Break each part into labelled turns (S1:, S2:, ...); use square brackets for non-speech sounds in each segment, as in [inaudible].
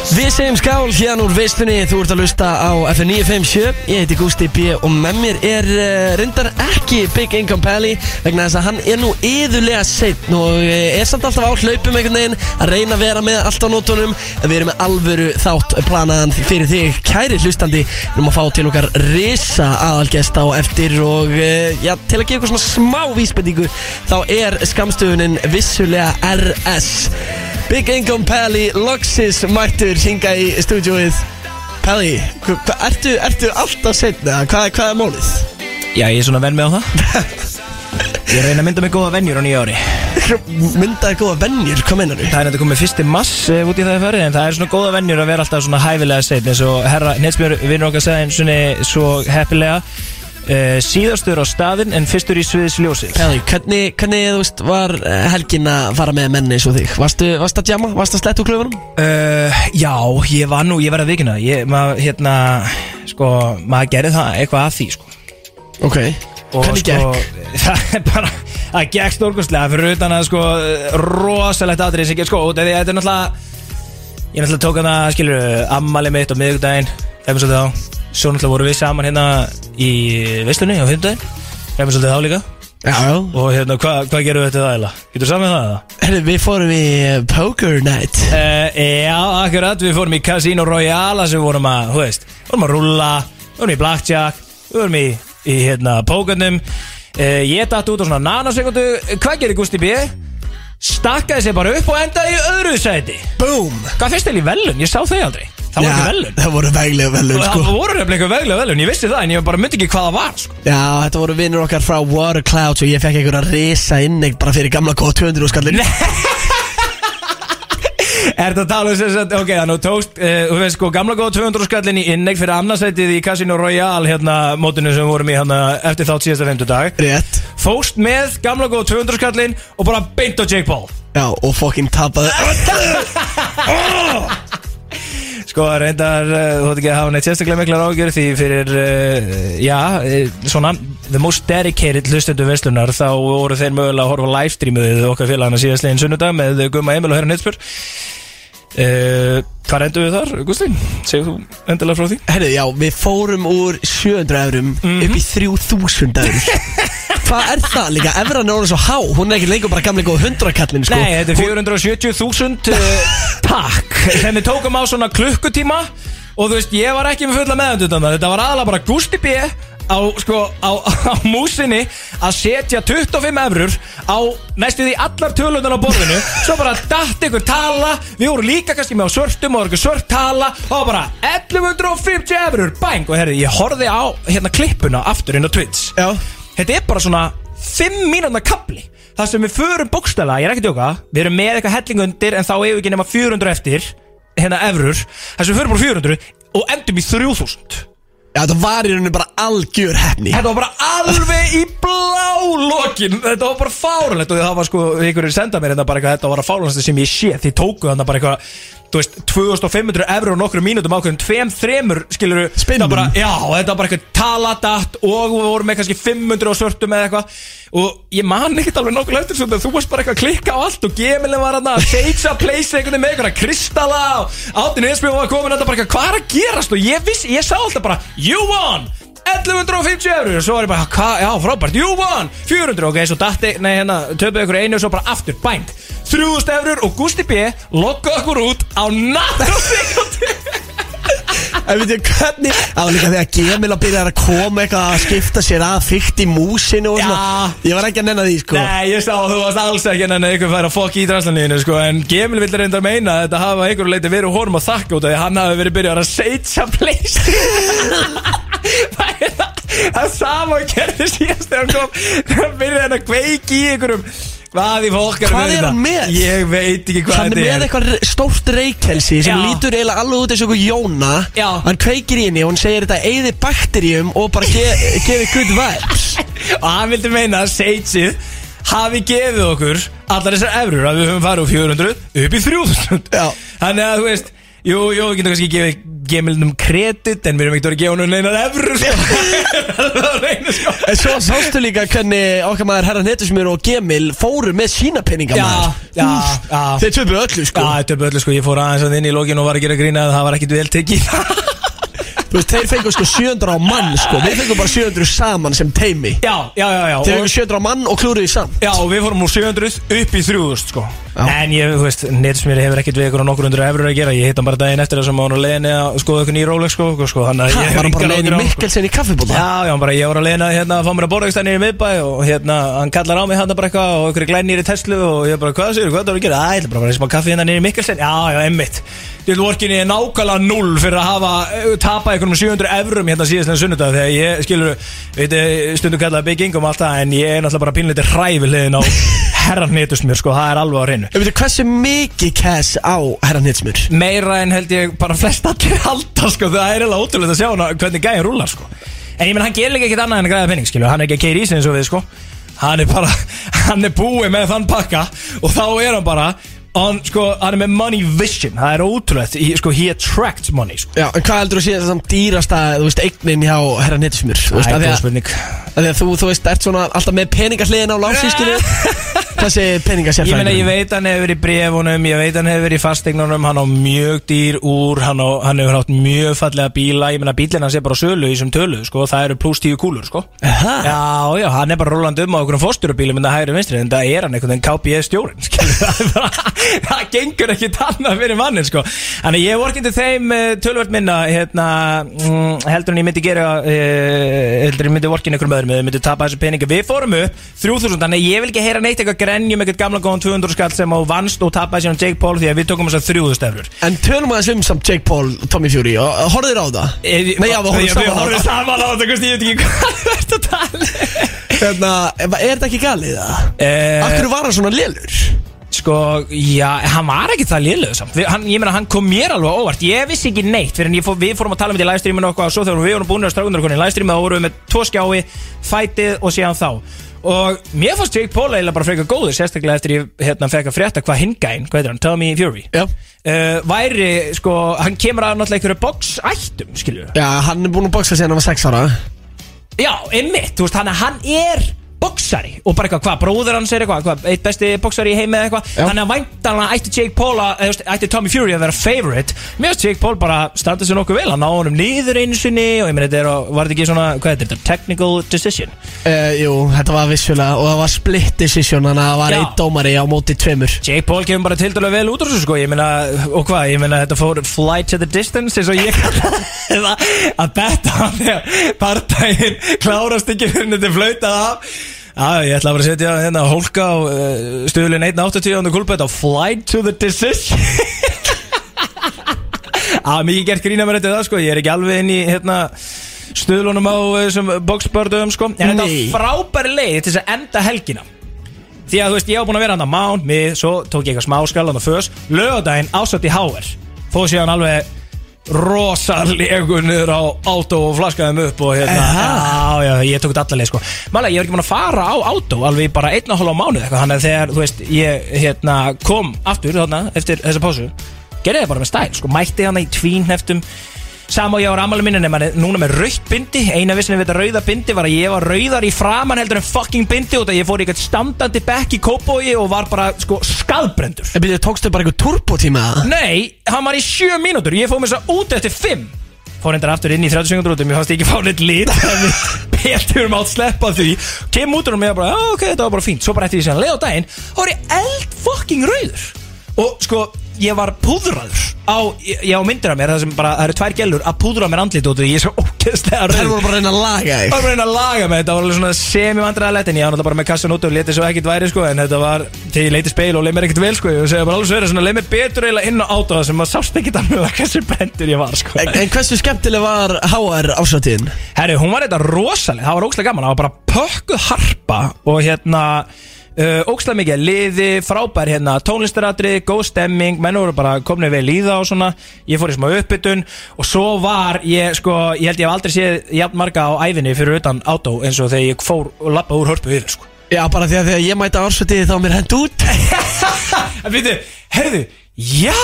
S1: Við segjum skál hérna úr veistunni, þú ert að lusta á F957, ég heiti Gusti B og með mér er uh, reyndar ekki Big Income Pally vegna þess að hann er nú yðurlega seinn og eh, er samt alltaf á hlaupum einhvern veginn að reyna að vera með allt á nótunum en við erum með alvöru þátt planaðan fyrir þig kæri hlustandi, við erum að fá til okkar risa aðalgesta á eftir og uh, já, til að gefa ykkur svona smá vísbendingu þá er skamstöfunin vissulega RS Big Income Pally, Loxis mættur hinga í stúdjóið Pally, hva, hva, ertu, ertu alltaf setna? Hvað, hvað er [laughs] mólið?
S2: Já, ég er svona venn með á það [laughs] Ég reyna að mynda mig góða venjur á nýja ári
S1: Myndaði góða vennjur, hvað meinar þú?
S2: Það er þetta komið fyrsti mass eh, út í það í farið En það er svona góða venjur að vera alltaf svona hæfilega seitt eins og herra Netsbjörn vinnur okkar sagði eins og svo heppilega uh, Síðastur á staðinn en fyrstur í sviðisljósið
S1: Pally, hvernig, hvernig þú veist, var eh, helgin að fara með menni eins og þig? Varstu, varstu að jamma? Varstu að sletta úr klöfunum?
S2: Uh, já, ég var nú, ég var að vikina Ég, maður, hérna, sko, maður gerði það eitthvað að því, sko
S1: Ok,
S2: og
S1: hvernig
S2: sko,
S1: gekk?
S2: [laughs] það er bara það gekk stórkostlega fyrir utan að sko rosalegt atrið sem gekk sko út af því að þetta er náttúrulega ég náttúrulega tók hana skilur ammali mitt og miðugdægin hefum svolítið á svo náttúrulega vorum við saman hérna í veistlunni á fimmdægin hefum svolítið á líka
S1: Já, já
S2: og hérna hva- hvað gerum við þetta það eða getur saman það eða
S1: Herri, við fórum í eh, Poker Night
S2: Uh, já, akkurat, við fórum í Casino Royale sem við vorum að, þú veist, vorum að rulla vorum í Blackjack, vorum í, í hérna, pókarnum uh, ég datt út á svona nanosekundu hvað gerir Gusti B? stakkaði sér bara upp og endaði í öðru sæti
S1: Boom!
S2: hvað finnst þér í velun? Ég sá þau aldrei það
S1: Já,
S2: var ekki velun
S1: Það voru veglega velun, sko
S2: það voru nefnilega eitthvað veglega velun, ég vissi það en ég bara myndi ekki hvað það var sko.
S1: Já, þetta voru vinnur okkar frá Water Clouds og ég fekk einhverja risa innegg bara fyrir gamla góða 200 og
S2: [laughs]
S1: skallir
S2: Er þetta að tala um þess að, ok, þannig að þú tókst, eh, þú veist sko, gamla góða 200 skallin í innegg fyrir annarsætið í Casino Royale hérna mótinu sem við vorum í hérna eftir þátt síðasta 50 dag.
S1: Rétt
S2: Fóst með gamla góða 200 skallin og bara beint á Jake Paul.
S1: Já, og fokkin tapaði
S2: Sko, reyndar, eh, þú veit ekki að hafa neitt sérstaklega miklar ágjör því fyrir, eh, já, eh, svona, the most dedicated hlustendu verslunar, þá voru þeir mögulega að horfa á livestreamið okkar félagana síðastlegin sunnudag með Gumma Emil og Herra Netsbjörn. Uh, hvað reyndu við þar, Gústín? Segðu þú endilega frá því?
S1: Herri, já, við fórum úr 700 eurum upp
S2: Mhm.
S1: í 3000 eurum Hvað er það líka? Evran er orðin svo há, hún er ekki lengur bara gamla góða 100 kallin, sko
S2: Nei, þetta er 470.000 uh, Takk Þegar við tókum um á svona klukkutíma Og þú veist, ég var ekki með fulla meðandutan Þetta var aðalega bara Gusti B Á, sko, á, [laughs] á músinni Að setja 25 efrur Á næstu því allar tölunan á borðinu Svo bara datt ykkur tala Við vorum líka kannski með á svörtum Og var ykkur svört tala Og það var bara 1150 efrur Bang, og herri, ég horfði á hérna klippuna Aftur inn á Twitch
S1: Já,
S2: Þetta er bara svona 5 mínúna kapli Það sem við förum bókstæla, ég er ekki að tjóka Við erum með eitthvað helling undir en þá eigum við ekki nema 400 eftir Hérna efrur Það sem við förum bara 400 og endum í 3000
S1: já þetta var í rauninu bara algjör hefni
S2: Þetta var bara alveg í blá lokin Þetta var bara fáralegt og það var sko einhverjir senda mér hérna bara eitthvað Þetta var að fáralegt sem ég sé því tóku þarna bara eitthvað Þú veist, 2500 eurur og nokkru mínútum ákveðum Tveim, þremur, skilur
S1: Spinnum.
S2: bara, Já, þetta var bara eitthvað taladatt Og við vorum með kannski 500 og svörtum eða eitthvað Og ég man ekkert alveg nokkuð eftir svona, Þú varst bara eitthvað að klikka á allt Og gemilin var hann að seitsa place einhvern veginn með einhverja kristalla Og áttin einspil var komin Þetta bara eitthvað, hvað er að gerast Og ég viss, ég sá alltaf bara, you won 1150 eurur og svo var ég bara, hva, já frábært, you won 400, ok, svo datti, nei hérna, töpuði ykkur einu og svo bara aftur, bang 3000 eurur og Gusti B lokkaði okkur út á natt og sekundu
S1: En veit ég hvernig, það var líka þegar Gemil að byrja að koma eitthvað að skipta sér að fyrkt í músinu og svona Ég var ekki að nenna því, sko
S2: Nei, ég sá að þú varst alls ekki en einhver fær að fokk í dranslanlíðinu sko, en Gemil vill reynda að meina að þetta hafa einhver leiti verið horfum að þakka út af því að hann hafi verið byrjað að seitja [laughs] pleist Það er það- það sama og gerði síðast þegar hann kom þegar hann byrjaði hann að kveiki í einhverjum Hvað í fokkar
S1: Hvað er hann með?
S2: Ég veit ekki hvað
S1: Hann er með eitthvað stórt reykelsi sem
S2: Já.
S1: lítur eiginlega alveg út eins og einhver Jóna
S2: Já.
S1: Hann kveikir í henni og hann segir þetta eigði bakteríum og bara ge
S2: [laughs]
S1: gefi good vibes
S2: Og hann vildi meina að Seitsið hafi gefið okkur allar þessar efrur að við höfum farið úr 400 upp í 3000
S1: Já.
S2: Þannig að þú veist Jú, jú, við getum kannski gefið gemilnum kredit En við erum ekkert að vera að gefa honum neinar efru sko. Það er á reynu, sko.
S1: En svo sástu líka hvernig okkar maður herran Hettusmjör og Gemil fóru með sína peninga
S2: Já,
S1: maður
S2: já, já
S1: Þeir töpu öllu sko
S2: [laughs] Já, þetta er öllu sko, ég fór aðeins að inn í lokin og var að gera grína að það var ekkit vel tekið [laughs]
S1: Þú veist, þeir fengu sko 700 á mann sko Við fengum bara 700 saman sem teimi
S2: Já, já, já,
S1: Þeir
S2: já og,
S1: fengu 700 á mann og klúruði saman
S2: Já, og við fórum úr 700 upp í 3000 sko
S1: Já.
S2: En ég, þú veist, netismir hefur ekkit við ykkur á nokkur hundru efrur að gera Ég hitt hann bara daginn eftir þess að maður var á leiðinni að skoða ykkur nýr Rolex sko, sko Þannig að
S1: Það
S2: ég
S1: var hann bara
S2: engar
S1: leiðin í
S2: áhyggjur af honum, sko.
S1: Mikkelsen í kaffibóta
S2: Já, já, hann bara ég voru að leina hérna að fá mér að borða eitthvað nýri miðbæ og hérna, hann kallar á mig hann bara eitthvað og ykkur glænir í Tesla og ég bara, hvað séu, hvað það voru að gera? Æ, ég ætla bara að vera í smá kaffi hérna nýri Mikkelsen, já, já, emmitt Ég vil vorkinni er nákvæmlega null fyrir að hafa eh, tapað einhvern um 700 evrum hérna síðastlega sunnudag þegar ég, skilur, veit, eh, stundum kallaði bygging um allt það en ég er náttúrulega bara pínleiti hræfi hliðin á herran nýtust mér, sko, það er alveg á hreinu
S1: Ég veit hversu mikið cash á herran Hettusmjör
S2: meira en held ég bara flest allir [laughs] halda sko, það er eiginlega ótrúlega að sjá hana, hvernig gæðin rúlar sko. en ég menn hann gerir líka ekkert annað en að græða penning skilju, hann er ekki að keira í sig eins og við sko. hann er bara, [laughs] hann er búið með þann pakka og þá er hann bara on, sko, hann er með money vision það er ótrúlegt, he, sko, he attracts money sko.
S1: Já, en hvað heldur þú að sé þessam dýrasta, þú veist, eignin hjá herran Hettusmjör? Þú veist, af
S2: það er
S1: því
S2: góð
S1: að
S2: spurning
S1: Af því að þú, þú veist, ert svona alltaf með peningahliðin á
S2: [laughs]
S1: lásískinu Hvað segir
S2: Ég meina, ég
S1: peningasérfræðingurinn?
S2: veit hann hefur verið í brefunum, ég veit hann hefur verið í fasteignunum, hann á mjög dýr úr, hann, á, hann hefur átt mjög fallega bíla, ég meina bílinn hans er bara á sölu í sem tölu, sko, það eru pluss tíu kúlur, sko.
S1: Aha.
S2: Já, já, hann er bara rólandi um á okkur um fórstjórabílum en það hægri vinstri, en það er hann einhvern veginn KPS [laughs] stjórn, skilur það, er bara- það gengur ekki annað fyrir mannin, sko. Þannig ég vorkindi þeim eh, tölvöld minna, hérna, mm, heldur en ég myndi gera, eh, heldur en ég myndi vorkindi einhverjum öðrum, ég myndi tapa þessu peninga. Við fórum upp 3000, þannig ég vil ekki heyra neitt eitthvað grenjum, eitthvað gamla góðan 200 skall sem á vannst og tapaði sér um Jake Paul því að við tókum þess 3000 eflur.
S1: En tölum aðeins um samt Jake Paul, Tommy Fury og og horfðir á það?
S2: Eh,
S1: Nei, já, við horfum
S2: Við
S1: saman á
S2: horfum
S1: það
S2: saman á þetta, Kristi, ég veit ekki hvað þú ert að tala um.
S1: Hérna, er þetta ekki galið það?
S2: Eh,
S1: Af hverju var hann svona lélur?
S2: Sko, já, hann var ekki það liðlega samt við, hann, Ég meina, hann kom mér alveg á óvart Ég vissi ekki neitt fyrir en ég fó, við fórum að tala um þetta í livestreaminu og eitthvað og Svo þegar við vorum búin að strákunar konin í livestreamu Þá vorum við með tvo skjái, fætið og síðan þá Og mér fannst Jake Paul eiginlega bara frekar góður Sérstaklega eftir ég hérna, fekk að frétta hvað hingæn Hvað heitir hann? Tommy Fury
S1: Já.
S2: Eh, Væri, sko, hann kemur að náttúrulega einhverju boxættum, skilur
S1: Já, hann er búinn að boksa síðan hann var 6 ára
S2: Já, einmitt, þú veist, hann, hann er boksari og bara eitthvað, hvað, bróður hans er eitthvað, hvað, eitt besti boksari í heimi eða eitthvað
S1: Já.
S2: þannig að væntanlega ætti Jake Paul að, eða, þú veist, ætti Tommy Fury að vera favorite mér finnst Jake Paul bara standa sér nokkuð vel hann á honum niður einu sinni og ég meina þetta er, á- var þetta ekki svona, hvað er þetta, technical decision
S1: uh, Jú, þetta var vissulega og það var split decision Þannig að það var
S2: Já.
S1: einn dómari á móti tveimur
S2: Jake Paul kemur bara til dælu vel út úr þessu sko, ég meina, og hvað, ég meina þetta fór fly to the distance eins og ég kalla það, að betta hann þegar partægin klárast ekki fyrir þetta er flautað af Já, ég ætla bara að setja hérna hólka á uh, stöðulinn 1.80 ándu kulpett á fly to the decision [laughs] Já, mikið gert grína mér þetta það sko, ég er ekki alveg inn í hérna stöðlunum á eh, þessum boxbördum sko, en þetta
S1: Nei.
S2: var frábæri leið til þess að enda helgina Því að þú veist, ég var búin að vera hann að mán, mið, svo tók ég eitthvað smáskal hann að fös Lögadaginn ásett í HR Fóð síðan alveg rosalegu niður á átó og flaskaði þeim upp og hérna Já, já, ég tók þetta allarleið sko Málega, ég var ekki búin að fara á átó alveg í bara einn og hálf á mánuð eitthvað Þannig að þegar, þú veist, ég hérna, kom aftur þarna eftir þessa pásu Gerði það bara með stæl, sko, mætti hann í tvínheftum Sama og ég var ammali minni nema núna með raukt bindi Eina vissinni við þetta rauða bindi var að ég var rauðar í framan heldur en fucking bindi út að ég fór í eitthvað standandi bekk í kópói og var bara sko skadbrendur
S1: En byrjuðu, tókstu bara einhver turbotíma eða?
S2: Nei, hann var í sjö mínútur, ég fór mér svo út eftir fimm Fór hendur aftur inn í 30 sekundur út, mér fannst ég ekki fá neitt lit [laughs] en Betur mátt sleppa því Kem út úr og mér bara, "Ah, ok, þetta var bara fínt Svo bara eftir því sem leið á daginn, þá var ég eld fucking rauður Og sko, ég var púðraður á, ég, ég á myndir af mér, það sem bara, það eru tvær gellur Að púðra mér andlit út og ég er svo ógeðslega
S1: Þær
S2: rauður
S1: voru bara að reyna að laga
S2: Ég
S1: þig
S2: var bara að reyna að laga mig, þetta var alveg svona semi-vandræðalett en ég var náttúrulega bara með kassan út og letið svo ekkert væri sko en þetta var, þegar ég leiti speil og leið mér ekkert vel sko ég segja bara alveg svo verið svona, leið mér betur eiginlega inn á át það sem maður sást ekkert alveg að hversu brendur ég var sko
S1: En, en hversu skemmtileg var HR ásvatiðin?
S2: Herri, hún var þetta rosaleg, það var ógslag gaman, það var bara pökkuð harpa og hérna Uh, ógslag mikið liði, frábær hérna tónlistaratri, góð stemming, menn voru bara komni vel í það og svona ég fór í smá uppbytun og svo var ég sko, ég held ég hef aldrei séð jafn marga á æfinni fyrir utan átó eins og þegar ég fór og lappa úr hörpu yfir sko [laughs]
S1: Já, bara því að þegar ég mæta ásvatiði þá var mér hend út
S2: En veitu, herðu, já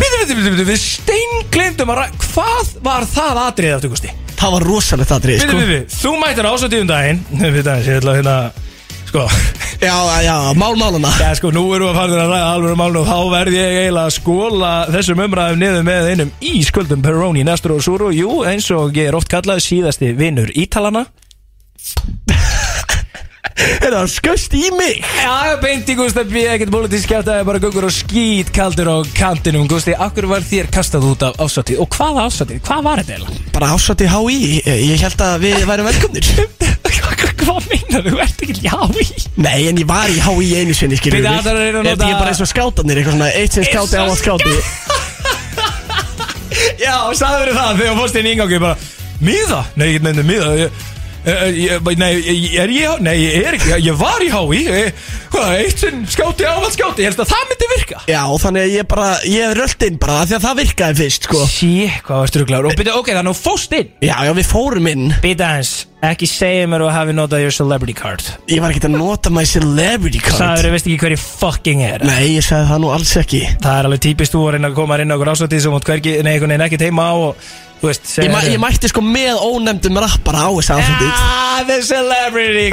S2: Býtu, býtu, býtu, býtu, við steinglindum að ræða Hvað var það atriðið aftur, Gusti?
S1: Það var rosalegt aðrið
S2: Býtu,
S1: sko.
S2: býtu, býtu, þú mættir ásatíðum daginn Býtu, daginn, ég ætla að hérna Sko, [laughs]
S1: Já, já, mál málana
S2: já, sko, nú erum við að fara að ræða alveg um alveg Þá verð ég eiginlega að skóla þessum umræðum niður með einum ísköldum Peroni, Nestor og Suru Jú, eins og ég er oft kallað síðasti vinur Ítalana
S1: Það skust í mig
S2: Já, beint í Gústa B, ekkert pólitísk kjátt Það er bara gungur og skýt kaldur á kantinum Gústi, akkur var þér kastað út af ásatið Og hvaða ásatið? Hvað var þetta eiginlega?
S1: Bara ásvætti HÍ, ég ég held að við værum velkomnir
S2: [laughs] Hvað meinar þú? Ert ekki já í?
S1: Nei, en ég var í HÍ einu sinni, skiljum
S2: Bíddu, það er að reyna að nota-
S1: Ég er bara eins og skátanir, eitthvað svona Eitt sem
S2: Eins
S1: skáti á
S2: og
S1: að skáti
S2: Já, sagður það þegar þú fórst inn í ingangi bara, Míða? Nei, ég nefndi míða ég, eh, ég, Nei, ég- er ég Nei, ég er ekki, ég var í hái ég, Hvað, eitt sinn skáti ávald skáti Ég held að það myndi virka
S1: Já, og þannig að ég bara, ég röldi inn bara af Því að það virkaði fyrst, sko
S2: Sí, hvað var struglaður Og byrja, ok, þannig að þú fórst inn
S1: Já, já, við fórum inn
S2: Býta eins, ekki segja mér að hafi notað your celebrity card
S1: Ég var ekkert að nota my celebrity card
S2: Sæður, þú veist ekki hver ég fucking er
S1: Nei, ég sagði það nú alls ekki
S2: Það er alveg típist þú að reyna að koma inn á okkur ásvættið sem hún hvergi, nei, einhvern veginn ekkert heima á og, þú veist,
S1: Ég,
S2: segja
S1: ma ég mætti sko með ónefndum rappara á þess aðfundið
S2: Ah, the celebrity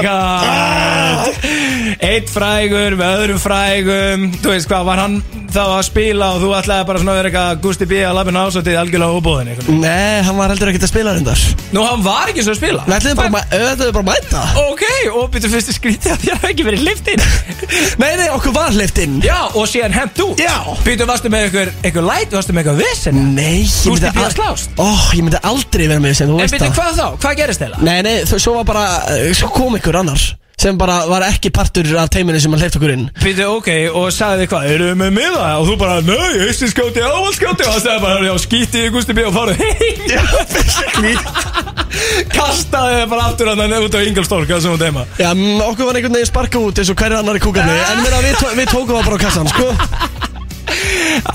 S2: card
S1: Ah.
S2: Eitt frægur með öðrum frægum Þú veist hvað, var hann þá að spila og þú ætlaði bara svona að vera eitthvað Gusti B. að lappin ásvættið algjörlega óbúðin einhvern veginn.
S1: Nei, hann var heldur ekkert að spila reyndar
S2: Nú, hann var ekki svo að spila
S1: Við ætluðum bara, að mæ- við ætluðum bara að mæta
S2: Ok, og byrju fyrstu skrítið að þér hafi ekki verið liftin
S1: Nei, nei, okkur var hleyft inn
S2: Já, og síðan hent út
S1: Já.
S2: Býtu, varstu með einhver, einhver læt, varstu með einhver vissin
S1: Nei, ég
S2: Þú
S1: myndi,
S2: ert í bíl að
S1: al-
S2: slást.
S1: Ó, ég myndi aldrei vera með sem þú
S2: En
S1: veist
S2: býtu,
S1: það
S2: hvað þá? Hvað gerist þeirra?
S1: Nei, nei, þú, svo var bara, eh, svo kom ykkur annar Sem bara var ekki partur af teiminu sem hann hleyft okkur inn
S2: Býtu, ok, og sagði þið hvað, eru við með miða? Og þú bara, nei, eistin skjóti, ávald skjóti Og það sagði bara, já, skýtti í gústi bíu og farið heim
S1: Já, basically
S2: Kastaði þið bara aftur hann út á Ingolstork, það sem hún deima
S1: Já, mm, okkur var einhvern veginn sparkað út eins og hverju annar í kúkarni En meina, við, tó við tókum það bara á kassan, sko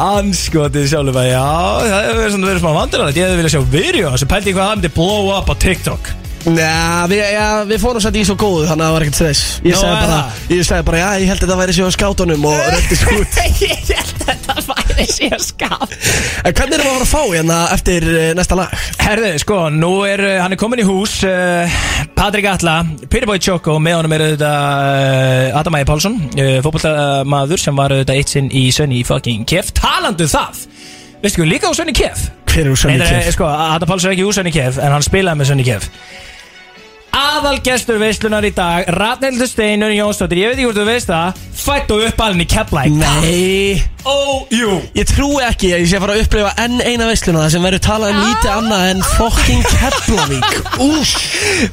S2: Anskotið sjálfur bara, já, það hefur verið svona verið smá vandrarlegt Ég hefði viljað sjá video, þessu pældi ég hvað hann myndi blow up á TikTok
S1: Já, við, já, við fórum satt í svo góðu þannig að það var ekkert stress Ég
S2: Nú,
S1: sagði
S2: er
S1: bara, ég sagði bara, já, ég held að þetta væri sér á skátunum og röndi svo [laughs] út
S3: [laughs] Ég held að þetta væri síðan skap
S1: En hvernig erum við að fara að fá hérna eftir eh, næsta lag?
S2: Herðu, sko, nú er, uh, hann er komin í hús uh, Patrik Atla, Pyrrbói Tjókó Með honum er auðvitað uh, Adam Ægir Pálsson uh, Fótballtamaður sem var auðvitað eitt sinn í Sönni í fucking Kef Talandu það, veistu ekki, líka á Sönni Kef
S1: Hver eru
S2: Nei,
S1: Sönni
S2: það er,
S1: Kjef?
S2: sko, Adam Pálsson er ekki úr Sönni Kef En hann spilaði með Sönni Kef Aðalgestur veislunar í dag Ratnildur Steinur Jónsdóttir Ég veit ekki hvort þú veist það Fætt og uppalinn í Keflæk
S1: Nei,
S2: Ó, jú
S1: ég trúi ekki að ég sé að fara að upplifa enn eina veisluna sem verður talað um lítið annað en fucking [laughs] Keflavík Ús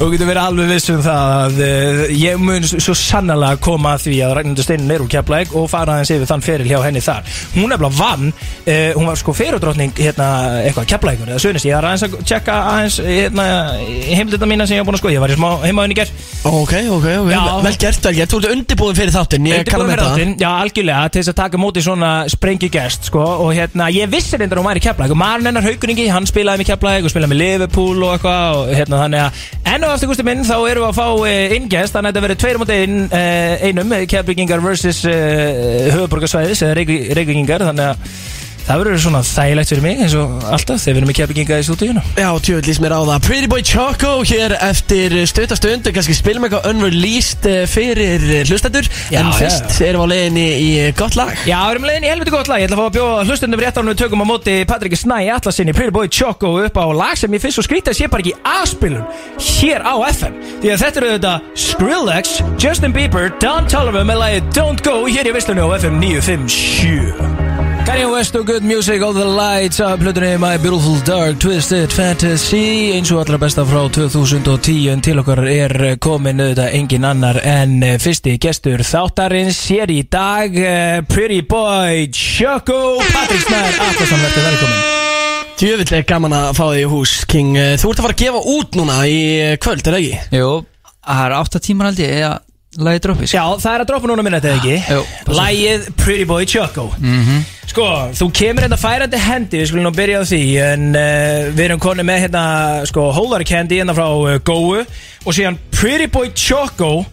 S2: Þú getur verið alveg viss um það að uh, ég mun svo sannlega koma að því að Ragnhildur Steinin er úr Keflæk og fara aðeins yfir þann feril hjá henni þar. Hún nefnilega vann, uh, hún var sko ferudrottning hérna eitthvað Keflækur eða Sunnist. Ég var aðeins að tjekka aðeins hérna heimdita mína sem ég var búin að sko, ég var í smá heimaðin í gerð.
S1: Ok, ok, vel,
S2: Já.
S1: vel gert, vel gert Þú ert undirbúin fyrir þáttinn, ég
S2: Undirbúin
S1: kann að
S2: með
S1: með það
S2: ráttinn, Já, algjörlega, til þess að taka á móti svona sprengigest sko, og hérna, ég vissi reyndar að hún væri í Keflæk og maður hennar haukuningi, hann spilaði með Keflæk og spilaði með Liverpool og eitthvað og hérna, þannig að enn og aftur gústi minn þá erum við að fá eh, inngest, þannig að þetta verður tveir mútið inn, eh, einum, Keflækingar versus eh, höfuborgarsvæðis eða Reykv- Reykvíkingar, þannig að það verður svona þægilegt fyrir mig eins og alltaf þegar við erum með Keflækinga í stúdíunum
S1: Já, tjóðið lýst mér á það Pretty Boy Choco hér eftir stöðastund og kannski spilum eitthvað unreleased eh, fyrir eh, hlustendur
S2: Já,
S1: En
S2: já,
S1: fyrst erum við á leiðinni í eh, gott lag
S2: Já, við erum leiðin í helviti gott lag Ég ætla að fá að bjóða hlustundum rétt ánum við tökum á móti Patrik Snæ Atlasinni, Pretty Boy Choco upp á lag sem ég finnst svo skrítið að sé bara ekki í aðspilun hér á FM Því að þetta eru þetta Skrillex, Justin Bieber, Don Toliver með lagi Don't Go hér í Visslunni á FM 957 Kanye West og Good Music, All the Lights af plötunni My Beautiful Dark Twisted Fantasy eins og allra besta frá 2010 en til okkar er komin auðvitað engin annar en eh, fyrsti gestur þáttarins hér í dag eh, Pretty Boy Choco Patrik Snær Atlasson verður velkomin
S1: Tjóðið er gaman að fá þig í hús King Eh, Þú ert að fara að gefa út núna í eh, kvöld, er það ekki?
S4: Jú, það er átta tímar held ég eða lagið droppi sko.
S2: Já, það er að droppa núna minna þetta ekki
S4: Jú, passa.
S2: Lægið Pretty Boy Choco -hmm. Sko, þú kemur hérna færandi hendi Við skulum nú byrja á því En uh, við erum konið með eh, hérna sko, Hólar Candy hérna frá uh, Góu Og síðan Pretty Boy Choco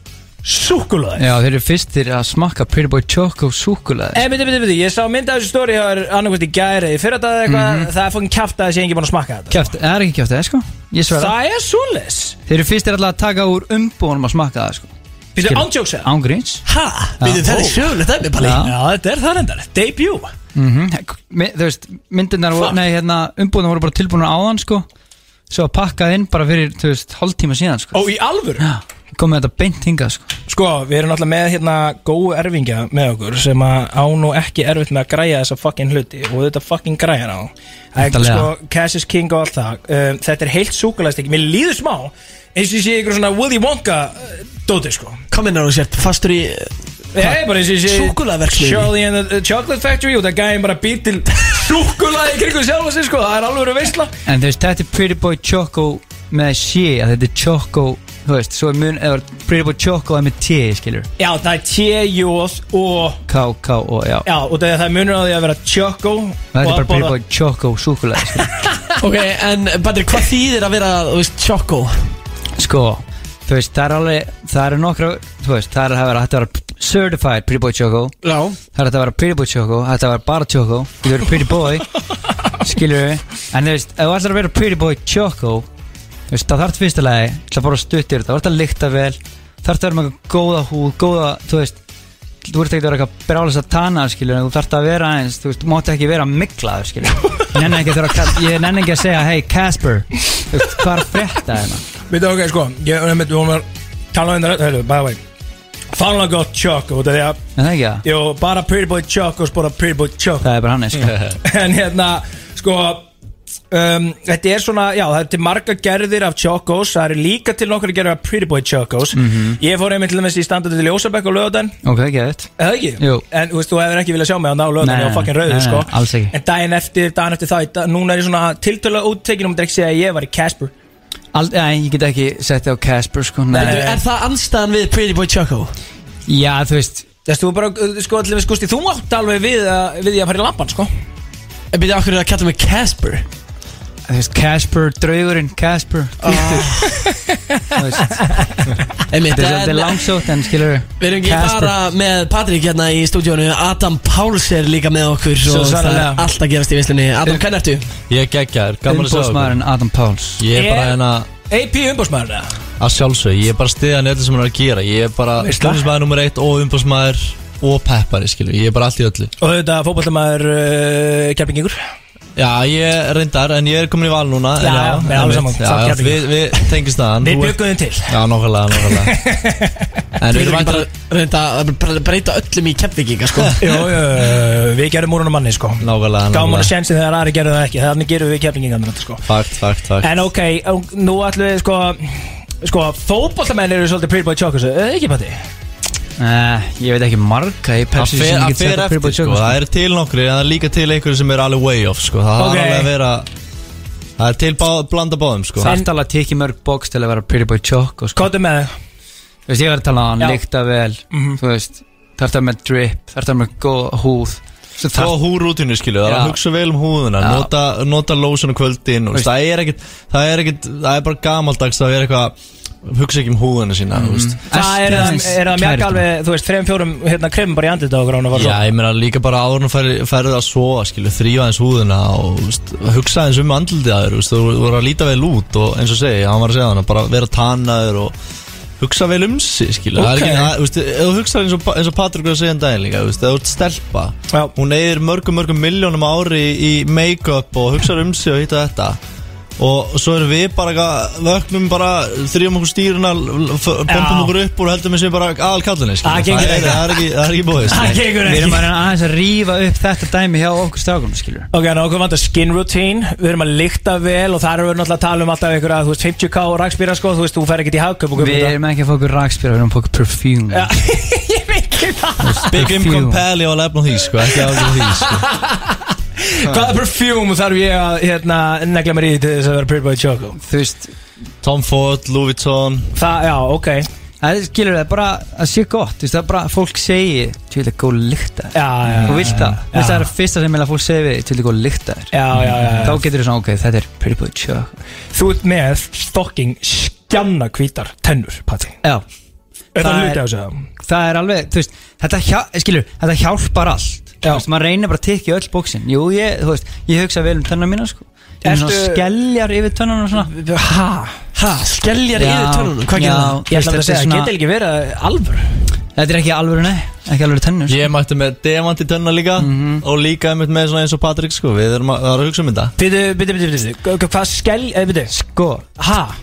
S2: súkulaði
S4: Já, þeir eru fyrstir að smakka Pretty Boy Choco súkulaði
S2: En myndi, myndi, myndi, ég sá mynd af þessu stóri Það er annarkvæmt í gæri Í fyrra dag eitthvað Það er fókin kæft að þessi engi búin að smakka þetta
S4: Kjæft, það er ekki kjæft það, sko Ég sverða
S2: Það er svoleiðis
S4: Þeir eru fyrstir alltaf að taka úr umbúinum að smakka það, sko
S2: Býttu
S4: Skilur.
S2: ándjóksa
S4: Ángríns
S1: Ha? Býðu þetta er sjöfnilegt dæmi, Palli
S4: Já.
S2: Já, þetta er það reyndar Debut
S4: mm Þú veist, myndirnar voru,
S2: Fuck.
S4: nei, hérna, umbúinum voru bara tilbúinu áðan, sko Svo pakkað inn bara fyrir, þú veist, hálftíma síðan, sko
S2: Og í alvöru
S4: Já, komið þetta beint hingað, sko
S2: Sko, við erum alltaf með hérna góðu erfingja með okkur sem að án og ekki erfitt með að græja þessa fucking hluti og þetta fucking græja ná Ekki
S4: Væntanlega.
S2: sko, Cash is King og allt það um, Þetta er heilt súkulæðstekki, mér líður smá eins og ég sé ykkur svona Willy Wonka uh, dóti sko
S1: Kom inn á þú sért fastur í
S4: [laughs]
S2: Ég er bara eins og ég sé
S1: Súkkulaðaverksmiðju.
S2: Charlie and the uh, Chocolate Factory og það gæði bara býr til súkulæði kringu sjálfa sig sko það er alveg verið veistla
S4: En þú veist, þetta er Pretty Boy Choco með sé að þetta er Choco, þú veist, svo er mun, eða Pretty Boy Choco er með T, skilur
S2: Já, það er T-Jóð og
S4: K, K og, já
S2: Já, og það það er munur á því að vera Choco og
S4: Það er bara
S2: að
S4: Pretty
S2: borða-
S4: Boy Choco súkulega, skilur
S1: Ok, en Patrik, hvað þýðir að vera, þú veist, tjokko?
S4: Sko, þú veist, það er alveg, það eru nokkra, þú veist, það er að vera, þetta vera Certified Pretty Boy Choco
S1: Já
S4: Það er hægt að vera Pretty Boy Choco, það er hægt að vera bara Choco Þú verður Pretty Boy, skilur En þú veist, ef þú ætlar að vera Pretty Boy Choco Þú veist, það þarf fyrsta lagi Það bara stuttir þetta, þú ert að lykta vel Það þarf að vera með eitthvað góða húð, góða, þú veist Þú ert ekki að vera eitthvað brálisa tana, skilur Þú þarf að vera eins, þú veist, þú mátt ekki vera miklaður, skilur Ég nenni ekki að, þurfa að kall- ég nenni ekki að segja, hey Casper Þú veist, hvað er að frétta hérna?
S2: Við þú, ok, sko, ég er með, við vorum að tala um þetta, hérna, by the way Fána gott Choco, það er að,
S4: Er það ekki það?
S2: jú, bara Pretty Boy Choco, spora Pretty Boy Choco
S4: Það er bara hann, sko
S2: [laughs] En hérna, sko, um, þetta er svona, já, það er til marga gerðir af Chocos Það eru líka til nokkur gerðir af Pretty Boy Chocos
S4: Mhm.
S2: Ég fór einmitt til þess í standardi til Ljósabæk og Löðan
S4: Ok, geðvitt
S2: Eða ekki?
S4: Jú.
S2: En þú veist, þú hefur ekki viljað sjá mig á ná löðan
S4: Nei,
S2: og fucking rauður,
S4: nei, nei,
S2: sko
S4: alls ekki.
S2: En daginn eftir, daginn eftir það, í dag- núna er ég svona tiltölu úttekinn um þetta ekki segja að ég var í Casper
S4: Ald, nei, ég get ekki sett þig á Casper, sko nei.
S1: Er það anstæðan við Pretty Boy Tjokko?
S4: Já, þú veist
S2: Þess, þú bara, uh, sko, allir við skusti, þú átt alveg við að, við því að fara í lampan, sko
S1: En byrja okkur að kalla mig Casper
S4: Þú veist, Casper, draugurinn, Casper
S2: Ah.
S4: Gittur Þú veist,
S1: Einmitt,
S4: Þetta er svolítið
S1: en-
S4: langsótt en skilur
S1: Við erum ekki bara með Patrik hérna í stúdíónu Adam Páls er líka með okkur
S2: Svo
S1: og það
S2: sannarlega.
S1: er allt að gerast í visslunni Adam, hvernig ertu?
S5: Ég er geggjaður, gaman að sjá ykkur
S4: Umbóðsmaðurinn Adam Páls
S5: Ég er bara
S2: Er-
S5: hérna
S2: AP umbásmaður, eða?
S5: að sjálfsög Ég er bara stiðan í öllu sem hann er að gera Ég er bara
S2: Veist það?
S5: stundismæður nummer eitt og umbásmæður og peppari, skilju Ég er bara allt í öllu
S2: Og þetta fótballtamaður uh, kjærpingingur
S5: Já, ég reyndar, en ég er komin í val núna
S2: Já,
S5: en
S2: já, með
S5: einmitt.
S2: alveg saman,
S5: Já,
S2: samt
S5: já,
S2: Keflavík.
S5: Við, hérna. við tengist það
S2: Við byggum þeim til
S5: Já, nokkulega, [laughs] nokkulega En
S1: Við erum
S5: við erum
S1: ekki
S5: væntar
S1: bara reynda að bara breyta öllum í keppvikinga sko
S2: Jú, jú, við gerum úr hann manni, sko
S5: Nákvæmlega,
S2: Gáum hann að
S5: nákvæmlega
S2: sjensi þegar aðri gerum það ekki, þannig gerum við kjærpingingarnir þetta, sko
S5: Fakt, fakt, fakt
S2: En ok, og nú ætlum við, sko Sko, fótballtamenn eru svolítið pretty boy chokers, eða ekki, Patti?
S4: uh, Ég veit ekki marga í
S5: Það
S4: Pepsi
S5: fer,
S4: sem ég
S5: það
S4: get
S5: fer
S4: sett á
S5: eftir,
S4: Purple
S5: sko,
S4: Choco
S5: það er til nokkri en það er líka til einhverju sem er alveg way off, sko Það
S2: Ok.
S5: okay. alveg að vera Það er til bá, blanda báðum, sko
S4: Það er alveg að tekja mörg box til að vera Pretty Boy Choco sko.
S2: Kóttu með þig
S4: Þú veist, ég verður að tala á
S2: Já.
S4: hann,
S2: Mhm.
S4: líkta vel Þú veist, þarf það með drip Þarf það með góð húð Svo
S5: Það
S4: þarf-
S5: á húrútinu skilju, það er að
S4: Já.
S5: hugsa vel um húðuna
S4: Já.
S5: Nota, nota lósun og kvöldin og,
S4: Veist.
S5: veist, það, er ekkit, það er ekkit, það er bara gamaldags að vera eitthvað Hugsa ekki um húðuna sína,
S4: Mhm.
S5: þú
S4: Mm.
S5: veist
S2: Það er að, er að mjaka
S4: Kærastan.
S2: alveg, þú veist, þreim, fjórum, hérna, kremum bara í andlita og grána
S5: Já, ég meina líka bara áður en færði fær að sofa skilju Þrýfa eins húðuna og þú veist, hugsa eins um andlitið að þér þú veist, Þú voru að líta vel út og eins og segja, hann var að segja hana Bara vera tannaður og hugsa vel um sig skilju Það er
S2: Ok.
S5: ekki, það- þú veist, ef þú hugsa eins og, eins og Patrik var að segja en daginn líka, þú veist, ef þú ert stelpa
S2: Já.
S5: hún eyðir mörgum mörgum milljónum ári í make-up og hugsaður um sig og hitta þetta og svo erum við bara eitthvað- vöknum bara þrjum okkur stýruna l- f- bombum
S2: Já.
S5: okkur upp og heldum við séum bara aðal kallinni
S2: Það
S5: það,
S2: gengur
S5: er-
S2: ekki.
S5: það er ekki, það er ekki sko. bóðist
S2: Það gengur
S4: Við
S2: ekki
S4: erum að reyna aðeins að rífa upp þetta dæmi hjá okkur strákum, skilur
S2: Ok, ná, okkur vantar skin routine, við erum að lykta vel og þar erum við náttúrulega að tala um alltaf ykkur að, þú veist, 50k og rakspýra, sko, þú veist, þú fer ekkert í hagköp og
S4: Við
S2: [laughs]
S4: erum ekki að fá okkur rakspýra, við erum að fá okkur perfume
S2: Já, ég veit ekki
S4: [laughs]
S2: það
S5: Big Income Pally á lefn og því sko, ekki á því sko.
S2: Hvaða perfjúm þarf ég að, hérna, negla mér í til þess að vera Pretty Boy Choco?
S4: Þú veist,
S5: Tom Ford, Louis Vuitton
S2: Það, já, ok,
S4: það er- skilur það bara að sé gott, þú veist, það er bara að fólk segi Þú vil að góð lykta þér
S2: já, já
S4: Þú vilt það,
S2: Já,
S4: þú veist, það er að fyrsta sem vil að fólk segi við Þú vil að góð lykta þér
S2: já, já, já,
S4: Þá
S2: já.
S4: getur þú svona, ok, þetta er pretty boy choke
S2: Þú ert með fucking skjanna hvítar tennur, Patti
S4: Já,
S2: Þetta er
S4: Það
S2: hluti
S4: er-
S2: af þessu það.
S4: það er alveg, þú veist, þetta, hjá, skilur, þetta hjálpar allt þú veist, maður reynir bara að tikka öll bóksin jú, ég, þú veist, ég hugsa vel um tönna mína sko. ég er svona
S1: Ertu-
S4: skelljar yfir tönnunum og svona
S1: Ha? Ha? Skeljar
S4: Já,
S1: yfir tölunum? Hvað
S4: já,
S1: gerir það?
S4: ég ætla bara að segja,
S1: Þetta
S4: getur
S1: ekki verið alvör
S4: þetta er ekki alvöru, nei, ekki alvöru tönnur sko.
S5: Ég mætti með demanti tönna líka
S2: Mhm.
S5: Og líka einmitt með svona eins og Patrik sko Við erum að, það er að hugsa um þetta
S1: Býtu, býtu, býtu, býtu Hva- hva- Hvað skelj... eh, Býtu
S4: sko,
S1: Ha?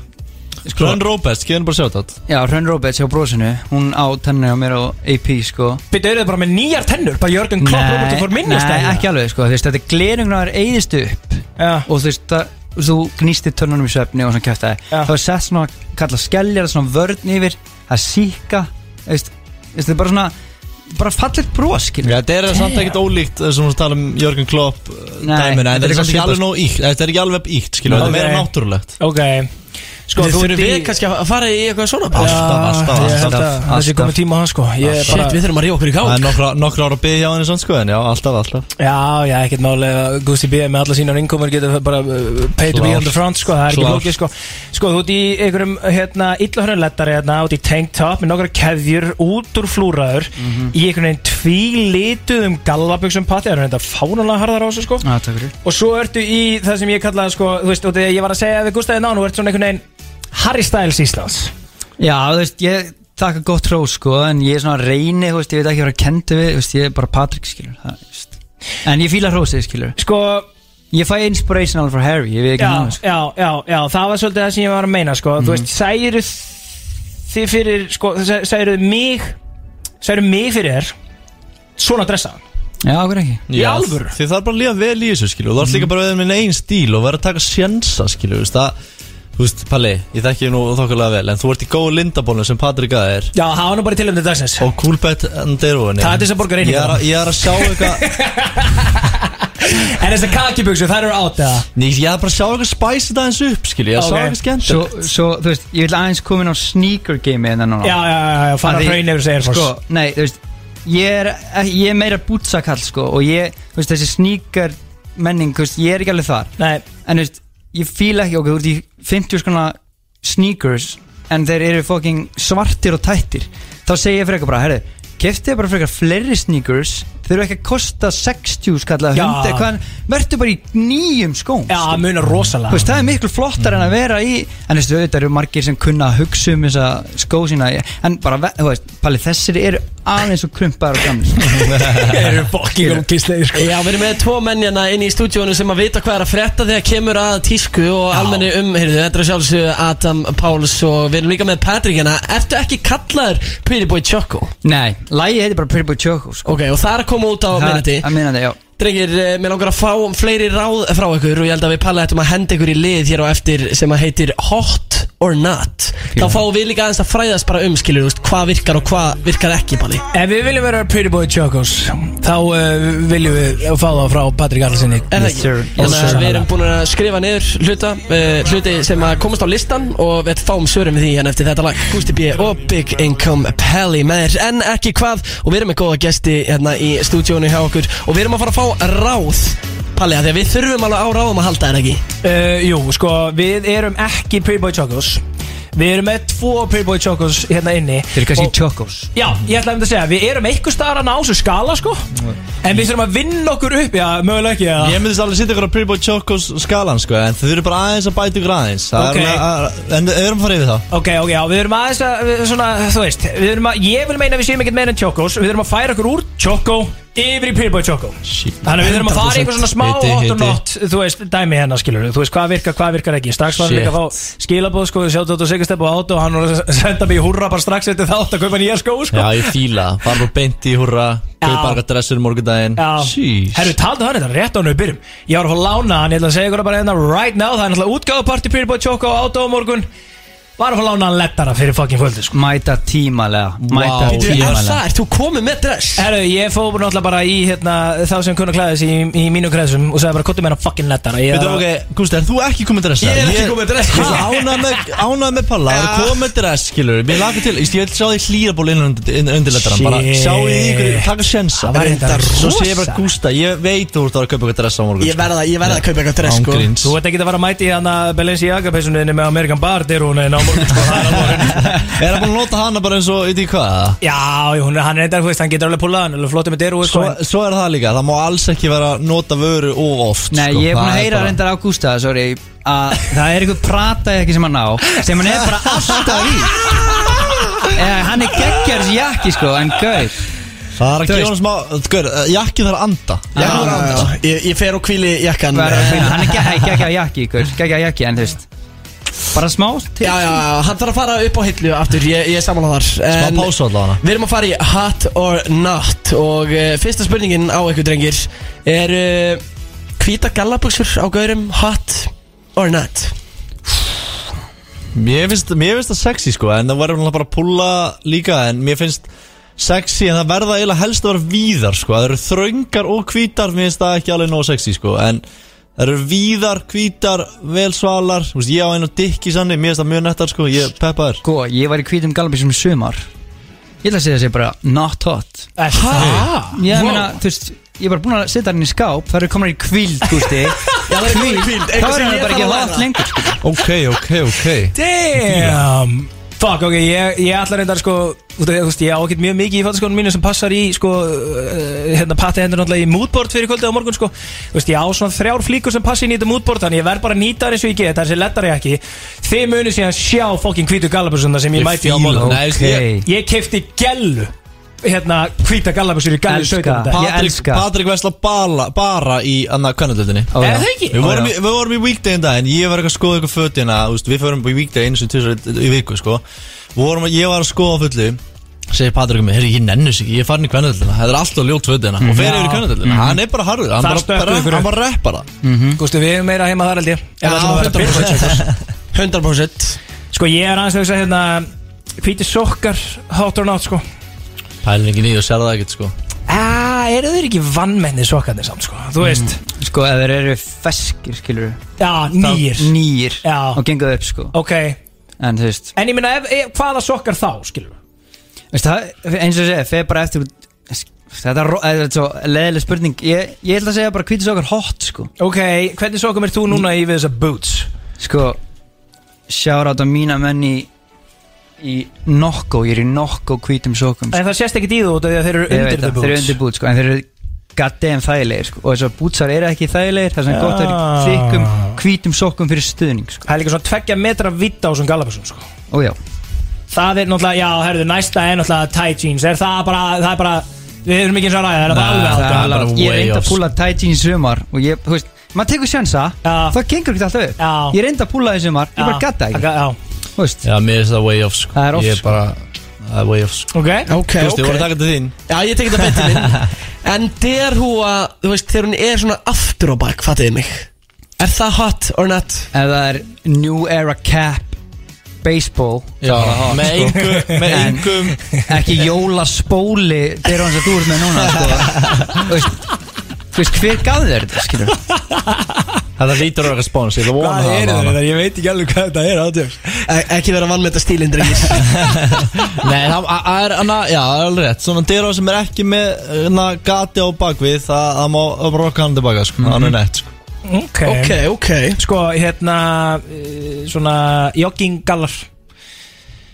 S4: sko
S5: Hrönn Róbest, geðin bara sjátt átt
S4: já, Hrönn Roberts hjá brósinu hún á tönnur á mér og AP, sko
S2: Býttu, eru þið bara með nýjar tennur? Bara Jörgen Klopp, Robert og fór
S4: nei,
S2: minnist
S4: nei, ekki alveg, sko, þú veist, þetta glerungnar eðist upp
S2: Já,
S4: og þú veist það þú gnýstir tönnunum í svefni og svona kæftæði
S2: Já.
S4: það var sett svona, kalla skelljar svona vörn yfir, það er síka þú veist, þú veist, það er bara svona bara fallit bros, skilur
S5: Já, þetta er samt ekkert ólíkt Þessum við tala um Jörgen Klopp uh,
S4: Nei,
S5: dæmina,
S4: þetta er
S5: En þetta er
S4: eitthvað
S5: samt ekki
S4: svipað,
S5: alveg nóg íkt Þetta er ekki alveg íkt, skilur Þetta er meira
S2: Ok.
S5: náttúrulegt
S2: ok Sko,
S1: Þið
S2: þú
S1: þurfum
S2: ert í
S1: við kannski að fara í eitthvað svona bara
S5: Alltaf, alltaf,
S2: Ég held
S5: alltaf
S2: að það sé
S4: alltaf.
S2: komið tíma á það, sko Ég er
S1: Shit,
S2: bara
S1: við þurfum að ríða okkur í
S5: Það er
S1: gáð
S5: nokkra, nokkra ára að byggja á henni sann sko En já, alltaf, alltaf
S2: Já, já, ekkert málega Gusti B. með alla sínar innkomur getur bara uh, pay to be
S5: Klárt.
S2: on the front sko, það er ekki
S5: Klárt.
S2: flókið sko Sko, þú ert í einhverjum hérna, illahörnulettari hérna, út í tank top með nokkra keðjur út úr flúraður í einhvern veginn tvílituðum gallaböksum patti, það eru þetta fánulega harðar á þessu sko
S4: Já, takk fyrir
S2: Og svo ertu í það sem ég kallaði sko, þú veist, út í, ég var að segja við Gustaði Nánu, ert svona einhvern veginn Harry Styles Íslands
S4: Já, þú veist, ég taka gott hró, sko en ég er svona að reyni, þú veist, ég veit ekki hvað að kendi við, þú veist, ég er bara Patrik, skilur það, þú veist. en ég fíla hrósið, skilur
S2: Sko,
S4: ég fæ inspirational frá Harry, ég veit ekki
S2: já,
S4: hann, sko.
S2: já, já, já, það var svolítið það sem ég var að meina sko. Þú veist, særu þið fyrir, sko, særu mig særu mig fyrir þér svona dressaðan
S4: já, okkur ekki
S5: Í
S2: alvöru? Mm.
S5: Þið þarf bara að líða vel í þessu skilur og Þú ert líka bara að vera með einn stíl og vera að taka sjensa skilur þú veist, það, Þú veist, Palli, ég þekki þig nú þokkulega vel En þú ert í góðu lindabónu sem Patrik að er
S2: Já, það var nú bara tilöfnið dagsins
S5: Og Coolbet Anderoni
S2: Það er til þess að borga
S5: Ég
S2: reyninguna.
S5: er að- ég er að sjá eitthvað
S2: [laughs] En þessar kakibugsu, þær eru átt eða
S5: Nei, Ég er bara að sjá eitthvað spæs þetta eins upp skilur Ég er að
S2: Ok.
S5: sjá eitthvað skemmt
S4: svo, svo, þú veist, ég vil aðeins komin á sneaker game en núna
S2: Já, já, já, já, fara að
S4: Að því-
S2: hraun yfir þessi Air Force
S4: sko, nei, þú veist ég er, eh, ég er meira bútsakall sko, og ég, þú veist, þessi sníkar menning, þú veist, ég er ekki alveg þar
S2: Nei,
S4: en þú veist, ég fíla ekki okkur þú ert í 50 skona sneakers en þeir eru fucking svartir og tættir þá segi ég frekar bara, herri keftið bara frekar fleiri sneakers þeir eru ekki að kosta 60 skalla
S2: Já.
S4: hundi, hvað, verður bara í nýjum skóm
S2: já,
S4: sko.
S2: munar
S4: Þú
S2: rosalega
S4: veist, það er miklu flottar en að vera í En þú veist, auðvitað eru margir sem kunna að hugsa um þessa skó sína En bara, ve- þú veist, Palli, þessir eru aðeins og krumpaðar og gamlir sko.
S2: Það eru fokking ógislega sko.
S1: Já, við erum með tvo mennjana inn í stúdíónu sem að vita hvað er að frétta þegar kemur að tísku og almenni umhyrðu. Þetta er sjálfsög Adam Páls og við erum líka með Patrik hérna. Ertu ekki kallaður Pretty Boy Choco?
S4: [laughs] Nei, lægi heiti bara Pretty Boy Choco sko.
S1: Ok, og það er að koma út á minnati.
S4: Það minna þetta, já
S1: Drengir, eh, mér langar að fá fleiri ráð frá ykkur og ég held að við palla þetta um að henda ykkur í lið hér á eftir sem að heitir Hot or Not. Þá fáum við líka aðeins að fræðast bara um, skilur, þú veist, hvað virkar og hvað virkar ekki, Palli.
S2: Ef við viljum vera Pretty Boy Chocos Þá uh, viljum við fá það frá Patrik Arlsinni
S1: Er það
S4: Yes, sir.
S1: ekki? Þannig
S4: Yes,
S1: að
S4: sir.
S1: við erum búin að skrifa niður hluta, uh, hluti sem að komast á listan og við fáum svörum við því hérna eftir þetta lag Gusti B. og Big Income Pally með þér en ekki hvað og við erum með góða gesti hérna í stúdíónu hjá okkur og við erum að fara að fá ráð Palli, af því að við þurfum alveg á ráðum að halda þér ekki
S2: Uh, jú, sko, við erum ekki Pretty Boy Chocos Við erum með tvo Pretty Boy Chocos hérna inni
S4: Þeir eru kannski
S2: Og-
S4: Chocos
S2: Já, ég ætlaði einmitt að segja, við erum einhver staðar að ná þessu skala, sko En við þurfum að vinna okkur upp, já, mögulega ekki, já
S5: Ég myndist alveg sýta ykkur á Pretty Boy Chocos skalan sko En þið eru bara aðeins að bæta ykkur aðeins Það
S2: Ok.
S5: er alveg að- En við erum að fara yfir það
S2: Ok, ok, já, við erum aðeins að, við- svona, þú veist Við erum að, ég vil meina að við séum ekkert meira en Chocos Við erum að færa okkur úr Choco yfir í Pretty Boy Choco
S5: Shit.
S2: Þannig að við þurfum að fara í eitthvað svona smá
S5: Hiti,
S2: hot or
S5: hiti.
S2: not, þú veist, dæmi hérna, skilur Þú veist, hvað virkar, hvað virkar ekki Strax varum
S5: Shit.
S2: líka að fá skilabóð, sko, sjáttu þetta og sigurstep og át Og hann var að [laughs] senda mig í húrra bara strax eftir þátt að kaupa nýja skó, sko
S5: Já, ég fíla það. Fara bara beint í hurra Kaupa
S2: Já.
S5: eitthvað dressur morgundaginn
S2: Já. Herru, taldu hann þetta rétt á hennu byrjum Ég var að fá að lána hann, ég ætla að segja ykkur það bara hérna right now Það er náttúrulega útgáðuparti Pretty Boy Choco á átó á morgun Var að fá að lána hann lettara fyrir fucking földu sko.
S4: Mæta tímalega Mæta
S5: Vá.
S1: Þú, er það,
S4: tímalega
S1: ert þú komið með dress?
S2: Herru, ég fóð náttúrulega bara í hérna, þá sem kunna klæðis í, í mínu kreðsum Og sagði bara, kottu með hann fucking lettara Ég
S5: Veitum, ok, Gústi, er þú ekki komið dressa?
S1: Ég er ekki komið með dress,
S5: Ég
S1: Gústi.
S5: ánað með, ánað með palla, það er komið með dress, skilur Mér lakar til, ég vil sjá því hlýraból innan undirlettaran Bara
S2: Shit.
S5: sjá því ykkur, taka sjensa
S2: Það var reyndar
S5: Svo sé
S2: rosa.
S5: ég bara, Gústa, ég veit þú ert að fara að kaupa eitthvað dress á morgun
S1: Ég verða, ég verða að kaupa eitthvað dress,
S5: Án
S1: sko
S5: gríns
S2: Þú ert ekki að fara að mæti hann að Balenciaga peysuninni með Amerikan Bar Derúnin á á morgun sko, það er alveg á
S5: [laughs]
S2: hreinu, sko.
S5: Er það búin að nota hana bara eins og, veit ég hvað eða?
S2: Já, jú, hún er, hann er eitthvað, veist, hann getur alveg púlað hann er alveg flottur með deru
S5: Svo,
S2: sko,
S5: svo er það líka, það má alls ekki vera að nota vöru of oft
S4: Nei,
S5: sko.
S4: ég er búin
S5: Það
S4: að heyra
S5: bara-
S4: reyndar Ágústa, sorry að það er einhver prata ekki sem hann á sem hann er bara alltaf í [laughs] Eða, hann er geggjars jakki sko, en gauð
S5: Það er að
S4: Þú
S5: gefa
S4: veist-
S5: hann smá, gaur, eh, jakkin þarf að anda
S1: Já,
S5: Jakkin þarf að
S1: já,
S5: anda
S1: já. Ég, ég fer og kvíli jakkan
S4: hann
S1: eh,
S4: er gegg- geggjar jakki, gauð, geggjar jakki en þú veist, bara smá til
S1: Já, já, já, hann þarf að fara upp á hillu aftur Ég, ég samanlega þar
S5: Smá
S1: En
S5: pásu allavega
S1: Við erum að fara í hot or not Og uh, fyrsta spurningin á ykkur drengir Er uh, Hvíta gallabuxur á gaurum hot or not
S5: Mér finnst, mér finnst það sexy sko En það verður náttúrulega bara að pulla líka En mér finnst sexy En það verða eiginlega helst að vera víðar sko Það eru þröngar og hvítar Mér finnst það ekki alveg nóg sexy sko En það eru víðar, hvítar, velsvalar Þú veist, ég á einu dikki sannig Mér finnst það mjög nettar sko, ég peppa þér
S4: sko, ég var í hvítum galbísum sumar ég ætla að segja þessi bara not hot
S2: Hæ?
S4: ég meina, þú veist, ég er bara búin að setja hann í skáp það eru komin í kvíld,
S1: [laughs]
S4: gústi þá
S1: það er komin í hvíld, eitthvað
S4: er
S1: sem
S4: hann
S1: ég
S4: bara
S1: þarf
S4: ekki
S1: að
S4: hot
S1: læra.
S4: lengur sko.
S5: Ok, ok, ok
S2: Damn Fuck, ok, ég, ég ætla reyndar sko út af því að, Þú veist, ég ákveð mjög mikið í fataskónum mínu sem passar í sko, uh, hérna patti hendur náttúrulega í moodboard fyrir kvöldið á morgun sko Þú veist, ég á svona þrjár flíkur sem passi í nýta moodboard þannig ég verð bara að nýta þær eins og ég get, það er sér lettar ég ekki Þið munið síðan sjá fokkin hvítu gallabursuna sem ég, mæti á morgun
S5: Nei, veist, ég-
S4: ok,
S2: Ég kefti gellu hérna hvíta gallabursur í gallu
S4: Elska.
S2: 17. dag.
S4: Ég
S5: Patrik,
S4: elska.
S5: Patrik Vesla bara, bara í annað kannadöldinni
S4: Ó, já.
S2: Er það ekki?
S5: Við vorum,
S4: Já,
S5: í, við vorum í weekday en dag en ég var eitthvað að skoða eitthvað fötina úst, Við fórum í weekday eins og tvisar í viku sko. vorum, Ég var að skoða á fullu segir Patrik um mig, herri ég nennu sig ekki, ég er farin í kvennaldina, það er alltaf ljótt fötina og fer yfir í kvennaldina, hann er bara harður hann
S2: Þar
S5: bara,
S2: stökkum
S5: bara,
S2: ykkur
S5: hann
S2: upp.
S5: bara reppar það
S2: Gústu, við erum meira heima þar held ég Ef
S1: Já,
S2: það ætlum að vera
S1: 100%.
S2: byrjum.
S1: 100%
S2: Sko, ég er aðeins að hugsa hérna Hvíti sokkar, hátur og nátt sko
S5: Pælingin í og sér það ekkert sko
S2: Ah, eru þeir ekki vannmenni sokkarnir samt sko Þú veist,
S4: sko, ef þeir eru feskir, skilur
S2: já, nýjir
S4: nýr
S2: Já.
S4: og gengur upp, sko
S2: Ok, en
S4: en þú veist,
S2: ég minna, ef, ef, hvaða sokkar þá, skilur
S4: veist það, eins og ég segi, feð bara eftir þetta er, ro- þetta er svo leðileg spurning ég, ég ætla að segja bara hvítis okkar hot sko,
S2: Ok, hvernig sokkum er þú núna í við þessa boots?
S4: sko sjára á mína menn í í nokko, ég er í nokko hvítum sokum sko.
S2: En það sést ekkit í þú út af því að þeir eru
S4: Ég
S2: undir
S4: veit
S2: the
S4: það,
S2: boots
S4: þeir eru undir bút sko, en þeir eru goddamn þægilegir sko. og þess að bútsar eru ekki þægilegir það sem
S2: Já.
S4: gott er þykkum hvítum sokkum fyrir stuðning sko.
S2: Það er líka svona tveggja metra vitt á þessum gallabursum sko
S4: og já,
S2: Það er náttúrulega, já, herðu, næsta er náttúrulega tight jeans Er það bara, það er bara Við erum ekki eins og að ræða, það er bara
S5: Nei,
S2: alveg
S5: það
S2: átt
S5: er
S4: það,
S5: bara
S4: ég
S5: way
S4: reyndi
S5: off,
S4: að púla tight jeans í sumar og ég, þú veist, maður tekur sjansa
S2: Já.
S4: það gengur ekki alltaf upp
S2: Já.
S4: ég reyndi að púla það í sumar, ég bara gatta ekki
S2: Já,
S4: þú veist,
S5: Já, mér finnst það way off sko
S4: Það er off,
S5: Ég er
S4: sko.
S5: bara, það er way off sko
S2: ok
S1: Ok,
S5: Þú veist, ég voru að
S1: ok
S5: taka til þín
S1: Já, ég tek þetta betið
S5: [laughs]
S1: minn En der húa, þú veist, þegar hún er svona aftur á bak, fattiði mig Er það hot or not?
S4: ef það er new era cap baseball
S5: Já, [laughs] með engum, með
S4: En-
S5: engum
S4: ekki jólaspóli þeir eru hans að þú ert með núna [laughs] sko. Þú veist, þú veist, hver gaf þér þetta skilur
S5: Þetta lítur að respons, ég ætla að vona
S2: Hvað
S5: það
S2: eru
S5: allavega.
S2: þeir? Ég veit ekki alveg hvað þetta er átjöfs
S1: E ekki vera vann með þetta stílinn,
S2: [laughs]
S1: drengir
S5: Nei, það það er, anna, já, það er alveg rétt Svona dyra sem er ekki með na, gati á bakvið Það, það má rocka hann tilbaka, sko Hann er nett, sko
S1: Ok, ok
S2: Sko, hérna eh, Svona jogginggallar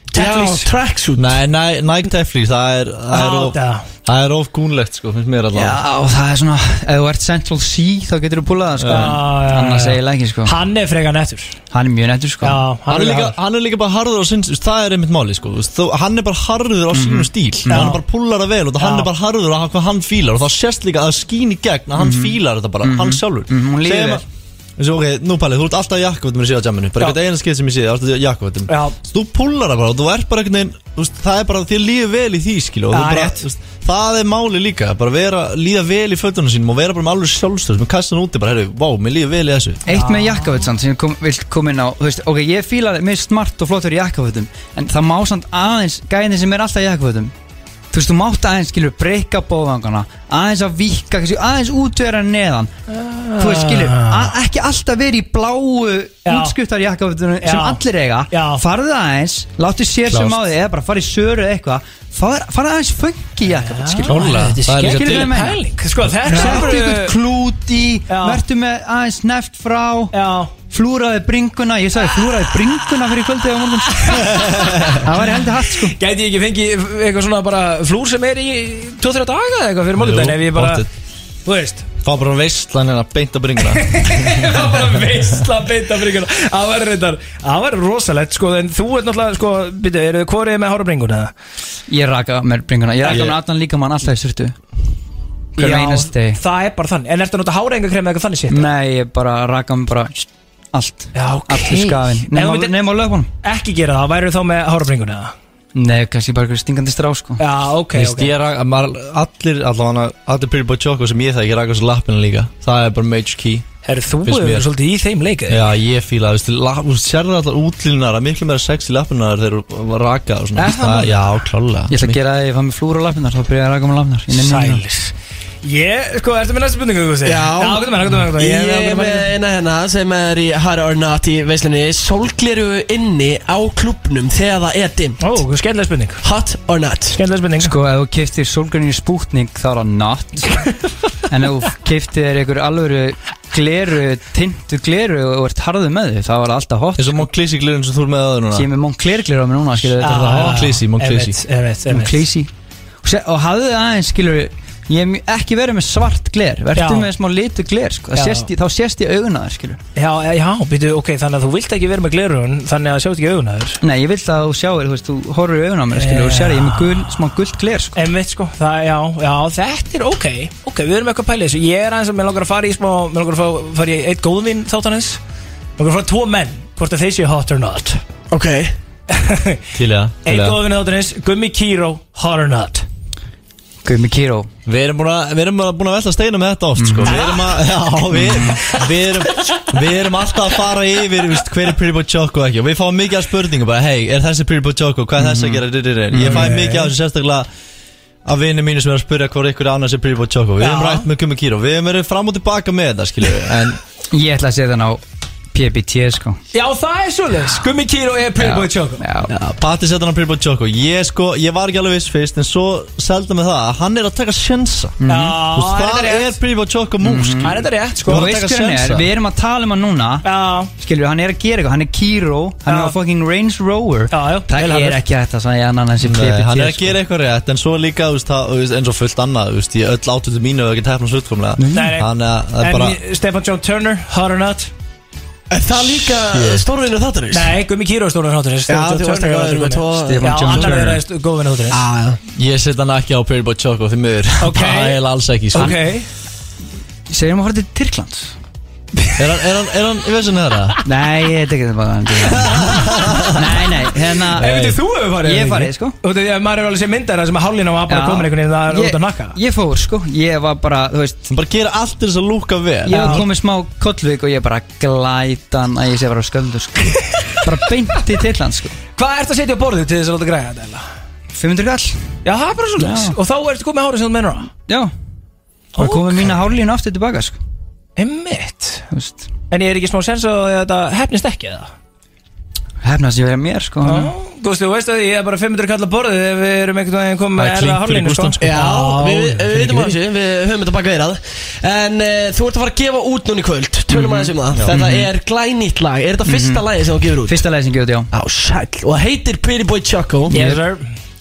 S2: Teflis.
S1: Já, tracksuit
S5: Nei, nei, Nike Tefli, það er Það er, of,
S2: Átta.
S5: það er of gúnlegt, sko, finnst mér allavega
S4: Já, það er svona, ef þú ert Central C þá getur þú púlað það sko,
S2: Já, já,
S4: en annars
S2: já.
S4: segir ekki sko
S2: Hann er frekar nettur
S4: Hann er mjög nettur sko
S2: Já,
S5: Hann er, líka,
S2: harður.
S5: hann er líka bara harður á sinn þú veist, Það er einmitt máli, sko þú veist, þó- Hann er bara harður á sínum stíl Hann er bara pullar það vel og það
S2: Já.
S5: hann er bara harður á hvað hann fílar Og það sést líka að það skín í gegn að hann fílar þetta bara, hann sjálfur
S4: Mhm, hún líður
S5: Segjum
S4: vel.
S5: að- Þessi, ok, nú Palli, þú ert alltaf í jakkvöldum í síðan jamminu
S2: Já.
S5: Bara eitthvað eina skeið sem ég síðan, alltaf í jakkvöldum
S2: Já,
S5: þú pullar það bara og þú ert bara einhvern veginn þú veist, það er bara þér líður vel í því skilu og þú
S2: Já,
S5: bara,
S2: rétt.
S5: þú veist, það er máli líka bara vera, líða vel í fötunum sínum og vera bara með alveg sjálfstöð sem kastan úti bara, herru, vá, mér líður vel í þessu
S4: Eitt með jakkafötsan sem kom, vill koma inn á þú veist, Ok, ég fíla mér smart og flottur í jakkafötum En það má samt aðeins Gæðin sem er alltaf í jakkafötum Þú veist, þú mátt aðeins skilur breyka bóðangana Aðeins að vika, kannski, aðeins útvera neðan Þú veist, skilur að, Ekki alltaf verið í bláu
S2: Ah. Já.
S4: útskuttar jakkafötunum
S2: Já.
S4: sem allir eiga
S2: Já.
S4: Farðu aðeins, láttu sér sem á
S5: Klárt.
S4: því Eða bara farið söru eða eitthvað Farðu farðu aðeins funky jakkaföt, skilur
S2: Ah,
S5: Klálega,
S4: Þetta er
S5: það er líka
S4: skilur
S5: til-
S4: hvað ég meina?
S2: pæling Sko, þetta er
S4: Settu ykkur
S2: bara
S4: klúti
S2: Já.
S4: Vertu með aðeins neft frá
S2: Já,
S4: flúraði bringuna Ég sagði flúraði bringuna fyrir kvöldið á [laughs] morgun Það var heldur hatt sko
S2: Gæti ég ekki fengið eitthvað svona bara flúr sem er í 2-3 daga eða eitthvað fyrir málutæðin ef ég bara, þú veist [laughs]
S5: Fá bara veistlan hérna beint að bringuna [laughs]
S2: Það var bara veistla beint af bringuna Það var reyndar, það var rosalegt sko en þú ert náttúrulega sko, byrju, eru þið hvorið með hára bringuna eða?
S4: Ég raka mér bringuna Ég raka
S5: Ég-
S4: mér allan líka mann alltaf í surtu Hver einast deg
S2: það er bara þannig En ertu að nota hára enga eða eitthvað þannig sétt?
S4: Nei, ég bara raka mér bara Allt
S2: Já, ok
S4: Allir skafin
S2: Nei, þú
S4: Nefn
S2: myndir-
S4: á nema á löpunum
S2: Ekki gera það, væri þá með hára bringuna eða?
S4: Nei, kannski bara einhver stingandi strá sko
S2: Já, ok,
S5: Þú veist,
S2: ok
S5: ég rak- maður- Allir, allavega, allir Pretty Boy Choco sem ég það ekki rakast lappina líka Það er bara major key
S2: Herru, þú
S5: Finnst
S2: hefur
S5: mér.
S2: svolítið í þeim leik eða?
S5: Já, ég fíla, þú veist, la- þú sérðu allar útlínunar að miklu meira sex í lappinnar þegar þú var rakað og svona
S2: Er það
S5: Það-
S2: nú?
S5: Já, klálega
S4: Ég ætla að gera það ef ég fann mér flúr á lapinar Þá byrja ég að raka mér lapinar Ég nenni ekki það.
S2: Sælis Ég, sko, ertu með næstu spurningu, þú veist?
S1: Já.
S2: Já, gott með, gott með, gott með
S1: Ég er með
S2: með
S1: eina hérna sem er í Hara Ornat í veislinni Sólgleru inni á klubnum þegar það er dimm
S2: Ó, skemmtilega spurning
S1: Hot or not
S2: Skemmtilega spurning
S4: Sko, ef þú keiftir sólgrunni spútning þá er það not [laughs] En ef þú keiftir þér einhver alvöru gleru, tintu gleru og ert harðu með þig, þá er það alltaf hot
S5: Eins og Monclisi glirinn sem þú er með aður núna
S4: Ég er með Moncler gleru á mér núna, skilur
S2: Ah.
S4: þetta er það hot
S5: Monclisi, Monclisi
S2: Erfitt, erfitt
S4: Monclisi Og, se- og hafðu það aðeins, skilur Ég hef ekki verið með svart gler Vertu
S2: Já.
S4: með smá litu gler, sko Það
S2: Já.
S4: sést, í- Þá sést ég auguna þér, skilur
S2: Já, já, býtu, ok, þannig að þú vilt ekki vera með glerun Þannig að sjátt ekki augun að þér
S4: Nei, ég vil það að þú sjáir, þú veist, þú horfir í auguna á mér, skilur Og
S2: Já.
S4: sér, ég er með gul, smá gult gler, sko
S2: Einmitt, sko, það, já, já, þetta er ok Ok, við erum eitthvað að pæla í þessu Ég er aðeins að mér langar að fara í smá Mér langar að fá- fara í eitt góðvin þáttan eins Mér langar að fara í tvo menn Hvort að þeir séu hot or not
S1: Ok
S5: Til ég, til
S2: Eitt
S5: ég
S2: góðvin þáttan eins, Gummi Kíró, hot or not
S4: Gumi Kíró
S5: Við erum búin að, við erum bara búin að velta steina með þetta oft, sko Við erum að, [laughs] já, við, við erum Við erum alltaf að fara yfir, þú veist, hver er Pretty Boy Choco ekki Og við fáum mikið af spurningum, bara, hei, er þessi Pretty Boy Choco, hvað er þessi að gera, rirririr Ég fæ mikið af þessu sérstaklega af vinni mínu sem er að spyrja hvort ykkur annars er Pretty Boy Choco Við erum
S2: Já.
S5: rætt með Gummi Kíró, við erum verið fram og tilbaka með þetta, skilju En
S4: Ég ætla að setja hann á PBT, sko
S2: Já, það er svolítið Gummi Kíró er
S4: Ah. Já. Mm.
S2: Playboy Choco
S4: Já,
S5: Já, Patti setur hann Pretty Boy Choco Ég sko, ég var ekki alveg viss fyrst En svo selda mig það að hann er að taka sjensa mm.
S2: Já,
S5: Það
S2: það
S5: er Pretty Boy Choco músk
S2: Það er þetta rétt, sko
S4: Þú
S5: Bara
S4: veist
S5: taka
S4: hver hann er,
S5: sénsa.
S4: við erum að tala um hann núna
S2: Já,
S4: Skilur, hann er að gera eitthvað, hann er Kiro Hann
S2: Já.
S4: er á fucking Range Rover
S2: já, já
S4: Það er ekki hægt að segja annan en sem
S5: Nei,
S4: PPT
S5: hann er að
S4: sko.
S5: gera eitthvað rétt En svo líka, þú veist, það- þú veist, eins og fullt annað Þú veist, ég öll átötu mínu og ekki tefnum fullkomlega
S2: Nei, nei.
S5: Þannig að það
S2: En
S5: er bara
S2: Stefan John Turner, hot or not
S1: Er það líka
S5: Shit.
S1: stórvinu þáttarins?
S2: Nei, Gummi Kíró er stóran háturins
S1: Já, þú varst ekki að vera með tvo
S4: um Stefán
S2: Já,
S4: John
S2: annar
S4: Turner.
S2: er að góð vinna háturins
S5: Ég set hann ekki á Pretty Boy Choco því miður
S2: Ok.
S5: [laughs] Það er eiginlega alls ekki, sko
S2: Ok
S4: Segjum að horfa til Tyrklands
S5: Er hann, er hann, er hann, ég veist hann þetta?
S4: Nei, ég tek ekki það bara Nei, nei, hérna
S2: En veitir þú hefur farið?
S4: Ég
S2: eða
S4: farið,
S2: ekki?
S4: sko.
S2: Þú veit, ef maður er alveg sem myndar sem að hálina var bara
S4: Já.
S2: komin einhvern veginn það er
S4: Ég-
S2: út að nakka
S4: Ég fór, sko, ég var bara, þú veist
S5: Hann bara gera allt til þess að lúka vel
S4: Ég var komið smá kollvík og ég bara glætan að ég sé bara á sköldur, sko Bara beint í Tyrkland, sko
S2: Hvað ert að setja á borðið til þess að láta græða þetta? eiginlega?
S4: 500 kall,
S2: Já, það er bara
S4: Já.
S2: svolítið Og þá ertu komið hárið sem þú mennur á
S4: já Bara
S2: Ok.
S4: komið mína hálínu aftur tilbaka, sko
S2: Emmitt
S4: Þú veist
S2: En ég er ekki smá sens að þetta hefnist ekki eða?
S4: Hefnast ég verið mér, sko
S2: Já, Þú veist, þú veist að ég er bara 500 kalla borðið ef við erum einhvern veginn komið
S5: Það
S2: með
S5: er
S2: erða
S5: klink fyrir
S2: hálinu
S5: Gústans, sko.
S1: Já, við
S2: já,
S1: við veitum af þessu, við höfum þetta baka veirað En uh, þú ert að fara að gefa út núna í kvöld Tölum aðeins um
S5: Mhm.
S1: það Þetta er glænýtt lag Er þetta fyrsta lagið sem þú gefur út?
S4: Fyrsta læsing gefur þetta,
S1: Á sæll Og það heitir Pretty Boy Choco
S2: Yes, sir.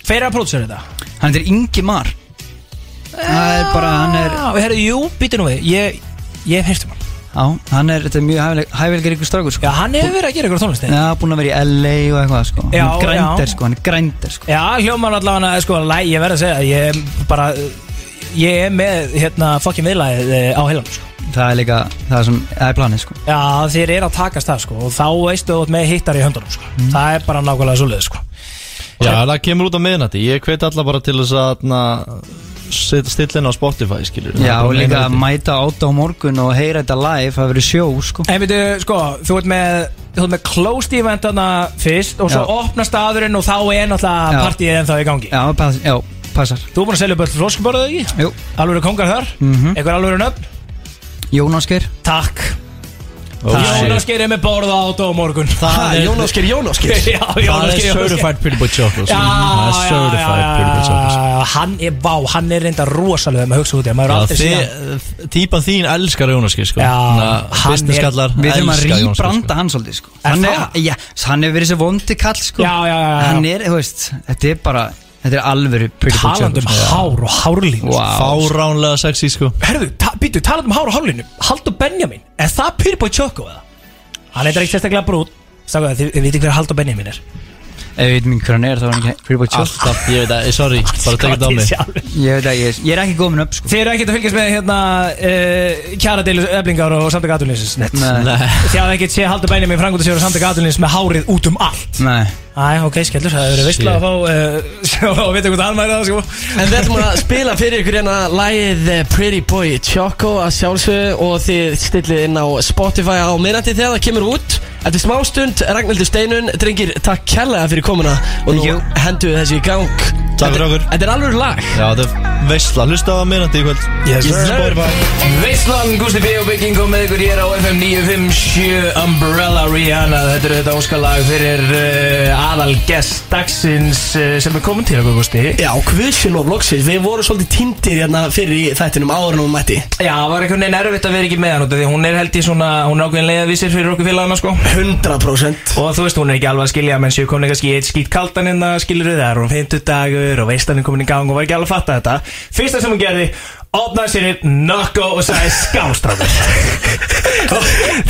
S2: Fyrir að prótsa þetta
S4: já Hann er Ingi Mar Það er bara, hann er
S2: Já, Ah, herru, jú, býtu nú við Ég, ég hef heyrt um hann
S4: Já, hann er, þetta er mjög hæfilegur ykkur strákur, sko
S2: Já, hann hefur verið að gera eitthvað tónlisti
S4: Já, búin að vera í LA og eitthvað, sko
S2: Já,
S4: Hann er grændir,
S2: já.
S4: sko, hann er grændir, sko
S2: Já, hljóman allavega hann sko, læ, ég verð að segja Ég er bara Ég er með, hérna, fokkin viðlæðið eh, á heilanum sko.
S4: Það er líka, það sem, það er planið, sko
S2: Já, þér er að takast það, sko Og þá veistu þú ert með hittar í höndunum, sko Það er bara nákvæmlega svoleið, sko
S5: Já, það kemur út á miðnætti Ég hveti alla bara til þess að na, set- stilla inn á Spotify, skilur
S4: Já, og líka að mæta átta á morgun og heyra þetta live, það verið sjó, sko
S2: En veitu, sko, þú ert með Þú ert með closed event þarna fyrst Og svo
S4: Já.
S2: opnast staðurinn og þá er náttúrulega
S4: Já.
S2: Partíið ennþá í gangi
S4: Já, pass, já, passar
S2: Þú er búin að selja upp öll froskborðið, ekki?
S4: Jú,
S2: Alvöru kongar þar,
S4: Mhm.
S2: einhver alvöru nöfn
S4: Jónas Geir
S2: Takk Jón Ásgeir er með borða át á morgun
S5: Það
S1: Ha,
S5: er-
S1: Jón Ásker, Jón Ásker
S2: [laughs]
S5: [laughs]
S2: Já, Jón
S5: Það er
S2: Ásgeir
S5: certified pretty boy chocos
S2: Já,
S5: Það er
S2: já, já,
S5: certified
S2: já,
S5: pretty boy
S2: já,
S5: sko. chocos
S2: já, já, Hann er, vá, hann er reynda rosalega með hugsa út í það, maður er
S5: Já,
S2: aldrei síðan
S5: þið- Típan þín elskar Jónaski sko.
S2: Já, hann er-
S5: Businesskallar
S4: Við þurfum að
S5: elska Jónas Geir, sko.
S4: rýbranda hann svolítið sko. hann,
S2: það?
S4: er, ja, hann er verið sér vondi kall sko.
S2: Já, já, já, já.
S4: Hann er, þú veist, þetta er bara Þetta er alvöru pretty boy
S2: Talandi um
S4: Chocos, sko.
S2: hár og hárlínu
S4: Vá.
S5: sko. Fáránlega sexy sko
S2: Herðu, ta býtu, talandi um hár og hárlínu Haldur Benjamin, er það Pyrboy Choco eða? Hann eitthvað ekki sérstaklega brún Sáðu það, þið þið vitið hver Haldur Benjamin er
S4: Ef við veitum hver hann er, þá er hann ekki pretty
S2: Ah.
S4: boy Chocos
S5: Alltaf, ég veit að, sorry, bara tekið þetta á mig
S2: mig
S4: Ég veit að ég, ég er ekki gómin upp sko.
S2: Þið eru ekkert að fylgjast með hérna uh, kjara eblingar og samtök aðtunlýsins Þið
S4: Nei,
S2: hafði ekkert sé Haldur Benjamin frangundasjóður og samtök aðtunlýsins með hárið út um allt
S4: nei
S2: Æ, ok, skellur, það hefur verið veistla [laughs] að fá uh, sjá og vita hvort hann væri það sko
S1: En við ætlum að spila fyrir ykkur hérna Lægið eh, Pretty Boy Choco að sjálfsögðu Og þið stillið inn á Spotify á minnandi þegar það kemur út Eftir smástund, Ragnhildur Steinun Drengir, takk kærlega fyrir komuna Og nú
S4: Thank
S1: hendu þessu í gang
S5: Takk fyrir okkur.
S1: Þetta er alveg lag
S5: Já, þetta er veistla, hlusta á að minnandi í kvöld
S2: Yes, sir.
S5: Spotify.
S1: Veislan, Gusti B og Bygging og með ykkur hér á FM 957 Umbrella Rihanna Þetta eru þetta óskalag fyrir uh, aðal
S2: eh, Gest dagsins uh, sem er komin til okkur, Gusti
S1: Já, kvöðsinn og vlogsins, við vorum svolítið tindir hérna fyrir þættinum áður en hún mætti
S2: Já, það var einhvern veginn erfitt að vera ekki með hann út af því hún er held í svona, hún er ákveðin leiðavísir fyrir okkur félagana sko
S1: 100%
S2: Og þú veist, hún er ekki alveg að skilja menn séu komin kannski í eitt skýt kaldan hérna, innan skilur við þar og 50 dagur og veist hann er komin í gang og var ekki alveg að fatta þetta Fyrsta sem hún gerði, opnaði sér eitt nokko og sagði skástráður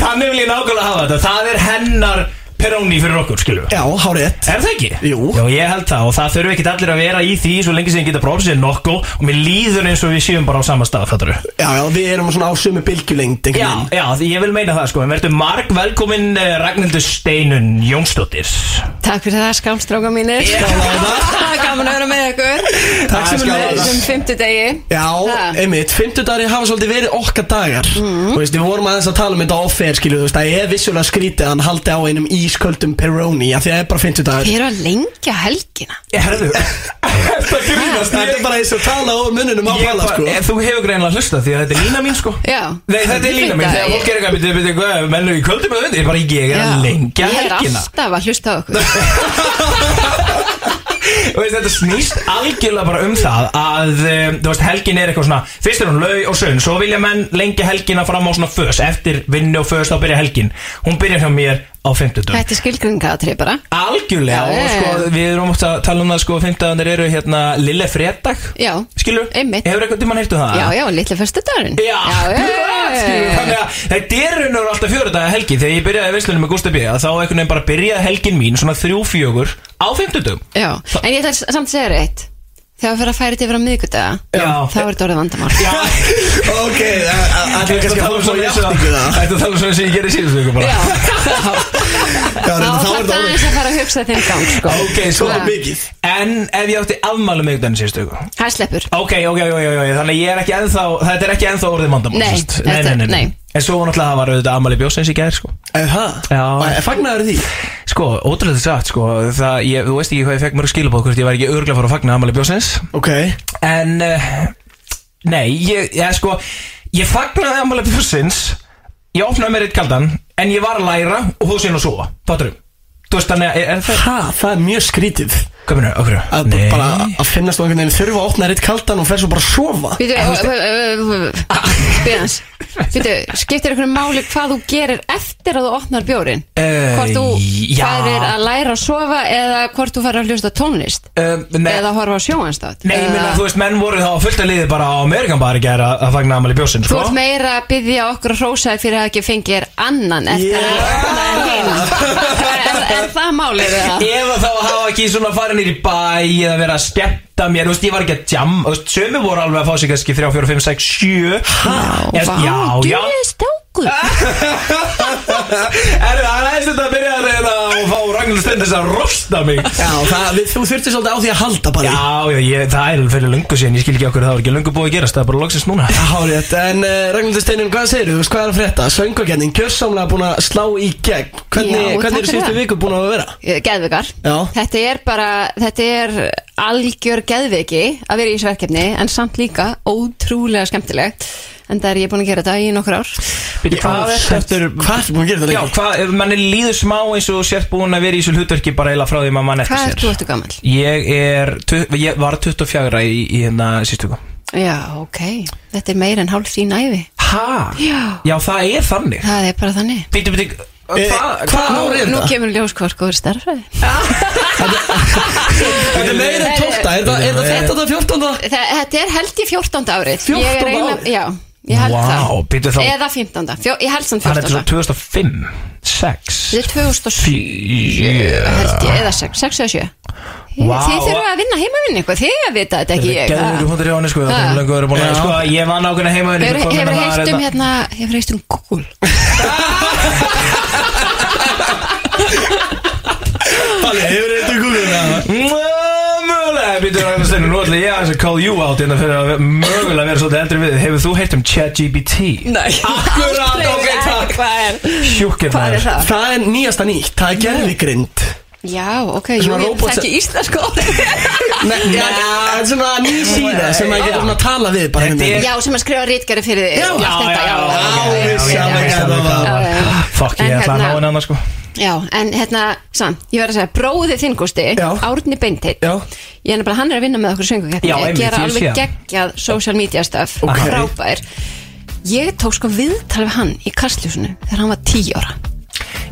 S2: Þannig vil ég nákvæmlega hafa þetta, það er hennar peróni fyrir okkur, skilur við
S1: Já, hárið
S2: Er það ekki?
S1: Jú.
S2: Já, ég held það og það þurfi ekkit allir að vera í því svo lengi sem ég geta bróðið sér nokku og mér líður eins og við séum bara á sama stað, fattar du?
S1: Já, já, við erum svona á sömu bylgjulengd
S2: Já,
S1: einhvern veginn
S2: já, því ég vil meina það sko, en verður marg velkominn eh, Ragnhildur Steinun Jónsdóttir
S6: Takk fyrir það, skámstráka mínir Það er [laughs] gaman að vera með ykkur
S1: Takk sem
S6: Sem-
S1: við
S6: Sem um fimmtudegi
S1: Já,
S6: Ha.
S1: einmitt, fimmtudari hafa svolítið verið okkar dagar Þú veist, við vorum aðeins að tala um þetta off-air, skilju, þú veist, það er vissulega skrítið að hann haldi á einum ísköldum Peroni, af því að það er bara fimmtudagur
S6: Þið eru að lengja helgina
S2: [laughs] Herðu Það grínast
S1: Það er bara eins og tala á mununum á pala, sko
S2: bara, Þú hefur greinlega hlusta því að þetta er lína mín sko
S6: Já.
S2: Nei, þetta er lína mín,
S6: Ég veit
S2: þegar
S6: það.
S2: fólk er eitthvað Byrju, byrju, hvað, mennu í kvöldum eða vindu Ég er bara, ég er að lengja
S6: Ég er
S2: helgina [laughs]
S6: alltaf að hlusta á ykkur
S2: Þú veist, þetta snýst algjörlega bara um það að, um, þú veist, helgin er eitthvað svona fyrst er hún lau og sönn, svo vilja menn lengja helgina fram á svona fös, eftir vinnu og fös þá byrja helgin, hún byrja hjá mér á 50
S6: Þetta er skilgringaðatrið bara
S2: Algjörlega,
S6: Já,
S2: og
S6: já,
S2: sko,
S6: já.
S2: við erum oft að tala um það sko, 15 eru hérna Lille Fredag
S6: Já,
S2: Skilur,
S6: einmitt.
S2: hefur eitthvað tímann heyrtu það?
S6: Já, já, litli föstudagurinn
S2: Ah. Já, akkurat, skilur, þannig að þetta er raun og veru alltaf fjóra daga helgi þegar ég byrjaði veislunum með Gústa B að þá einhvern veginn bara byrjaði helgin mín svona þrjú fjögur á fimmtudum
S6: Já, en ég ætla samt að segja reitt Þegar við fyrir að færa þetta yfir á miðgudaga
S2: Já.
S6: Þá er þetta orðið vandamál
S1: Ok, það er kannski að tala um svona játningu það
S2: Þetta tala um svona sem ég gerði síðustu ykkur [laughs] bara
S6: Já,
S1: Já,
S6: þá
S1: reyndar, þá er
S6: þá er þetta
S1: það
S6: aðeins að fara að hugsa þinn gang sko.
S2: Ok, svo
S6: Já.
S1: mikið
S2: En ef ég átti afmælu mig þannig síðustu ykkur
S6: Það sleppur
S2: Ok, ok, ok, ok, ok Þannig að ég er ekki ennþá Þetta er ekki ennþá orðið mandamál
S6: Nei,
S2: sérst.
S6: þetta- nei.
S2: En svo náttúrulega það var auðvitað afmæli bjósins í gær sko Já.
S1: Það fagnaður því
S2: Sko, ótrúlega sagt sko það, ég, Þú veist ekki hvað ég fekk mörg skilabóð Hvort ég var ekki örglega að fara að fagna afmæli bjósins
S1: Ok
S2: En uh, Nei, ég, ég sko Ég fagnaði afmæli bjósins Ég opnaði mér eitt kaldan En ég var að læra og hósin og sofa Fattur Þú veist þannig að er, er það
S1: Ha, það er mjög skrítið
S2: Hvað minna, okkur?
S1: Að bara að finnast á einhvern veginn þurfa að opna rétt kaldan og fer svo bara að sofa
S6: Býtu, eh,
S2: [laughs]
S6: býðans Býtu, skiptir einhverju máli hvað þú gerir eftir að þú opnar bjórin?
S2: Eh,
S6: Hvort þú
S2: já.
S6: farir að læra að sofa eða hvort þú farir að hljósta tónlist?
S2: uh,
S6: Eða horfa á sjóhanstátt?
S2: Nei, ég minna, þú veist, menn voru þá á fullt að liði bara á Amerikan bara í gæra að fagna Amali Bjósinn,
S6: Þú
S2: sko
S6: ert meira að byggja okkur að hrósa þér fyrir að ekki fengi þér annan eftir
S1: Yeah.
S6: að opna en [laughs] hinn er, er, er það málið við það?
S2: Ef að þá hafa ekki svona farið nýr í bæ eða verið að skemmta mér, þú veist, ég var ekki að jam þú veist, sömu voru alveg að fá sig kannski 3, 4, 5, 6, 7 Ég veist, Já, Ah, já,
S6: Þú er stákur
S2: Er það aðeins þetta að byrja að reyna að fá Ragnhildur Stendis að rosta mig
S1: Já, það, við, þú þurftir svolítið á því að halda bara
S2: Já, já, ég, það er fyrir löngu síðan, ég skil ekki okkur, það var ekki löngu búið að gerast, það er bara loksins núna
S1: Hárið, en uh, Ragnhildur Steinun, hvað segir þú? veist, Hvað er að frétta? Söngakenning, gjörsamlega búin að slá í gegn Hvernig,
S6: Já,
S1: hvernig
S6: takk
S1: eru
S6: fyrir
S1: síðustu
S6: það.
S1: viku búin að vera?
S6: geðvikar
S1: Já.
S6: þetta er bara, þetta er algjör geðviki að vera í þessu verkefni en samt líka ótrúlega skemmtilegt en það er ég búin að gera þetta í nokkur ár
S2: Bíddu, hvað er þetta?
S1: Hvað er búin að gera þetta
S2: Já,
S1: lengi?
S2: hvað, ef manni líður smá eins og þú sért búin að vera í þessu hlutverki bara eila frá því maður mann
S6: Hvað
S2: eftir
S6: er þú
S2: sér
S6: eftir gammal?
S2: Ég er, tu- ég var 24 í, í hérna sístu hvað
S6: Já, ok, þetta er meira en hálf þín æfi
S2: Hæ?
S6: Já.
S2: Já, það er þannig
S6: Það er bara þannig
S2: Bítu, bítu,
S6: Eh,
S2: hvað
S1: Hvað
S6: Nú,
S1: ár er
S6: nú
S1: þetta?
S6: kemur ljós hvort góður starfræði
S1: Þetta er meira en 12. Er það- er það 13. 14.
S6: Þa- Þetta er held ég 14. árið
S1: 14.
S6: árið? Já, ég held
S2: Vá,
S6: það
S2: býttu þá
S6: Eða 15. Fjó, ég held þann
S2: Þannig að þetta
S6: 14.
S2: er svo 2005, 6
S6: Þetta er 2007 held ég, eða 6, 6 eða 7
S2: Vá.
S6: Þið þurfa að vinna heimavinni eitthvað, þið vita þetta ekki ég
S2: Gæður þú hundur í honum sko, það
S6: Ha.
S2: er lengur verið búin að Sko, ég var nákvæmlega heima
S6: Hefur, hefur heilt um hérna, hefur heilt um Google
S5: Palli, hefur þetta kúluna?
S6: hérna-
S2: Mögulega, býtu að hérna stundum Nú ætla ég aðeins að call you out Innan fyrir að ve- mögulega vera svolítið eldri við þig. Hefur þú heilt um ChatGPT?
S1: Nei Akkurat, ok, takk
S6: Hvað er,
S2: Hjúkir
S6: hvað er það?
S1: Það er nýjasta nýtt, það er gerfigrind
S6: Já, ok, jú,
S1: Svona
S6: ég
S1: robot
S6: þekki íslensku orð.
S1: Nei, já, það er svona ný síða sem maður getur svona að tala við bara
S2: Þetta
S1: hérna
S2: er-
S6: Já, sem að skrifa rítgeri fyrir þig
S1: Já,
S6: og allt þetta, já,
S1: já,
S6: já,
S1: já,
S6: já,
S1: sama
S6: já,
S1: hvað það var.
S6: já, já, já.
S2: Fuck,
S6: En
S2: ég ætla að ná
S6: hérna-
S2: henni annars sko
S6: Já, en hérna, sann, ég verð að segja, bróðið þinn Gusti,
S1: Já.
S6: Árni Beintit,
S1: Já.
S6: ég er nefnilega, hann er að vinna með okkur söngukeppni,
S2: Já, einmitt,
S6: gera
S2: ég sé
S6: alveg
S2: það.
S6: geggjað social media stuff,
S2: Ok.
S6: frábær. Ég tók sko viðtal við hann í kastljósinu þegar hann var 10 ára.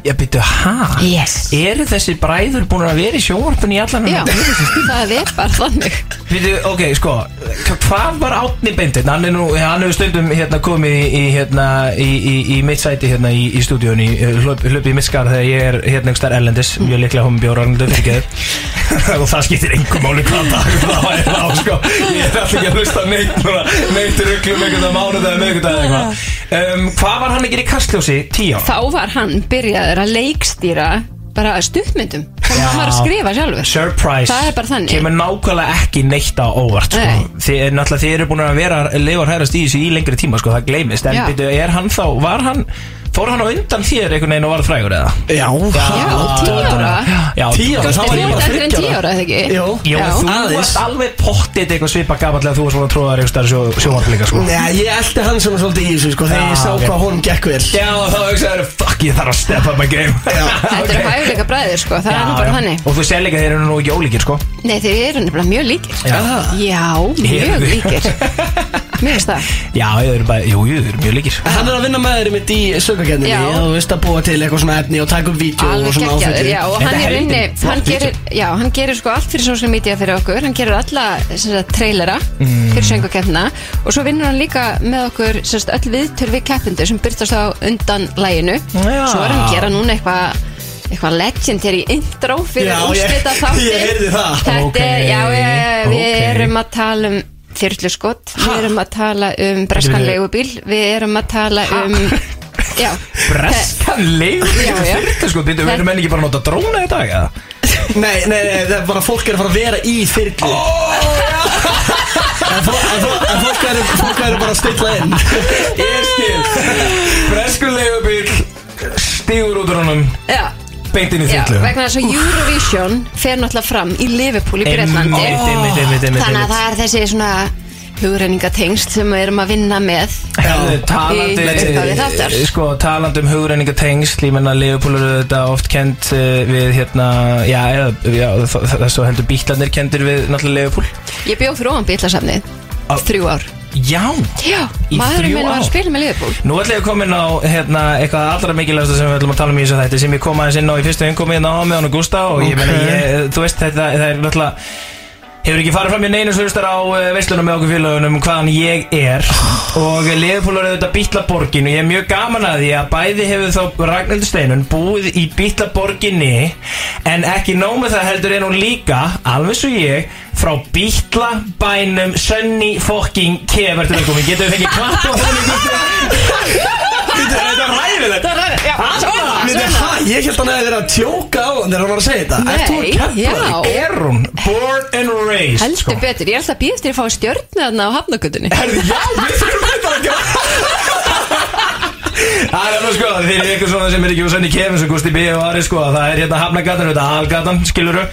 S2: Já, býtu, hæ?
S6: Yes.
S2: Eru þessi bræður búin að vera í sjónvarpinu í allan
S6: Já, það er bara þannig.
S2: Býtu, ok, sko, hva- hvað var Átni Bendin? Hann er nú, hann hefur stundum hérna komið í, í, hérna, í, í, í mitt sæti hérna í, í stúdíunni, hlöp, hlöp í mitt skar þegar ég er hérna einhver starf erlendis, mjög líklega hún bjóra hann fyrir geður [laughs] og það skiptir engum máli hvað dag það er á, sko, ég er alltaf ekki að hlusta á neitt núna, neitt rugglum einhvern veginn mánuð eða meðgut eða eitthvað. Um, hvað var hann ekki í kastljósi tíu ára?
S6: Þá var hann byrjaður að leikstýra bara stuttmyndum, þannig að hann var að skrifa sjálfur.
S2: Surprise
S6: Það er bara þannig.
S2: Kemur nákvæmlega ekki neitt á óvart sko.
S6: Nei.
S2: Þið er náttúrulega Þið eru búin að vera Leifar hærast í þessu í lengri tíma sko, Það gleymist En
S6: Já.
S2: byrju, er hann þá Var hann Fór hann á undan þér einhvern veginn og varð frægur eða? Ah,
S1: Já,
S6: Já, 10 ára.
S2: Já,
S1: Tíu ára,
S2: þú-
S1: þá
S6: Það
S1: var
S6: var
S1: ég bara
S6: eldri en
S1: 30
S6: 10
S1: ára.
S6: ára, eða ekki?
S1: Jú.
S2: Jú,
S6: Já.
S2: þú
S1: Aðeins.
S2: varst alveg pottit eitthvað svipa gafallega þú varst svona tróðar eitthvað sjó, sjómarflika sko
S1: Nei, ég eldi hann svona svolítið í þessu sko Þegar ég
S2: Já,
S1: sá
S2: ok.
S1: hvað honum gekk vel
S2: Já, þá hugsaður, fuck, ég þarf að step up my game
S6: Þetta
S2: [laughs]
S6: eru hæfileika bræðir sko, það er nú bara þannig
S2: Og þú sér líka þeir eru nú ekki ólíkir sko
S6: Nei, þeir eru nefnilega mjög líkir
S2: Já.
S6: Já,
S2: Eru
S6: mjög
S2: þið?
S6: líkir Mjög veist það
S2: Já, þeir eru bara, jú, jú, þeir eru mjög líkir
S1: Hann er að vinna með þeirri mitt í sögakefninni
S6: Já.
S1: og þú veist að búa til eitthvað svona efni og taka upp vídeo og
S6: Alveg
S1: svona
S6: geggjaður,
S1: áfengi
S6: já, og
S2: Þetta er
S6: hann er
S2: helvítið
S6: inni hann
S2: flott
S6: gerir, Já, hann gerir sko allt fyrir social media fyrir okkur Hann gerur alla sem sagt, trailera
S1: Mm.
S6: fyrir söngakefna Og svo vinnur hann líka með okkur sem sagt, öll viðtöl við keppindu sem byrtast á undan læginu
S2: Já.
S6: Svo er hann að gera núna eitthvað eitthvað legendary intro fyrir
S1: Já, ég-
S6: úrslita
S1: [laughs] ég heyrði það.
S6: Þetta er,
S2: Ókei,
S6: já, ég, við
S2: ókei.
S6: erum að tala um þyrluskott, við erum að tala um breskan
S2: Bíddu, bíddu.
S6: leigubíl, við erum að tala um
S1: [laughs]
S6: já,
S2: Breskan leifur
S6: Já, já.
S2: Þetta sko, býttu, við erum enn ekki bara að nota dróna í dag eða?
S1: Nei, nei, nei, það er bara fólk er að fara að vera í þyrlu En fó- en fó- en fólk er, fólk er bara að stilla inn
S2: Ég skil Bresku leifubíl Stígur út úr honum
S6: já,
S2: Beint inn í
S6: já
S2: þyrlu
S6: vegna þess að Eurovision fer náttúrulega fram í Liverpool í Breitlandi
S2: Einmitt, einmitt, einmitt, einmitt,
S6: þannig að
S2: einmitt.
S6: það er þessi svona hugreiningatengsl sem við erum að vinna með
S2: Herðu,
S6: Í upphafi þáttar.
S2: talandi Sko, talandi um hugreiningatengsl Ég menna, Leopold eru þetta oft kent eh, Við hérna, já, eða, já þa- þa- Það er svo heldur bíklarnir kendir við Náttúrulega Leopold
S6: ég bjóð fyrir ofan bílasafni
S2: Á-
S6: þrjú ár
S2: Já
S6: já,
S2: Í
S6: maðurinn
S2: þrjú
S6: minn var
S2: ár?
S6: að spila með Liverpool
S2: Nú ætla ég að koma inn á hérna, eitthvað allra mikilvægasta sem við ætlum að tala um í þessu þætti sem ég kom aðeins inn á í fyrstu umkomi hérna á með hann og Gústa og ég meina, ég, þú veist þetta, það er náttúrulega Hefur ekki farið fram í neinu slustar á eh, veislunum með okkur félagunum hvaðan ég er og Leifupúl er auðvitað Bítlaborgin og ég er mjög gaman að því að bæði hefur þá Ragnhildur Steinun búið í Bítlaborginni en ekki nóg með það heldur er hún líka, alveg svo ég, frá Bítlabænum Sunny fucking kefert til okkur. Getum við fengið klapp á þenni guttu? Þetta er ræðilegt.
S1: Nei, nei, ha, Ég held hann að vera að tjóka á hann þegar hann var að segja þetta Ert þú að
S6: Nei, já.
S1: keppa?
S2: Er hún born and raised? sko?
S6: heldur betur, ég er alltaf býðast til að fá stjörnu þarna á hafnagutunni
S2: Herðu, já, við þurfum þetta að gera Það er alveg sko, fyrir ykkur svona sem er ekki úr senni kefins og Gusti B. og Ari sko, það er hérna Hafnagatan, þetta Algatan, skiluru um,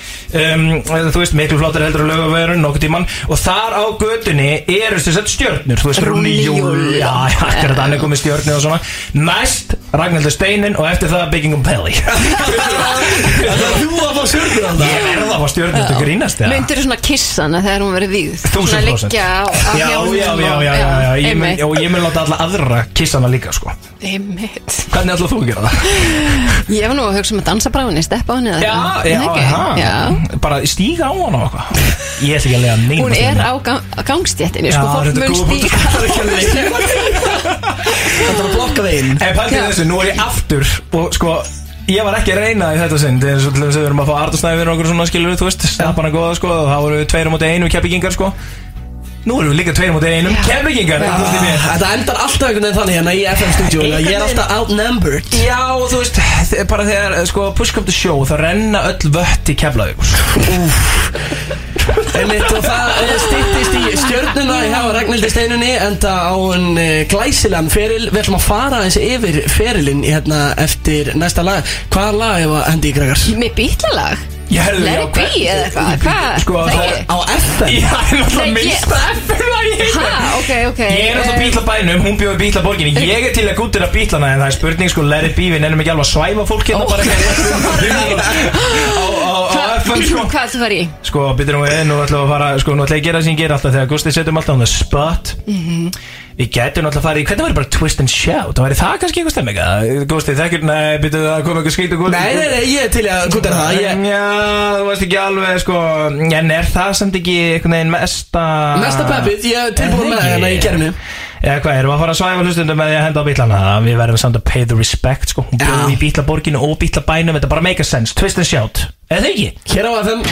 S2: Þú veist, miklu flottar heldur að lögavegurinn, nokkuð tíman Og þar á götunni eru þess að stjörnur, þú veist, Rúni
S6: Rúni
S2: Júl
S6: Júl.
S2: Já, já, akkurat, hann er komið stjörnur og svona Næst, Ragnhildur Steinin og eftir það Bygging um
S6: [laughs]
S2: Pelli
S5: Það er þú að fá stjörnur
S2: Ég verða að fá stjörnur, þetta grínast eða?
S6: Myndir þú svona kissa hana þegar hún verið víð?
S2: 1000%.
S6: Svona liggja á, á
S2: Já, já,
S6: hjálmum
S2: já, já,
S6: og-
S2: já, já, já. Ég mun,
S6: einmitt.
S2: og ég mun láta alla aðra kissa hana líka sko
S6: Einmitt.
S2: Hvernig ætlaðu þú að gera það?
S6: Ég var nú að hugsa um að dansa brá henni, steppa á henni eða
S2: Já,
S6: eitthvað.
S2: já,
S6: Nei, ekki?
S2: aha.
S6: já.
S2: Bara stíga á hana og eitthvað Ég ætla ekki að lega neina
S6: Hún er á gang, gangstjéttinni, sko, fólk mun stíga
S1: Það er að blokka það inn
S2: En pælti
S6: Já.
S2: þessu, nú er ég aftur Og sko, ég var ekki að reyna í þetta sinn Þegar svo til þess að við erum að fá Artur Snæfinn og okkur svona skilur Þú veist, stapan að góða sko Og þá voru við tveir á móti einum keppigingar sko Nú erum við líka tveir á móti einum
S6: Já.
S2: keppigingar
S1: Ah, Þetta endar alltaf einhvern veginn þannig hérna í FM stúdíu Ég er alltaf outnumbered
S2: Já, og þú veist, þe- bara þegar eh, sko, push come to show, þá renna öll vött í sko. keflaðið
S1: Einmitt og það eh, styttist í stjörnuna hjá Ragnhildi Steinunni enda á hann glæsilegan feril Við ætlum að fara eins yfir ferilinn í hérna eftir næsta lag Hvaða lag hefur hendi í Gregars?
S6: með bítlalag.
S2: Ég herðu
S6: Let it be eða eitthvað, hvað?
S2: Sko,
S6: Nei.
S2: það-
S1: Á FM?
S2: Já, ég er alltaf
S6: Nei, ég-
S2: mista FM-lagi
S6: Ha, ok, ok.
S2: Ég er alltaf bíla bænum, hún bjóði bíla borginni Ég er til að gúttir að bílana En það er spurning sko, let it be Við nennum ekki alveg að svæfa fólk hérna bara eitthvað Á- á- á FM sko
S6: Hvað ætlum þú var í?
S2: Sko, byrjum við Nú ætlum við að fara Sko, nú ætlum ég að gera það sem ég ger alltaf Þegar Gusti setjum alltaf on the spot Við gætum alltaf að fara í Hvernig væri bara twist and shout? Það væri það kannski eitthvað stemming eða? Gusti, þekkir Nei, byrjum það kom eitthvað skýt og góð
S1: Nei, nei, nei, ég er til í að kundar það ég,
S2: Já, þú veist ekki alveg sko En er það samt ekki einhvern veginn mesta
S1: Mesta peppið, ég er tilbúin með það hérna í gerinu
S2: Eða hvað, erum við að fara að svæfa hlustundum með því að henda á bílana? Við verðum samt að pay the respect sko Hún
S1: Já.
S2: bjóðum í bílaborginu og bílabænum Þetta bara make a sense, twist and shout Eða ekki?
S1: Hér á FM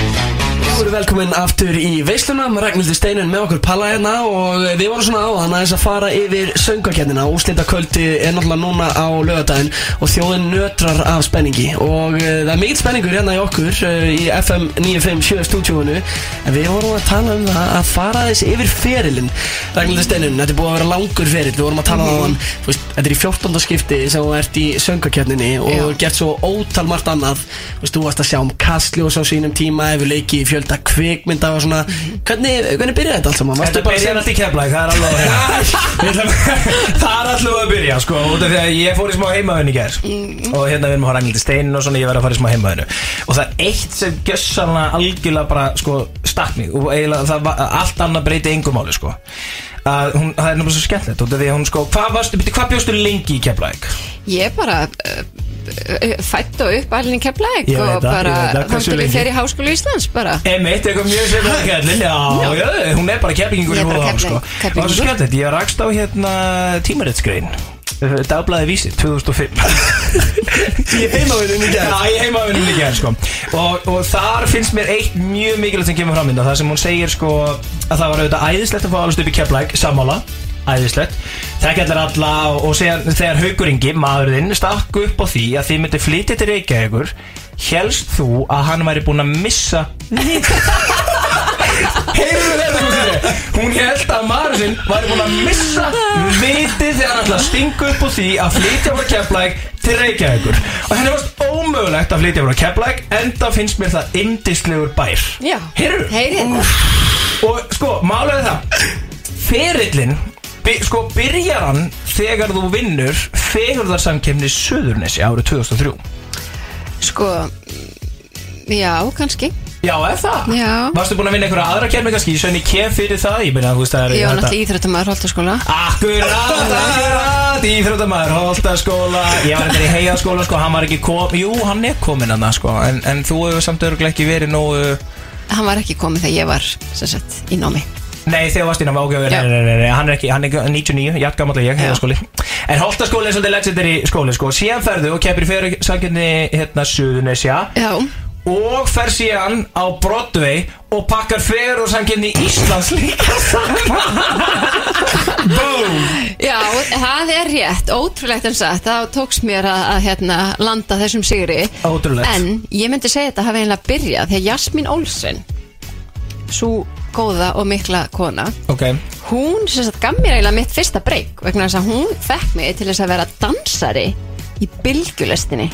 S1: Við vorum velkomin aftur í veisluna með Ragnhildur Steinun með okkur palla hérna og við vorum svona á hann aðeins að fara yfir söngakennina úslita kvöldi er náttúrulega núna á lögadaginn og þjóðin nötrar af spenningi og uh, það er mikill spenningur hérna í okkur uh, í FM 957 stúdíóinu en við vorum að tala um það að fara aðeins yfir ferilinn Ragnhildur Steinun, þetta er búið að vera langur ferill við vorum að tala á hann, þú veist, þetta er í 14. skipti sem þú ert í söngakennini og
S6: Já.
S1: Já gert svo ótal margt annað Þú veist, þú varst að sjá um kastljós á sínum tíma hefur leikið í fjölda kvikmynda og svona hvernig, hvernig byrjaði þetta allt saman? Varstu
S2: Þetta
S1: bara að
S2: byrjar
S1: segja
S2: allt í keflæk, það er alveg [laughs] að reyna Það er alltaf að byrja sko Út af því að ég fór í smá heimaðun í ger Og hérna við erum að fara angildi steinin og svona Ég verð að fara í smá heimaðinu Og það er eitt sem gjössanlega algjörlega bara sko Stakk mig og eiginlega það var Allt annað breyti engum máli sko að hún, það er náttúrulega svo skemmtilegt út af því að hún sko hvað, varstu, byrju, hvað bjóstu lengi í Keflæk?
S6: Ég bara uh, uh, fætt og upp allir í Keflæk
S2: Ég veit það,
S6: og bara
S2: ég veit það,
S6: þannig
S2: hversu
S6: til ég
S2: lengi?
S6: fer í Háskólu Íslands bara.
S2: Emitt, eitthvað mjög svipað að kallin Já, já, hún er bara keflingur
S6: Ég
S2: í
S6: er bara
S2: húða á
S6: Keflavík-
S2: sko
S6: Keflavíkur.
S2: Það var svo skemmtilegt, ég rakst á hérna Eh, tímaritsgrein Dagblæði vísi, 2005 [laughs] Ég heimavinnum í gerð Já, ég heimavinnum í gerð sko og, og þar finnst mér eitt mjög mikilvægt sem kemur fram hérna, Það sem hún segir sko að það var auðvitað æðislegt að fá alveg upp í keflæk Sammála, æðislegt Þekkja allir alla og, og segja, þegar Haukur Ingi, maðurinn, stakk upp á því að þið myndi flytja til Reykjavíkur Hélst þú að hann væri búinn að missa Heyrðu þetta Guðsir Hún held að maður sinn var búin að missa vitið þegar hann ætlaði að stinga upp úr því að flytja frá Keflæk til Reykjavíkur og henni varst ómögulegt að flytja frá Keflæk enda finnst mér það indislegur bær
S6: Já.
S2: Heyrðu
S6: Heyrið þetta.
S2: og sko, málega það ferillin by, sko, byrjar hann þegar þú vinnur fegurðarsamkemni Suðurnessi árið 2003
S6: Sko, mm, já, kannski.
S2: Já, er það?
S6: Já.
S2: Varstu búin að vinna einhverja aðra kemni kannski? Ég svein ég kem fyrir það, ég meina, þú veist, það er
S6: Ég var
S2: þetta-
S6: náttúrulega íþrættamæður Holtaskóla.
S2: Akkurat, akkurat, íþróttamæður, holtaskóla Ég var eitthvað í heiðaskóla, sko, hann var ekki kom Jú, hann er komin hann, sko En, en þú hefur samt örgulega ekki verið nógu
S6: Hann var ekki komið þegar ég var, sem sagt, í námi.
S2: Nei, þegar varst innan ágjöfur
S6: Já.
S2: Nei, nei, nei, nei, hann er ekki, hann er ekki 99, játgamall ég, heiðaskóli En holtaskóli er svolítið legendary skóli, sko Síðan ferðu og keppir fyrir sangjörni, hérna, Suðunesja
S6: Já,
S2: og fer síðan á Broadway og pakkar fyrir og sanginni Íslands líka saman Boom
S6: já, það er rétt, ótrúlegt eins að það tókst mér að, að hérna, landa þessum sigri.
S2: Ótrúlegt.
S6: En ég myndi segja þetta hafi eiginlega byrjað þegar Jasmín Olsen, svo góða og mikla kona,
S2: Ok,
S6: hún sem sagt gaf mér eiginlega mitt fyrsta breyk vegna þess að hún fekk mig til þess að vera dansari í bylgjulestinni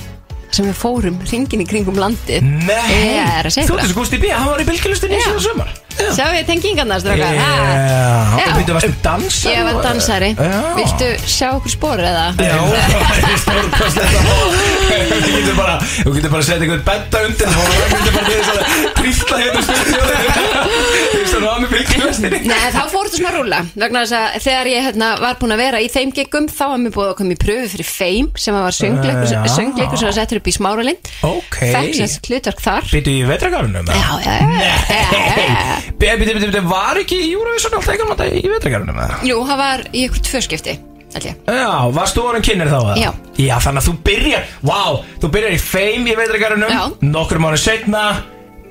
S6: sem við fórum ringin í kringum landið
S2: Mm, Nei,
S6: Ég er að segja
S2: þú
S6: ykkur
S2: veist að Gusti B, hann var í bylgjulustinni í
S6: Já.
S2: síðan sumar
S6: Sjá ég tengingarnar strákar Ha.
S2: Já,
S6: Já.
S2: og byrjuðu Eh, varstu dansari
S6: Ég var dansari
S2: Já.
S6: Viltu sjá okkur spor eða?
S2: Já, það er stórkostlegt að fá. [laughs] Þú getur bara, þú getur bara að setja einhvern betta undir það og það getur bara með þess að trýsta hérna stundjóðið. Þú veist að það var með bylgjulustinni.
S6: Nei, þá fór þetta svona að rúla vegna þess að þegar ég hérna, var búin að vera í þeim giggum þá var mér búið að koma í pröfu fyrir Fame sem að var söngleikur,
S2: Já.
S6: söngleikur sem var settur upp í Smáralind
S2: Ok.
S6: fekk sem sagt hlutverk þar
S2: Býtu í vetragarunum?
S6: Já, já,
S2: [laughs]
S6: já, já, já.
S2: Býtu, býtu, býtu, var ekki í Eurovision alltaf einhvern veginn í vetragarunum eða?
S6: Jú, það var í ykkur tvö skipti held ég.
S2: Já, varst þú orðin kynir þá eða?
S6: Já.
S2: Já, þannig að þú byrjar, vá, þú byrjar í fame í vetragarunum.
S6: Já.
S2: Nokkur mánu setna,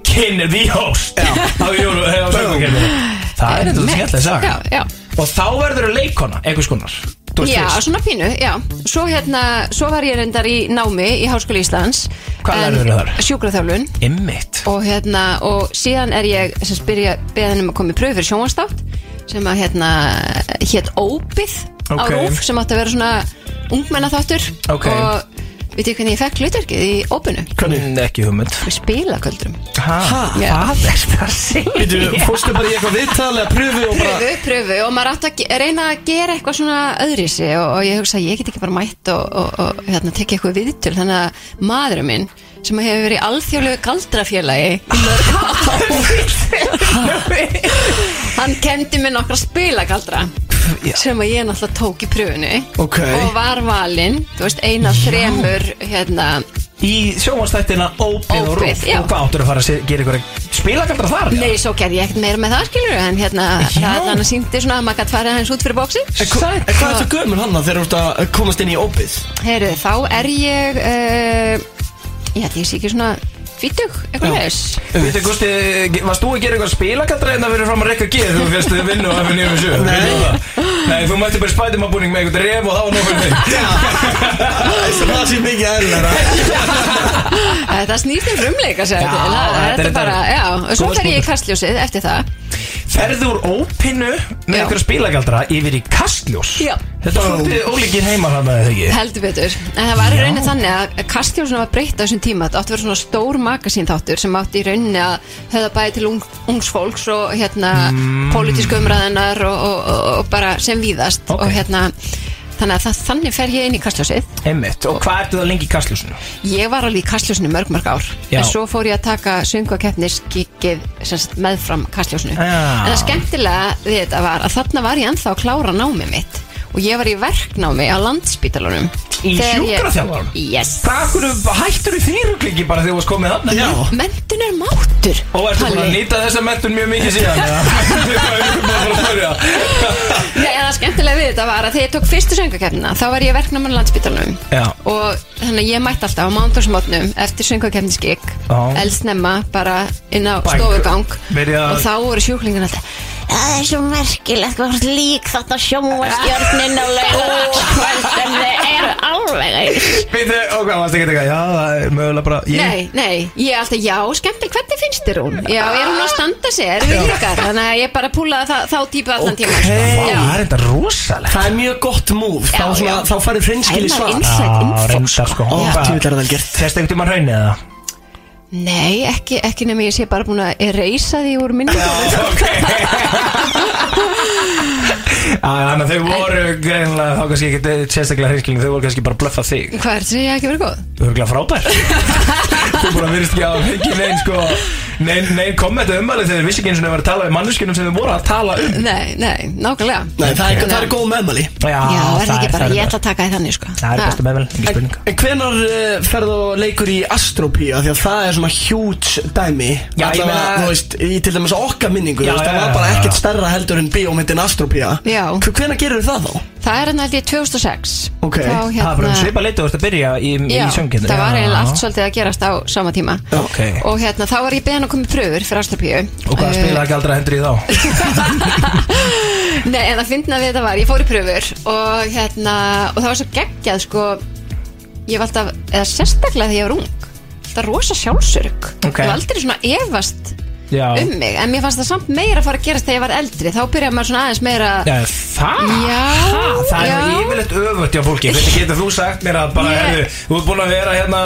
S2: kynir, the host. Já. Á Euro- á söngvakeppninni. Það er eitthvað
S6: Nei.
S2: skemmtileg saga.
S6: Já, já
S2: Og þá verður þau leikona, einhvers konar Þú veist
S6: Já,
S2: fyrst.
S6: svona pínu, já Svo hérna, svo var ég reyndar í námi í Háskóli Íslands
S2: Hvað
S6: En-
S2: lærðurðu þar?
S6: Sjúkraþjálfun
S2: Einmitt
S6: og hérna, og síðan er ég sem spyrja beðin um að koma í pröfu fyrir sjónvarstátt sem að hérna hétt Ópið
S2: Ok.
S6: á Rúf sem átti að vera svona ungmennaþáttur
S2: Ok.
S6: og veit ég hvernig ég fekk hlutverkið í Ópinu
S2: Hvernig? Mm, Ekki hugmynd
S6: við spilaköldrum
S2: Hæ?
S6: Já.
S2: Hvað er það að segja?
S5: Þú fórstu bara í eitthvað viðtal eða pröfu og bara
S6: pröfu, pröfu og maður átt að ge- reyna að gera eitthvað svona öðrisi og, og ég hugsa að ég get ekki bara mætt og, og, og hérna, tekja eitthvað viðtöl þannig að maðurinn minn sem hefur verið í alþjóðlegu galdrafélagi í mörg ár, hann kendi mér nokkra spilagaldra sem að ég náttúrulega tók í pröfunni
S2: Ok.
S6: og var valinn, þú veist, eina þremur hérna,
S2: Í sjónvastættina Ópið og Rúf
S6: Ópið, já.
S2: Og hvað áttur að fara að se- gera ykkur spilagaldra þar? eða?
S6: nei, svo gerði ég ekkert meira með það skilur en hérna, það þannig að síndi svona að maður gætt farið hans út fyrir bóksi
S1: En hva- en Hvað ertu gömur hann þegar þú ert að komast inn í [laughs] opið?
S6: Heyrðu, þá er ég uh, Ég held ég sé ekki svona Fítug, eitthvað leiðis
S2: Veitu, Gusti, varst þú að gera ykkur spilagaldra En það verður fram að rekka geð Þú fyrst þið vinnu og hefði nýjum sjö Nei Nei, þú mætti bara spætumabúning með einhvern ref Og það var nokkuð mynd
S1: Það sé mikið eðlera
S6: Það snýst um frumleika sér
S2: Já,
S6: þetta Það
S2: þetta er
S6: er þetta bara,
S2: þetta-
S6: já Og svo
S2: Góð
S6: fer ég í
S2: spurning.
S6: kastljósið eftir það
S2: Ferður úr ópinu með
S6: Já.
S2: ykkur spilagaldra Yfir í kastljós
S6: Já.
S2: Þetta var svolítið ólíkir heimar hann að þau
S6: Heldur betur En það var í rauninni þannig að kastljósinu var breytt á þessum tíma Það átti að vera svona stór magasín þáttur Sem átti í rauninni að höfða bæði til ung, ungs fólks Og hérna mm. pólitísku umræðinar og, og, og, og bara sem víðast
S2: Ok.
S6: Og hérna Þannig að það, þannig fer ég inn í kastljósið
S2: Einmitt, og hvað ertu það lengi í kastljósinu?
S6: Ég var alveg í kastljósinu mörg mörg ár
S2: Já.
S6: En svo fór ég að taka sönguakeppniskikið meðfram kastljósinu
S2: Já.
S6: En það skemmtilega við þetta var að þarna var ég ennþá að klára námið mitt Og ég var í verknámi á landspítalunum
S2: Í
S6: Þegar ég-
S2: sjúkraþjálfaranum?
S6: Yes
S2: Hvað hverju hættur í þýruglingi bara þegar þú varst komið þarna? Já.
S6: Mentun er máttur
S2: Og ertu búin að
S6: Palli.
S2: nýta þessa mentun mjög mikið
S6: [laughs]
S2: síðan? eða? Hvað er bara að spyrja?
S6: Nei, en það skemmtilega við þetta var að þegar ég tók fyrstu sönguakeppnina Þá var ég verknáman á landspítalunum
S2: Já.
S6: Og þannig að ég mætti alltaf á mándagsmótnum Eftir sönguakeppniskik
S2: Já.
S6: Eldsnemma bara inn á
S2: Bæk.
S6: stofugang
S2: Verið að-
S6: Og þá voru sjúklingin alltaf
S7: Það er svo merkilegt hvort lík þetta sjónvastjörnin á laugardagskvöldin þið eru alveg eins.
S2: Býttu, og hvað varst ekki eitthvað? Já, það er mögulega bara ég.
S6: Nei, nei, ég er alltaf, já, skemmtileg, hvernig finnst þér hún? Já, er hún að standa sér við ykkar? Þannig að ég bara púlaði það, þá típu allan tíma
S2: Vá,
S6: Já.
S2: það er þetta rosalegt.
S1: Það er mjög gott múf Þá,
S6: Já,
S1: svona-
S6: já.
S1: þá farið hreinskil í
S6: Það er
S1: svar
S6: inside info,
S2: reyndar sko.
S1: Ó, tjóðlega er vel gert.
S2: Þess einhvern tíma raunni eða?
S6: Nei, ekki, ekki nema ég sé bara búin að reysa því úr minni
S2: ok. Já, Þannig að þau voru greinlega, þá kannski ekki sérstaklega hreinskling, þau voru kannski bara að blöffa þig.
S6: Hvað er þetta, ég hef ekki verið góð?
S2: Örgulega [laughs] frábær Þú búin að virðist ekki að fengi neinn sko Neinn nein kommenta um ummæli þegar þeir vissi ekki eins og þeir var að tala við mannuskinum sem þeir voru að tala um
S6: Nei, nei, nákvæmlega
S1: Nei, það er, það er
S6: Já.
S1: góð meðmæli
S6: Já, er það ekki bara, hérna-
S2: það
S6: ég
S2: er
S6: ætla að taka því þannig, sko
S2: Það er
S6: Ha.
S2: bestu meðvel, ekki
S1: En,
S2: spurning
S1: en hvenar uh, ferðu og leikur í Astropía Því að það er svona huge dæmi
S2: Já, ég
S1: Allavega,
S2: meina-
S1: Þú veist, í til dæmis okkar minningu
S2: Já,
S1: þú veist, Það
S2: já,
S1: var
S2: já,
S1: bara
S2: já.
S1: ekkert stærra heldur en bíómyndin Astropía
S6: Já.
S1: Hvenar gerur það þá?
S6: Það er hann held ég 2006
S1: Ok.
S6: Þá,
S1: Það
S2: Það er bara um
S6: hérna,
S2: svipa leitu þú ert að byrja í, í
S6: Já,
S2: söngjöndu
S6: það var eiginlega allt svolítið að gerast á sama tíma
S2: Ok.
S6: Og hérna, þá var ég beðin að koma í pröfur fyrir Eh, Ástrapíu
S2: Og hvað spilaði ekki aldrei hendur í
S6: [laughs]
S2: þá?
S6: Nei, en það fyndna við þetta var, ég fór í pröfur og hérna, og það var svo geggjað sko, ég var alltaf eða sérstaklega þegar ég var ung, alltaf rosa sjálfsörg
S2: Ok.
S6: ég var aldrei svona efast
S2: Já.
S6: um mig en mér fannst það samt meira að fara að gerast þegar ég var eldri þá byrjaði maður svona aðeins meira
S2: Já, það?
S6: Já,
S2: Ha, það er
S6: já.
S2: nú yfirleitt öfugt hjá fólki Hvernig getur þú sagt mér að bara
S6: Ég-
S2: yeah. Þú ert búin að vera hérna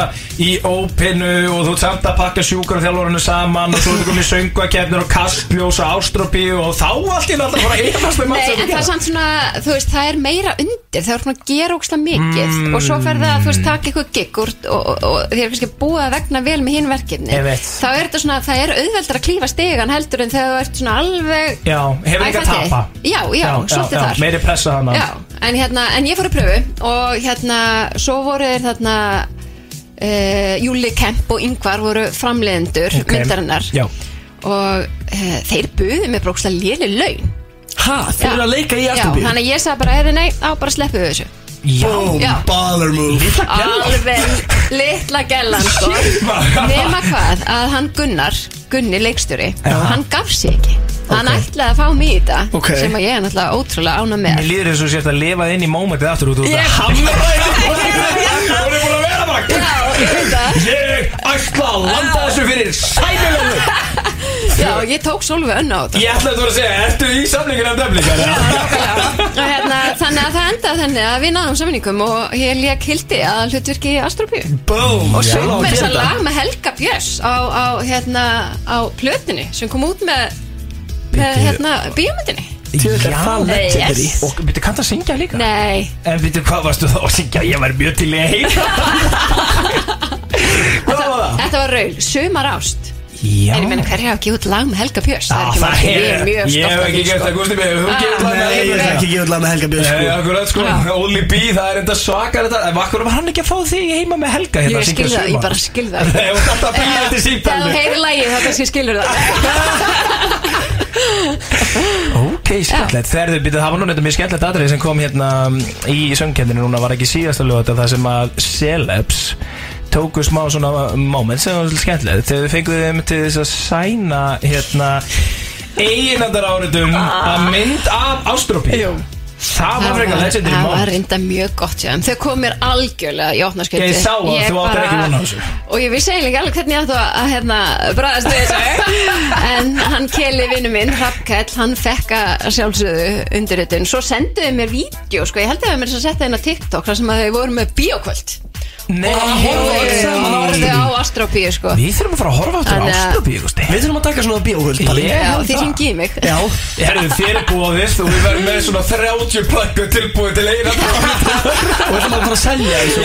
S2: í ópinu Og þú ert samt að pakka sjúkur og þjálfarinu saman Og þú ert komið sönguakefnir og kastljós og ástrópíu Og þá allt í náttúrulega bara að efast um allt
S6: Nei,
S2: sem þú
S6: en það er
S2: gerir.
S6: samt svona, þú veist, það er meira undir Það er svona að gera ókslega mikið
S2: Mm.
S6: Og svo fer það, þú veist, taka eitthvað gig úr Og, og, og þér er kannski búið að vegna vel með hinn verkefni
S2: Ég veit.
S6: Þá er þetta svona, það er auðveldar að klífa stegan heldur En þegar þú ert svona alveg
S2: Já, hefur
S6: Æ,
S2: ekki að
S6: fattiði.
S2: tapa
S6: Já, já, svolítið
S2: já,
S6: þar
S2: Meiri pressa hana
S6: Já, en hérna, en ég fór í pröfu og hérna, svo voru þeir þarna uh, Júli Kemp og Yngvar voru framleiðendur
S2: Ok.
S6: myndarinnar
S2: Já.
S6: og uh, þeir buðu mér brókslega léli laun
S1: Ha, þú eru að leika í
S6: Já,
S1: Asturby
S6: þannig að ég sagði bara, heyrðu nei, á bara sleppu þessu
S2: Já,
S6: Já,
S5: Baller move
S6: alveg litla
S1: [laughs]
S6: gellan sko Nema hvað, að hann Gunnar, Gunni leikstjóri Hann gaf sér ekki Hann ætlaði að fá mig í þetta
S1: Ok.
S6: Sem að ég er náttúrulega ótrúlega ána
S2: Mér
S6: með
S2: líður eins og sért að lifa inn í mómentið aftur og þú ert
S6: Ég-
S2: að hamra það Hún er búin að vera bara
S6: Já, ég veit það
S1: [laughs]
S2: Ég ætla að landa þessu fyrir sæmilegum
S6: Já, ég tók Solveig önn á þetta
S2: Ég ætlaði þú að segja, ertu í samlingin af döfling?
S6: Og hérna, þannig að það endaði þannig að við náðum samningum og ég lék hildi að hlutverki í Astropíu
S2: Boom
S6: og söng með þess að lag með Helga Björns á, á, hérna, á plötinu sem kom út með, með hérna, bíómyndinni
S2: Já,
S6: legendary. Yes.
S2: og byrju, kanntu að syngja líka?
S6: Nei,
S2: En byrju, hvað varstu þá að syngja? Ég var mjög til í að
S6: [laughs]
S2: heyra Hvað var það?
S6: þetta var raul, sumar ást
S2: Já
S6: En ég meina hverja hafa gefið út lag með Helga Björns
S2: Ah,
S6: Það
S2: það er,
S6: er ekki margir, ég er mjög
S2: ég hef
S6: stolt af
S2: ekki
S6: því,
S2: gert
S6: sko.
S2: það, Gusti B, hefur þú
S6: Ah,
S2: gert það
S6: nei,
S2: með
S6: ég
S2: Helga
S6: hef
S2: Björns?
S6: ekki Ah.
S5: gefið lag með Helga Björns
S2: Nei, akkurat sko,
S6: Já.
S2: Only B, það er enda svakar þetta En akkur var hann ekki að fá þig heima með Helga hérna
S6: Ég
S2: að syngja
S6: skil það, ég
S2: sumar?
S6: bara skil það
S2: [laughs] Nei, hún þarf að byrja
S6: Ef
S2: þetta
S6: ef þú
S2: síðan
S6: heyrir lagið þá kannski skilur það
S2: Ok, skemmtilegt Þegar þau byrjuð, það var nú neitt mjög skemmtilegt atrið sem kom hérna í söngkendinu núna var ekki síðasta lögata það sem að celebs tóku smá svona mm, moment sem var svolítið skemmtilegt þegar þau fenguðu þeim til þess að sæna hérna eiginandar áritum að mynd af Ástrópi Það var frekar legendary
S6: Ah. Það var
S2: moment
S6: reynda mjög gott hjá þeim Þau kom mér algjörlega í opnarskjöldi
S2: Ég sá það, þú áttir ekki von á þessu.
S6: Og ég vissi eiginlega ekki alveg hvernig ég ætti að, að hérna, bræðast við þessu [laughs] En hann keli vinnu minn, Rappkell Hann fekk að sjálfsögðu undirritun Svo senduðu mér vídeo sko. Ég held að það mér þess að setja inn á TikTok þar sem að þau voru með bíókvöld
S2: Nei,
S6: Og horfðu á Astropíu sko.
S2: Við þurfum að fara að horfa áttur
S6: Þannig að-
S2: Ástrópi, Gusti
S1: Við þurfum að taka svona bíóhöld
S2: Ég
S6: Já,
S2: held
S6: þið
S2: það.
S6: hringi í mig [laughs]
S1: Já,
S2: Herðu þér er búið og við verðum með svona 30 plöggu tilbúið til eiginandar
S1: og við þurfum að fara að selja þessu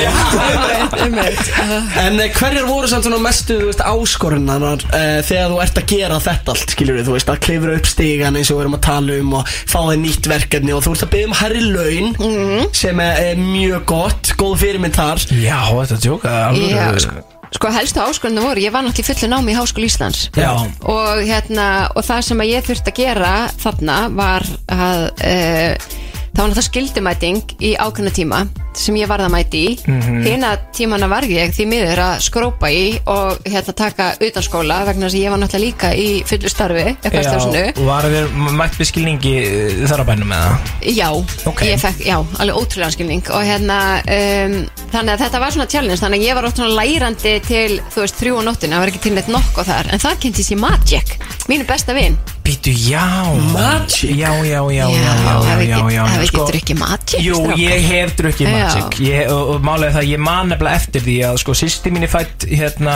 S1: En eh, hverjar voru samt svona mestu þú veist, áskorunar uh, þegar þú ert að gera þetta allt, skiljur við, þú veist, að klifra upp stígan eins og við erum að tala um og fá þig nýtt verkefni og þú ert að byggja um herri laun
S6: Mhm.
S1: sem er, er mjög gott, góð fyrirmynd þar
S2: Já, þetta djók
S6: Já, sko, sko helstu áskorinu voru, ég var náttúrulega í fullu námi í Háskóla Íslands
S2: Já.
S6: og, hérna, og það sem að ég þurfti að gera þarna var að e, það var náttúrulega skildumæting í ákveðna tíma sem ég varð að mæti í
S2: Mhm.
S6: hina tímana var ég því miður að skrópa í og hérna taka utan skóla vegna þess að ég var náttúrulega líka í fullu starfi eitthvað stjórnsinu
S2: Var þér mætt við skilningi eh, þar á bænum með það?
S6: Já,
S2: Ok.
S6: ég fekk, já, alveg ótrúlega skilning og hérna, um, þannig að þetta var svona challenge, þannig að ég var oft svona lærandi til, þú veist, þrjú og nóttina, það var ekki til neitt nokko þar, en það kynntist ég Magic mínu besta vin
S2: Býtu, já
S1: Magic?
S2: Já, já, já, já, já,
S6: hef
S2: já, já,
S6: ekki,
S2: já,
S6: hef ekki
S2: sko-
S6: drukkið Magic
S2: Jú,
S6: strákar?
S2: ég hef drukkið
S6: Já.
S2: Magic ég, og, og málega það, ég man nefnilega eftir því að sko, sýsti mín er fætt hérna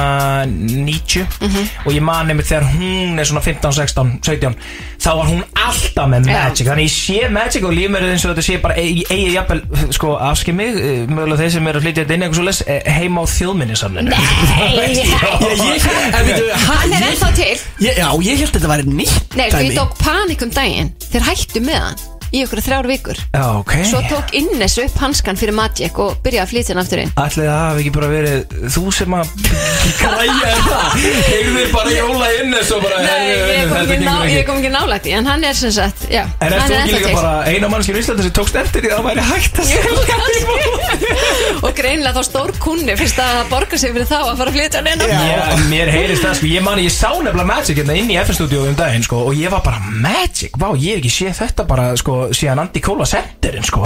S2: 90
S6: Mhm.
S2: og ég man nefnilega þegar hún er svona 15, 16, 17 þá var hún alltaf með
S6: Já.
S2: Magic þannig ég sé Magic og líf mér eins og þetta sé bara eigi eigi jafnvel, sko, afskið mig eh, mögulega þeir sem eru að flytja þetta inn eitthvað svo les heima á þjóðminnisamninu
S1: Ég, ég, en veitu, ha,
S6: Hann er
S1: ég,
S6: ennþá til,
S1: ég, já, ég held þetta væri nýtt
S6: nei, sko,
S1: dæmi.
S6: ég tók panik um daginn þeir hættu með hann í okkur þrjár vikur
S2: Já, ok
S6: svo tók Innes upp hanskan fyrir Magic og byrjaði að flytja hann aftur inn
S2: Ætli það hafi ekki bara verið þú sem að græja um það Heyrðu bara jóla inn og bara
S6: Nei,
S2: heyrðu,
S6: ég kom
S2: þetta
S6: ekki
S2: gengur
S6: ná- ég kom ekki nálægt í, en hann er sem sagt, já,
S2: En
S6: hann
S2: ertu ekki
S6: er ennþá
S2: líka
S6: til. [laughs]
S2: bara eina mannskjur í Íslandi sem tókst eftir því að það væri hægt að selja
S6: og greinilega þá stór kunni fyrst að það borga sig fyrir þá að fara að flytja hann inn aftur.
S2: Já, mér heyrist það sko, ég mani, ég sá nefnilega Magic hérna inn í FN-stúdíóðu um daginn sko og ég var bara Magic, vá, ég hef ekki séð þetta bara sko sko síðan Andi Kóla sendirinn sko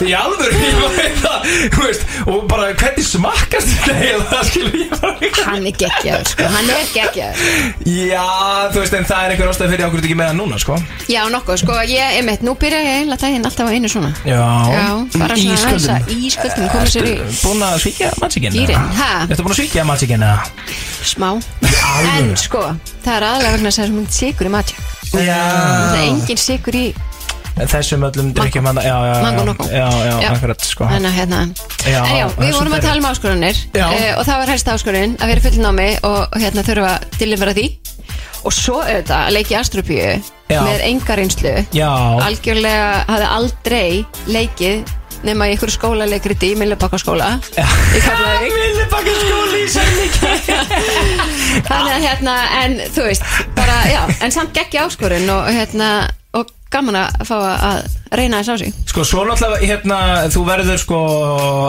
S2: í alvöru ég veit það, þú veist, og bara hvernig smakkast þetta heila það skilur ég bara
S6: Hann er geggjaður, sko, hann er geggjaður
S2: já þú veist en það er einhver ástæð fyrir okkur ekki með það núna sko
S6: Já, nokkuð, sko, ég, einmitt, nú byrja ég einlega daginn alltaf á einu svona Já,
S2: já
S6: bara
S1: Í
S6: svona aðeins
S1: ísköldum.
S6: að ísköldum koma sér í
S2: búin að svíkja mannsíkinn
S6: Gírinn, ha?
S2: ertu búin að svíkja mannsíkinn eða
S6: smá En sko, það er aðlega vegna þess að það er svo mjög sigur í matja
S2: Ah.
S6: Það er
S2: já
S6: engin sigur í
S2: Eh, þessum öllum drikkjum hann já já
S6: Mango
S2: já
S6: Nocco.
S2: já já
S6: Já.
S2: akkurat sko
S6: Þannig að hérna
S2: Já,
S6: En já,
S2: það er
S6: við vorum
S2: svo
S6: að tala um áskoranir
S2: Já.
S6: eh, Og það var helst áskorin að vera fullnámi Og hérna þurfa að delivera því Og svo auðvitað að leiki Astrobíu
S2: Já.
S6: Með enga reynslu
S2: já
S6: Algjörlega hafði aldrei leikið nema í ykkur skólalegriti í Millibakkaskóla í Keflavík
S2: Millibakka skóli í sælíki
S6: Þannig að hérna, en þú veist bara, já, en samt geggi áskorun og hérna, og gaman að fá að reyna þess á sig
S2: Sko svo náttúrulega, hérna, þú verður sko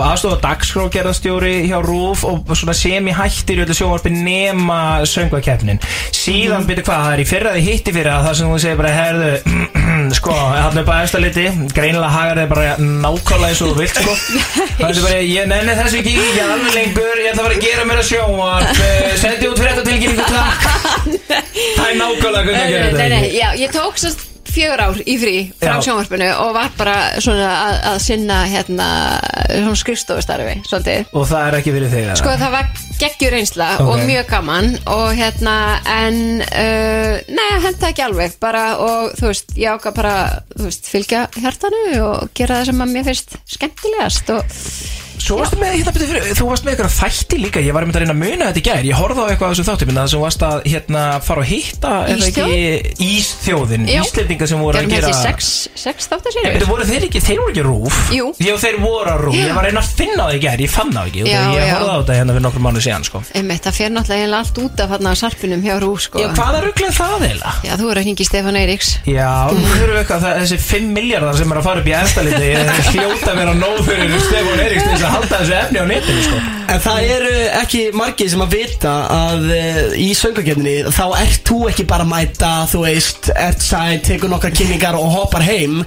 S2: aðstofa dagskrágerðastjóri hjá RÚF og svona sem í hættir í öllu sjónvarpi nema söngvakeppnin síðan,
S6: Mhm.
S2: mm byrju hvað, það er í fyrra því hitti fyrra það sem þú segir bara, herðu [clears throat] sko, hann er bara efsta liti, greinilega hagar þið bara nákvæmlega eins og þú vilt
S6: [laughs]
S2: sko það er bara, ég nenni þessu ekki ekki alveg lengur, ég ætla bara að gera mér að sjónvarp eh, sendi út fyrir þetta tilkynningu
S6: [laughs]
S2: takk það er nákvæmlega hvernig að gera
S6: Nei,
S2: þetta
S6: nei,
S2: ekki?
S6: nei, já, ég tók svo fjögur ár í frí frá
S2: Já.
S6: sjónvarpinu og var bara svona að, að sinna hérna, svona skrifstofustarfi svolítið
S2: og það er ekki verið þegar
S6: Sko það var geggjur reynsla
S2: Ok.
S6: og mjög gaman og hérna en uh, neða henda ekki alveg bara og þú veist ég ákvað bara þú veist fylgja hjartanu og gera það sem að mér finnst skemmtilegast og
S2: Svo varstu með, hérna, betur fyrir, þú varst með eitthvað þætti líka, ég var einmitt að reyna að muna þetta í gær, ég horfði á eitthvað á þessu þáttum, það sem varst að hérna, fara og hitta, er það ekki, Ísþjóðin,
S6: Já.
S2: Íslendinga sem voru að
S6: gerum
S2: gera...
S6: þessi sex, sex
S2: Þetta
S6: þáttasýrjur
S2: voru þeir ekki, þeir voru ekki rúf
S6: Jú.
S2: Jú, þeir voru að rúf,
S6: Já.
S2: ég var að reyna að finna það í gær, ég fann það ekki
S6: Já,
S2: Ég
S6: já.
S2: horfði á þetta hérna fyrir nokkrum mánu síðan, sko
S6: Einmitt, það fer náttúrulega eiginlega allt út af hérna sarpinum hjá Rú sko
S2: Já, hvaða rugglega það eiginlega?
S6: Já, þú eru að hringi í Stefán Eiríks
S2: Já, þú þurfum eitthvað að þessi 5 miljardar sem er að fara upp í eftaliti Ég hljóta að vera nóg fyrir Stefán Eiríks til þess að halda þessu efni á netinu, sko
S1: En það eru ekki margið sem að vita að eh, í söngakefninni þá ert þú ekki bara að mæta, þú veist, ert sæn, tekur nokkra kynningar og hoppar heim.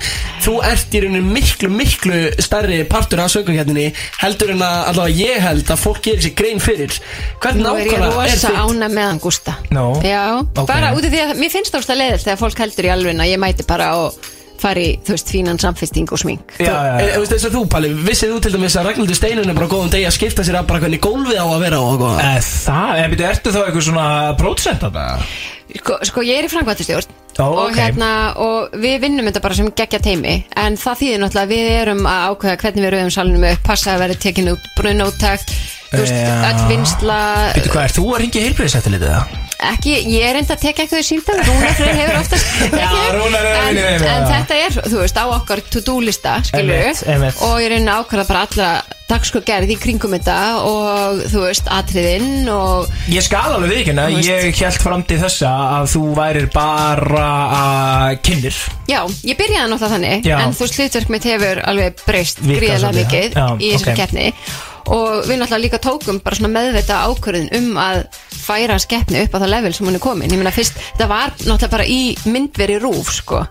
S1: Þú ert í rauninu miklu, miklu stærri partur af söngakefninni heldur en að allavega ég held að fólk gerir sér grein fyrir. Hvernig
S6: Nú er ég
S1: nákvæmlega er
S6: rosa
S1: þitt?
S6: ána meðan Gústa
S2: Nú,
S6: Já,
S2: ok.
S6: bara út af því að mér finnst það leðilt þegar fólk heldur í alveg að ég mæti bara og fari, þú veist, fínan samfesting og smink
S2: Já, já,
S1: En
S2: já.
S1: þú veist þess að þú Palli, vissið þú til dæmis að Ragnhildur Steinun er bara á góðum degi að skipta sér að bara hvernig gólfið á að vera og eitthvað?
S2: Eh, Það, en byrju, ertu þá eitthvað svona prótsent að það?
S6: Sko, sko ég er í frangvættustjórn
S2: Ó,
S6: og,
S2: ok.
S6: hérna, og við vinnum þetta bara sem geggja teimi en það þýðir náttúrulega að við erum að ákveða hvernig við rauðum salunum upp, passa að vera tekin út brunóttakt, þú veist,
S2: Já.
S6: öll vinsla
S2: Byrju, hvað, ert þú að ringja heilbreyðsættilitið það?
S6: ekki, ég er enda að teka eitthvað í síndal Rúnar Freyr hefur oftast
S2: [laughs]
S6: tekið
S2: Já, Rúnar er
S6: en,
S2: vinur þeirra,
S6: en
S2: já.
S6: þetta er, þú veist, á okkar to-do lista, skilur
S2: Einmitt, einmitt.
S6: og ég reyna ákvæða bara allra dagskurgerð í kringum þetta og þú veist, atriðinn og
S2: Ég skal alveg við ekki,
S6: Þú veist.
S2: ég held fram til þessa að þú værir bara uh, að kynir
S6: já, ég byrjaði náttúrulega þannig
S2: Já.
S6: en þú veist, hlutverk mitt hefur alveg breyst
S2: Víkkað
S6: gríðilega
S2: svolítið,
S6: mikið
S2: já.
S6: í
S2: Já,
S6: þessari
S2: ok.
S6: okay. og við náttúrulega líka tókum bara svona meðvita ákvörðin um að færa skeppni upp á það level sem hún er komin ég meina fyrst, þetta var náttúrulega bara í myndveri rúf sko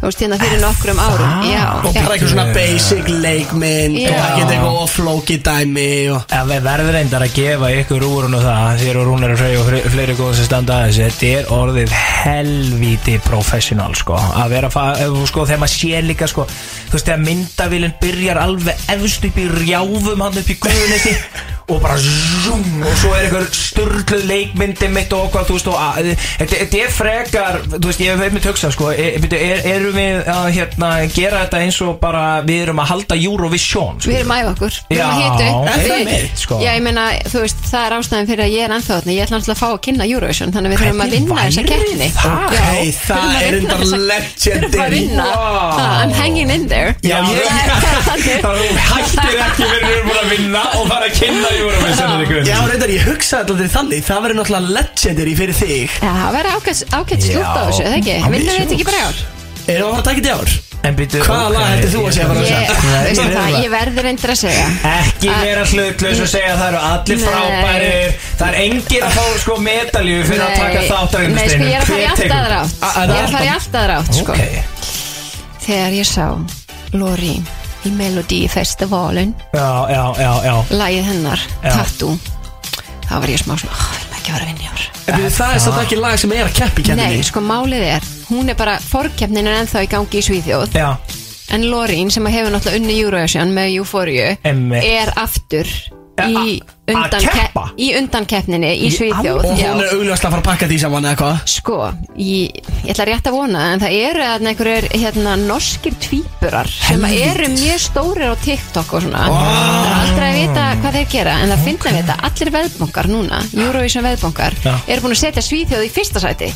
S6: þú veist hérna fyrir nokkrum
S2: Ah,
S6: árum já,
S1: Og
S6: já.
S1: bara eitthvað svona basic leikmynd
S6: Já.
S1: og ekki eitthvað oflóki dæmi og...
S2: En við verður reyndar að gefa ykkur úr og það þér og Rúnar og Frey og fle- fleiri góðum sem standa að þessu þetta er orðið helvíti professional sko að vera að fara, ef- sko þegar maður sé líka sko þú veist þegar myndavílinn byrjar alveg efst upp í rjáfum hann upp í guðunissi og bara zoom og svo er einhver störluð leikmyndi mitt og okkur þú veist og að, þetta þetta er frekar þú veist ég hef með töksa sko e, byrju, er, erum við að hérna gera þetta eins og bara við erum að halda Eurovision sko
S6: Við erum að æfa okkur, við erum að
S2: Já,
S6: hita upp
S2: er það
S6: Við-
S2: mitt, sko?
S6: Já, ég meina, þú veist, það er ástæðan fyrir að ég er ennþá þarna Ég ætla náttúrulega að fá að kynna Eurovision Þannig að við þurfum að
S2: Hvernig
S6: vinna þessa
S2: væri
S6: keppni
S2: það?
S6: Já,
S1: Nei, það
S6: þurfum að
S1: er
S6: vinna
S1: reyndar
S6: þessa- Þurfum að
S1: legendary.
S6: vinna
S2: Vá.
S6: Ha, I'm hanging in there
S2: Já, ég
S6: Þannig.
S2: Það þú hættir ekki verið við erum búin að vinna og fara að kynna Eurovision eða eitthvað.
S1: Já, reyndar, ég hugsaði alltaf til þannig, það verður náttúrulega legendary fyrir þig.
S6: Já, það verður ágætt, ágætt
S2: Já,
S6: slútt á þessu, eða ekki?
S2: hann
S6: Vinnum við
S2: vissi
S6: þetta ekki
S2: það.
S6: bara í ár?
S1: Erum við að fara að taka þetta í ár?
S2: En býtu
S1: Hvaða lag heldur þú að sé að fara að
S6: Ég,
S1: Nei,
S6: þú veist
S1: nei,
S6: það,
S1: nei.
S6: ég verður reyndir að segja
S2: Ekki vera hlutlaus og segja að það eru allir
S6: Nei.
S2: frábærir Það er engin að fá sko medalju fyrir að taka
S6: Nei, sko,
S2: þáttar Ah,
S6: Nei, sko, ég er að fara í allt aðra átt Ég er að fara í allt aðra átt, sko
S2: Ok
S6: þegar ég sá Lori í Melody Festivalin
S2: Já, já, já, já
S6: lagið hennar,
S2: Já.
S6: Tattoo þá var ég smá svona, "Ah, vil maður ekki vera að vinna í ár
S1: Það er svolítið ekki lag sem er að keppi
S6: Nei,
S1: kemminni
S6: sko málið er, hún er bara forkeppnin er ennþá í gangi í Svíþjóð
S2: Já,
S6: en Lorín sem hefur náttúrulega unni Eurovision með Euphoria
S2: Einmitt.
S6: er aftur í,
S2: a- að
S6: undan
S2: keppa?
S6: í undankeppninni í
S2: Í
S6: Svíþjóð
S1: Og
S6: Já.
S1: hún er augljóðast að fara að pakka því saman eða hvað
S6: Sko, ég, ég ætla rétt að vona en það eru að einhverjir hérna, norskir tvíburar sem að eru mjög stórir á TikTok og svona það er aldrei að vita hvað þeir gera en það finna við þetta, allir veðbongar núna Eurovision veðbongar,
S2: Já.
S6: eru búin að setja Svíþjóð í fyrsta sæti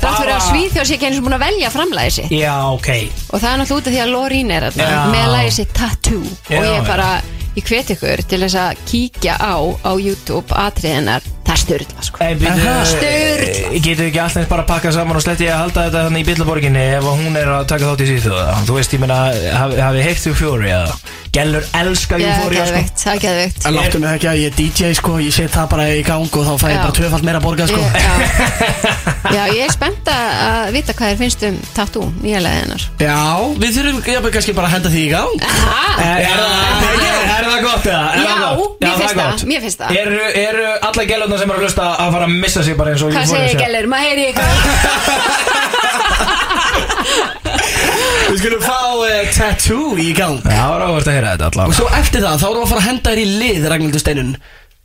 S6: Þrátt fyrir að
S2: Bara-
S6: Svíþjóð sé ekki eins og búin að velja framlæði sitt
S2: já, ok
S6: og það er náttúrulega út af því að Lorín er þarna
S2: Já.
S6: með að lægi sitt tattoo
S2: Já,
S6: og
S2: já.
S6: ég bara, ég hveti ykkur til þess að kíkja á á YouTube atriðinar, það er styrla sko.
S2: Hey, byrju,
S6: Sturla.
S2: Eh, Getur ekki alltaf bara að pakka saman og sletti að halda þetta þannig í Billaborginni ef hún er að taka þátt í síðþjóða Þú veist, ég meina, hafi, hafi heitt Euphoria eða? Gellur elska
S6: Já,
S2: Euphoria sko.
S6: geðveikt, það er geðveikt
S1: En láttu mig ekki að ég er DJ sko, ég set það bara í gang og þá fæ ég
S6: Já.
S1: bara tvöfald meira borgað sko
S6: Ég-
S2: [laughs]
S6: Já. já, ég er spennt að að vita hvað þér finnst um tattoo nýja leiði hennar
S1: Já, við þurfum jafnvel kannski bara að henda því í gang
S2: Er, er, það- er það gott eða? Er
S6: Já,
S2: það gott?
S6: mér
S2: er
S6: finnst það,
S2: gott.
S6: mér finnst það.
S2: Eru eru alla gælurna sem eru að hlusta að fara að missa sig bara eins og
S6: Hvað segir
S2: Euphoria
S6: ég,
S2: sé?
S6: Gellur? Maður heyri ykkur
S1: Við skulum fá uh, tattoo í gang
S2: Já, það var áhvert að heyra þetta
S1: Og
S2: allavega
S1: svo eftir það, þá erum við að fara að henda þér í lið Ragnhildur Steinun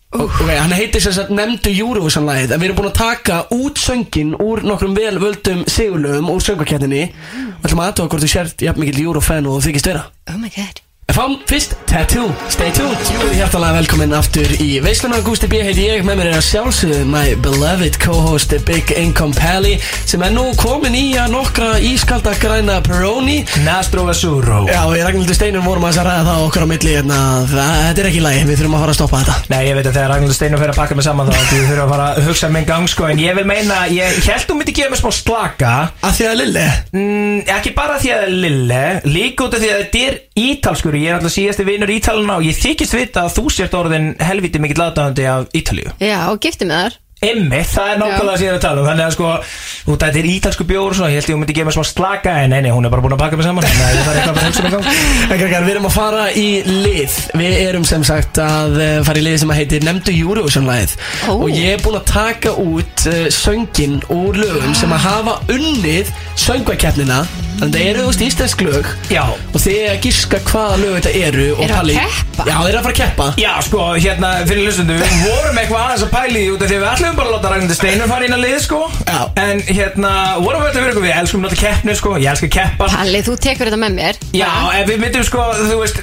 S1: Ok, hann heitir sem sagt nefndu Eurovision-læð En við erum búin að taka út söngin úr nokkrum velvöldum sigurlöfum úr söngakettinni Og ætlum að aðtóa hvort þú sért jafn mikill Eurofan og þykist vera
S6: Oh my god
S1: En Fáum fyrst Tattoo, stay tuned Jú, hjartalega velkomin aftur í veisluna Gústi B heiti ég, með mér er að sjálfsögðu My beloved co-host Big Income Pally Sem er nú komin í að nokkra ískalda græna Peroni
S2: Nastro Vesuro
S1: Já, við Ragnhildur Steinum vorum aðeins að ræða það okkur á milli hérna, það, Þetta er ekki í lagi, við þurfum að fara að stoppa þetta
S2: Nei, ég veit að þegar Ragnhildur Steinum fer að pakka mig saman þá Þú þurfa að fara að hugsa minn gang sko En ég vil meina, ég held hún myndi gera mig smá slaka
S1: Af því að Lilli
S2: mm, Ekki bara því að það er lille Líka út af því að þetta er ítalskur Ég er alltaf síðasti vinur ítalana Og ég þykist vita að þú sért orðin helviti mikill aðdáðandi af Ítalíu
S6: Já, og gifti með þar
S2: Emmi, það er nákvæmlega sem ég er að tala um Þannig að sko, út að þetta er ítalsku bjór og svona, Ég held ég hún myndi gefa mig smá slaka En neini, hún er bara búin að pakka mig saman Þannig að ég þarf eitthvað að hugsa mig gang
S1: En krakkar, við erum að fara í lið Við erum sem sagt að eh, fara í lið sem að heitir Nemndu Eurovision-læð
S6: Ó.
S1: Og ég er búinn að taka út uh, söngin úr lögum sem að hafa unnið söngvakeppnina Þannig að það eru þú veist íslensk lög
S2: Já,
S1: Og þið er að giska hvaða lög þetta eru og
S6: Eru að
S1: Palli-
S6: keppa?
S1: Já, þeir eru að fara að keppa
S2: Já, sko, hérna, fyrir lustundu, við vorum eitthvað aðeins að pæli því út af því að við ætlum bara að láta Ragnhildur Steinur fara inn að lið, sko
S1: Já.
S2: En hérna, vorum við þetta verið, við elskum náttúrulega keppnu, sko, ég elska keppa
S6: Palli, þú tekur þetta með mér
S2: Já, ef við myndum, sko, þú veist,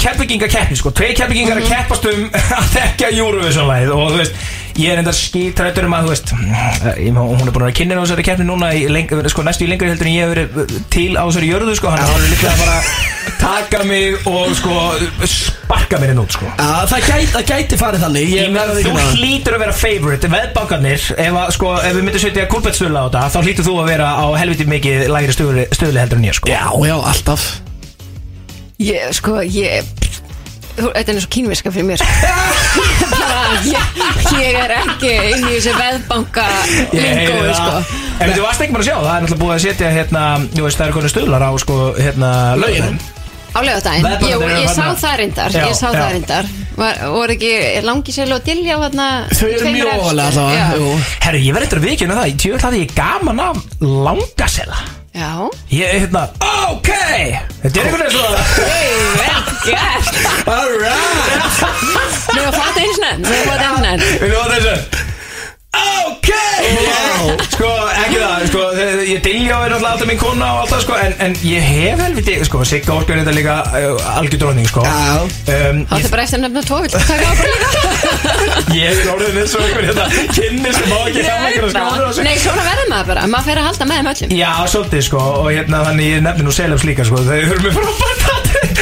S2: keppiginga keppni, sko Tvei keppigingar
S1: Mhm.
S2: að keppast um [laughs] að þekka Eurovision-læð Og, þú veist, ég er enda skítrættur um að, þú veist, ég, má- hún er búin að vera kynna á þessari keppni núna í leng, Sko, næstu í lengri heldur en ég hef verið uh, til á þessari jörðu, sko Þannig að hún er líklega að fara að taka mig og, sko, sparka mér inn út, sko
S1: Já, það gæti, það gæti farið þannig
S2: Ég
S1: Ég
S2: meina,
S1: verði
S2: Þú
S1: ekki með
S2: hlýtur að vera favorite Veðbankarnir, ef, að, sko, ef við myndum setja kulbettstöðla á þetta Þá hlýtur þú að vera á helviti mikið Lægri stöðli, stöðli heldur en ég sko
S1: Já, já, alltaf
S6: Ég, sko, ég Þú- Þetta er eins og kínverska fyrir mér sko. Bara, ég, ég er ekki inn í þessu veðbanka lingói, sko
S2: En þú varst ekki bara að sjá, það er náttúrulega búið að setja hérna, þú veist, það er konið stöðlar á sko, hérna,
S1: Lögin.
S6: Á lögadaginn,
S2: Veðbankarnir
S6: ég,
S2: eru
S6: ég sá
S2: þarna.
S6: það reyndar
S2: Já,
S6: Ég sá
S2: já.
S6: það reyndar Var, voru ekki langi sér og dilja þarna
S1: Þau eru
S6: tveimur
S1: mjög
S6: efstu?
S1: ofalega
S6: Já.
S1: allavega jú.
S2: Herru, ég verði eitthvað vikið um það, ég tjóðla að ég gaman af langasela
S6: Já
S2: Ég, hérna, ok Þetta er einhvern veginn svona Alright
S6: Nei, að fatta eins nefn Nei, að fatta eins nefn
S2: Við lóðum þessu Ok Sko, ekki það, sko, þe- ég dilja á þér alltaf alltaf mín kona og alltaf, sko En, en ég hef helviti, sko, Sigga Orku er þetta líka uh, algjör dróning, sko
S1: Já.
S2: um,
S6: Háttu bara eftir að nefna tvo Vilt þú taka á bara líka
S2: Ég hef orðið eins og einhver hérna kynni sem má ekki hafa einhverja skáður á sig
S6: Nei, svona verður maður bara Maður fer að halda með þeim öllum
S2: Já, svolítið, sko, og hérna, þannig ég nefni nú Selefs líka, sko, þau höfum við frá bara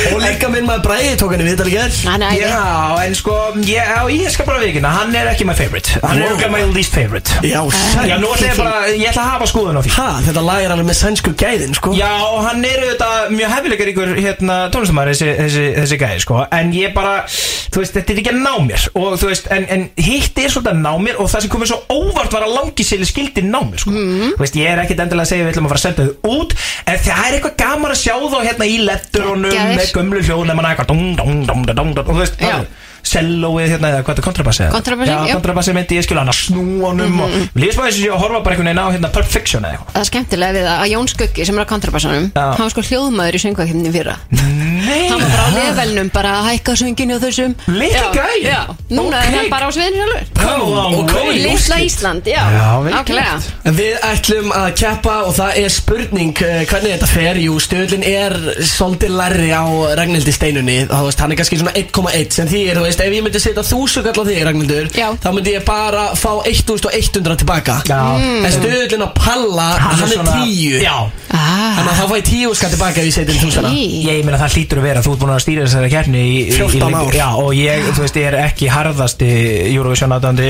S1: Og líka minn maður Bræði tók henni viðtal í gerð
S6: Hann er æði.
S2: Já, en sko, ég, já, ég skal bara vikina Hann er ekki my favorite Hann er ekki my least favorite
S1: Já, sæl
S2: Já, nú ætla ég bara, ég ætla að hafa skoðun á því
S1: Ha, þetta lag er alveg með sænsku gæðin, sko
S2: Já, og hann er auðvitað mjög hefilegar ykkur hérna, tónlistamæður þessi, þessi, þessi gæði sko. en ég bara, þú veist, þetta er ekki að ná mér og þú veist, en, en hitt er svolítið að ná mér og það sem komið svo óvart var að langi sili skildi ná mér sko.
S6: Mhm.
S2: þú veist, ég er ekkit endilega að segja við ætlum að fara að senda þau út en það er eitthvað gaman að sjá þá hérna í letturunum
S6: Geggjaðir.
S2: með gömlu hljóðnum eitthvað dung, dung, dung, dung, dung, dung, og þú veist,
S6: Já.
S2: það er sellóið hérna eða hvað er kontrabassi eða?
S6: Kontrabassi,
S2: já,
S6: já. Mhm.
S2: kontrabassi myndi ég skilja hann að snúanum mm -hmm. og lífsmaður sem ég að horfa bara einhvern veginn á hérna Pulp Fiction eða eitthvað
S6: Það er skemmtilega við það að Jón Skuggi sem er á kontrabassanum
S2: Já.
S6: hann var sko hljóðmaður í söngvakefnin fyrra
S2: Nei,
S6: hann var bara á levelnum bara að hækka sönginu og þessum
S2: Litli
S6: Já,
S2: gæi?
S6: Já, núna
S2: Ok.
S6: er hann bara á sviðinu sjálfur
S2: Come on,
S1: Og
S2: Wales.
S1: Wales.
S6: Lilla Ísland, já,
S2: Já, vel
S6: nákvæmlega.
S1: En Við ætlum að keppa og það er spurning eh, hvernig þetta fer Jú, stöðlinn er svolítið larri á Ragnhildi steinunni Þá veist, hann er kannski svona 1,1 sem því er, þú veist, ef ég myndi setja 1000 kall á þig, Ragnhildur
S6: Já.
S1: Þá myndi ég bara fá 1100 tilbaka
S2: Já.
S1: En stöðlinn á Palla, hann, er 10
S2: Já,
S6: Ah,
S1: Þannig að þá fæ ég 10 skall tilbaka ef ég setja 1000 okay.
S6: í.
S2: ég meina það hlýtur að vera Þú ert búin að stýra þessari kjarni í, í-
S1: 14
S2: í,
S1: ár.
S2: Já, og ég, þú veist, ég er ekki harðasti Eurovision aðdandi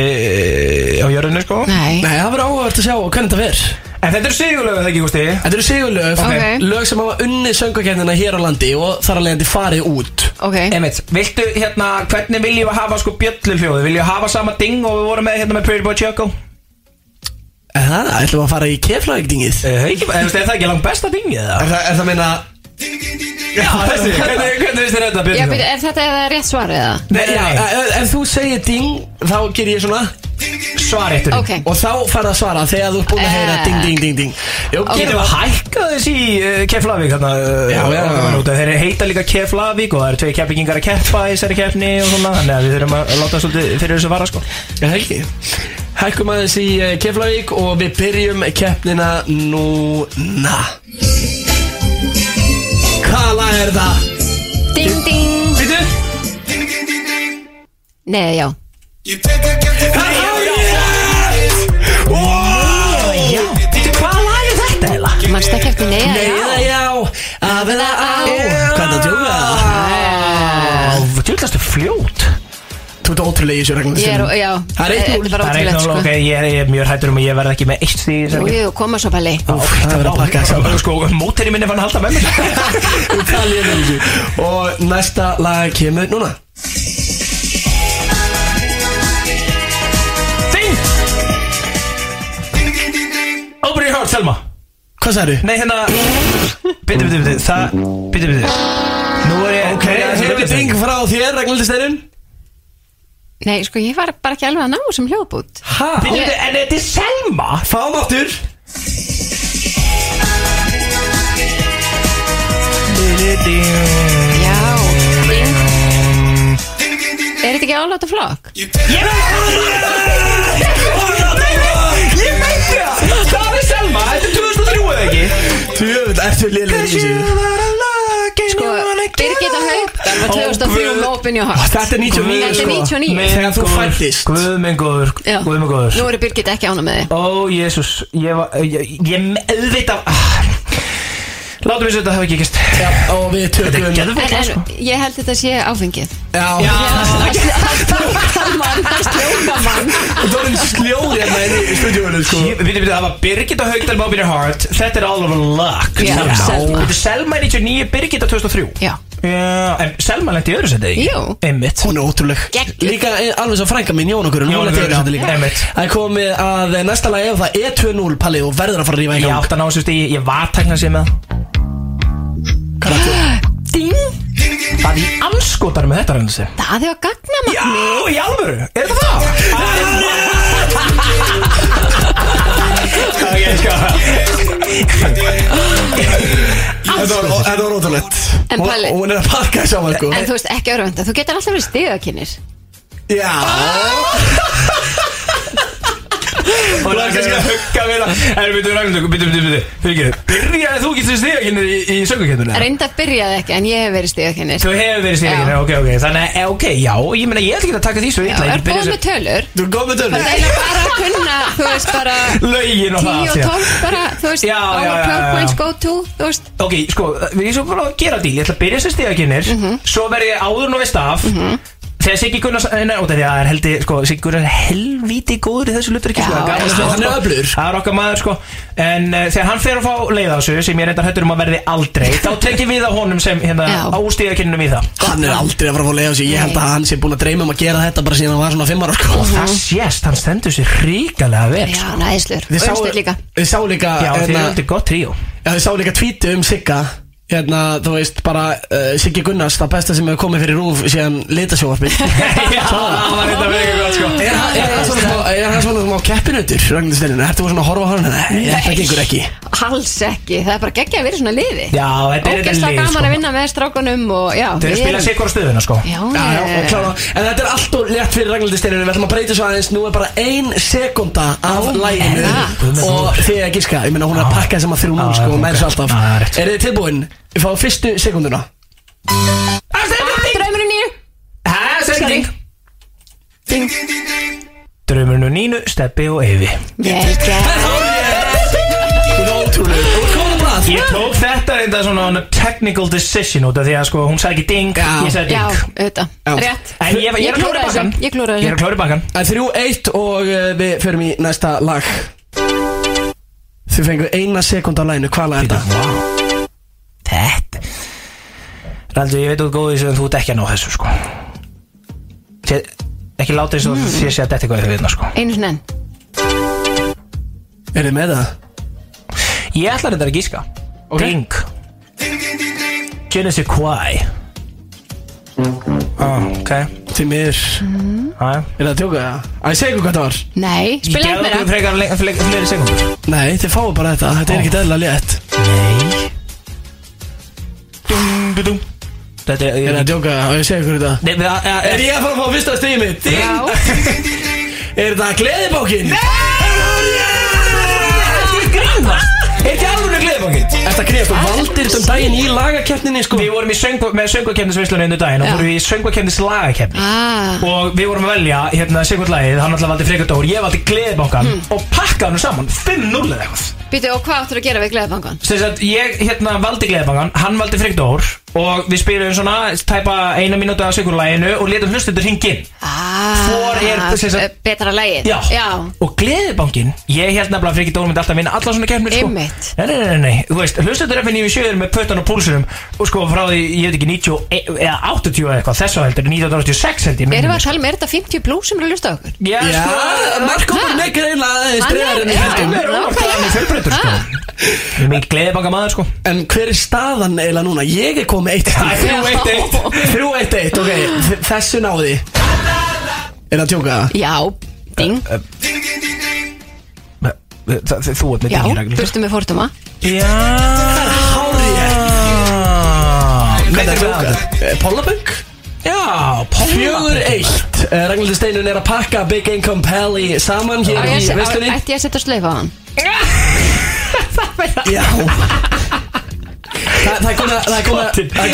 S2: á jörðinni, sko
S6: Nei,
S1: Nei, það verður áhugavert að sjá hvernig þetta fer
S2: En þetta eru sigurlega það ekki, Gusti
S1: Þetta eru sigurlöf,
S6: Ok.
S1: lög sem hafa unni söngakefnina hér á landi og þar að leiðandi farið út
S6: ok
S2: Emmett, viltu hérna, hvernig viljum við hafa sko bjöllu hljóðu? Viljum við hafa sama ding og við vorum með hérna með Pretty Boy Choco?
S1: En það, ætlum við að fara í keflægdingið
S2: Eh, ekki- eh, Þú veist, er það ekki langt besta dingið það?
S1: [laughs] Er það, er það meina
S2: Já, þessi, hvernig, hvernig finnst þér þetta
S6: Já,
S2: bjöllu
S6: byrju, er þetta eða rétt svar eða?
S1: Nei, já, ef, ef þú segir ding þá ger ég svona
S2: Svarétturinn
S6: Ok.
S1: og þá fara að svara þegar þú er búin að heyra
S6: Eh.
S1: ding ding ding ding Jó,
S6: Ok.
S2: Getum
S1: gerum
S2: við
S1: við
S2: hækkað þess í uh, Keflavík þarna uh,
S1: Já, já.
S2: okkar út af- Þeir heita líka Keflavík og það eru tvei keppigingar að keppa í þessari keppni og svona Þannig að við þurfum að láta svolítið fyrir þessu vara sko
S1: Já, helgi Hækkum aðeins í eh, Keflavík og við byrjum keppnina núna Kala er það
S6: Ding, ding
S2: Býtu?
S6: Nei, já
S2: Já, býtu hvað lag er þetta eða?
S6: Manst ekki eftir nei,
S1: Nei,
S6: já
S1: eða já, af eða á
S6: Já.
S1: Hvað er það að djóka?
S2: Djúllastu fljót
S1: Þú ert ótrúlega í þessu reglum
S6: Ég er, já
S1: Það er eitt núll.
S2: Það er
S6: Þetta var ótrúlegt,
S2: eitthvað
S6: sko
S2: ok, ég er, ég er mjög hættur um að ég verð ekki með eitt stíð í
S6: Jú,
S2: þessari
S6: jú, koma svo palli
S1: Úf, það verður að pakka þess saman
S2: Sko, móteri minni fann að halda með mér
S1: Þú talið um þessu [laughs] Og næsta lag kemur núna
S2: Þing Open your heart, Selma
S1: Hvað sagðu?
S2: Nei, hérna Bitti, bitti, bitti Það Bitti, bitti Nú er ég
S1: Ok, hefur við ding
S2: ding
S1: frá þér, Ragnhildur Steirun?
S6: Nei, sko, ég var bara ekki alveg að ná sem hljóðbút
S1: Ha?
S2: Bitti, bitti, en þetta er Selma
S1: Fáum aftur
S6: Já, ding Er þetta ekki áláta flokk?
S2: Ég veit það Ég veit það Það er Selma Þetta er 2003 eða ekki
S1: Tjöfn, ertu liðlega í þessu
S6: Sko, Birgitta Haugdal var 2003 með Open Your Heart
S1: Þetta er 99
S6: Þetta er
S1: sko
S6: 99
S1: Þegar þú fæddist.
S2: Guð minn góður
S6: Já.
S2: Guð minn góður
S6: Nú eru Birgitta ekki ána með þið
S2: Ó, Jésús, ég var, ég, ég auðvitað ah. Látum við þetta hafa ekki gæst
S1: Já, og við tökum
S2: Þetta er
S6: En, en ég held þetta sé áfengið
S1: Já,
S2: Ah.
S6: Sljókamann, sljókamann
S1: þú erum sljóð hérna inn í stúdíóinu sko
S2: Við veitum við það var Birgitta Haugdal Bobby Hart Þetta er All of Luck
S6: Já,
S2: Selma.
S6: Selma.
S2: Þetta er Selma er 99, Birgitta 2003
S6: Já.
S2: En Selma lendi í öðru setið ekki?
S6: Jú.
S2: Einmitt
S1: Hún er ótrúleg
S7: Geggjuð.
S1: Líka eh, alveg svo frænka mín, Jón okkur hún
S2: Jón
S1: lenti í
S2: okkur,
S1: þessu
S2: já,
S1: líka.
S2: einmitt.
S1: Það er komið að eh, næsta lag ef það er 2-0 Palli og verður að fara að rífa í
S2: Ég
S1: gang
S2: átt að ná þessu stigi, ég var teknað sér með það.
S6: Ding,
S2: Það er í anskotar með þetta reyndu sig
S6: það hefur gagnamagn
S2: Já, í alvöru, er þetta það? Ok, sko
S1: Þetta var- þetta var ótrúlegt
S6: En
S1: Og
S6: Palli-
S1: og hún er að pakka þess saman sko
S6: En þú veist ekki örvenda, þú getur alltaf verið stigakinnir
S1: Já
S2: Hún er kannski að hugga við það En við byrjum ræknum Byrjum, byrjum, byrjum Fyrirgeðu Byrjaði þú ekki til stíðakennir í, í söngakennur?
S6: Reynda byrjaði ekki, en ég hef verið stíðakennir
S2: Þú hefur verið stíðakennir,
S6: Já.
S2: ok, ok Þannig, að, eh, ok, já Ég meina, ég ætla ekki að taka því svo illa
S6: Er góð með tölur
S2: Þú er góð með
S6: Það
S2: tölur
S6: er eiginlega bara að kunna, þú veist, bara
S2: Lögin og
S6: 10
S2: það
S6: og
S2: allt, já.
S6: 12 bara, þú veist,
S2: Já, já,
S6: all
S2: já,
S6: the
S2: já,
S6: PowerPoints
S2: já.
S6: go to, þú veist
S2: Ok, sko, við erum bara að gera því Ég ætla að byrja sem stíðakennir
S6: Mhm.
S2: Svo verð ég áður nú við staf Þegar Siggi Gunnars, nei, nei, út af því að það er heldi, sko, Siggi Gunnars er helvíti góður í þessu hlutur ekki, sko,
S6: Já,
S2: það gaman að
S1: já,
S2: sjá,
S1: hann er
S2: sko.
S1: öflugur.
S2: Það er okkar maður, sko, en uh, þegar hann fer að fá leið á þessu, sem ég reyndar hættur um að verði aldrei, þá tekjum við á honum sem, hérna,
S6: Já.
S2: ástíðakinnum í það.
S1: Hann er aldrei að fara að fá að leiða sig Ég held að hann sé búin að dreyma um að gera þetta bara síðan hann var svona fimm ára sko.
S2: Það sést, hann stendur sér ríkalega vel,
S6: Mhm. Já,
S2: sko.
S6: næðislur,
S1: Þið sáu-
S6: ömstuð líka
S1: Þið sáu líka
S2: Já, þeir eru
S1: hérna,
S2: aldrei gott tríó.
S1: Já, þið sá líka tvítu um Sigga Hérna, þú veist, bara uh, Siggi Gunnars, það besta sem hefur komið fyrir rúf síðan litasjóvarpi
S2: [laughs] Já, það var þetta mega gott, sko.
S1: Er hann- er hann svona smá- er hann svona smá keppinautur, Ragnarsteinun? Ertu bara svona að horfa á hann? Nei, þetta gengur ekki
S6: Alls ekki, það er bara geggja að vera í svona liði
S2: Já, þetta er þetta
S6: Ógæsla
S2: lið,
S6: gaman
S2: sko.
S6: að vinna með strákunum og já
S2: Þeir eru að
S6: við
S2: spila
S6: erum-
S2: sig hvora stöðuna, sko.
S6: Já,
S1: Já, já,
S6: ég-
S1: og klára En þetta er allt og létt fyrir Ragnarsteinun Við ætlum að breyta svo aðeins, nú er bara ein sekunda af
S6: Ó,
S1: læginu
S6: er það?
S1: Og þið er að giska, ég meina hún er að pakka sem að þrjú núl
S2: Já,
S1: sko, og nær svo
S2: ok. Já, það er rétt.
S1: alltaf Er þið tilbúin? Fá fyrstu sekunduna
S6: Ah, Draumurinn í
S2: Hæ, sending.
S6: Ding.
S2: Draumurinn og Nínu, Steppi og Eyvi.
S6: Ég
S1: Hún er ótrúlega, hún er komin brað
S2: Ég tók þetta reynda svona on a technical decision út af því að sko hún sagði ekki ding,
S1: Já.
S2: ég sagði
S6: Já,
S2: ding
S6: auðvitað,
S1: Já.
S6: rétt
S2: En ég, ég er að klóra
S6: klúðraði þessu,
S2: bakkan
S6: Ég
S2: Ég
S6: klúra
S2: er
S6: þessu
S2: að klóra bakkan
S1: Það er þrjú eitt og uh, við förum í næsta lag Þið fengu eina sekund á læginu, hvað lag er þetta?
S2: Þetta Raldur, ég veit út góðið sem þú ert ekki að ná þessu sko Sér, Ekki láta eins og mm. ég sé að þetta er hvað þau veitna sko
S6: Einu sinni enn
S1: Er þið með það?
S2: Ég ætla reynda að gíska Ding Genesis Quai Ah, ok
S1: Þið miður,
S2: Æ.
S1: er það að tjóka það? Æ, segja ykkur hvað það var
S6: Nei,
S2: Ég
S6: spila
S2: gerði
S6: hérna
S2: okkur frekar leng- fle- fleiri sekundur
S1: Nei, þið fáu bara þetta, þetta er ekkert eðla létt
S2: Nei Dum, dum, dum Þetta er,
S1: Er það að tjóka það? Æ, segja ykkur þetta
S2: Nei, við- að- að-
S1: Er ég að fara að fá fyrsta stíði mitt? Ding!
S6: Já,
S1: Er þetta gleðibókin? Nei!
S2: Er ekki alveg gleðibókin?
S1: Þetta greið, þú valdir þetta um daginn í lagakeppninni sko
S2: Við vorum í söngu, með söngvakefnisvislunni einu daginn og
S6: Já.
S2: fórum við í söngvakefnis lagakefni
S6: Ah.
S2: og við vorum að velja hérna Sigurd lagið, hann alltaf valdi frekardór, ég valdi gleðibókan
S1: Hmm.
S2: og pakkaði hann saman, 5-0 eða eitthvað
S6: býtu, og hvað áttur að gera við gleðabankan?
S2: Þess að ég hérna valdi gleðibókan, hann valdi frekardór og við spilum svona tæpa eina mínútu af Sigurd laginu og letum hlustundur hringin
S6: Ah.
S2: Hvor er sem sagt-
S6: Betra lægið
S2: Já. Og gleðibankin, ég held nefnilega að Friki Dór myndi alltaf vinna alla svona kemur sko.
S6: Einmitt.
S2: Nei, nei, nei, nei, þú veist, hlustendur F97 er með pötan og púlsunum og sko frá því, ég veit ekki, 90 eða 80 eða eitthvað, þessu heldur, 1986 heldur
S6: Erum við að tala með, er þetta 50 plus sem eru að lusta okkur?
S2: Já,
S1: Já, Marko var nekkir eiginlega aðeins breyðar en ég
S6: já,
S1: held
S2: sko,
S1: um
S2: mér sko. er óvart að hann er fjölbreytur sko Ég er mikið gleðibanga maður sko
S1: En hver er staðan eiginlega núna? Ég er komið eitt stíð
S2: [laughs]
S1: Þrjú eitt eitt, ok, þ- þessu náði Er það tjóka það?
S6: Já, ding,
S2: Þa- þa- Þú ert með
S6: já,
S2: dingir reglur
S6: burtu með fórtuma
S2: Já
S1: Hvað
S2: Hvað
S1: Ah. er
S2: er
S1: tjóka?
S2: það?
S1: Pollabögg?
S2: Já, Pálma
S1: Fjögur eitt Eh, Ragnhildur Steinun er að pakka Big Income Pally saman
S6: Á,
S1: hér í
S6: ég-
S1: veistunni
S6: á- Ætti ég að setja sleif á hann?
S1: Já Þa, Það er komið að- það er komið að- það er komið- það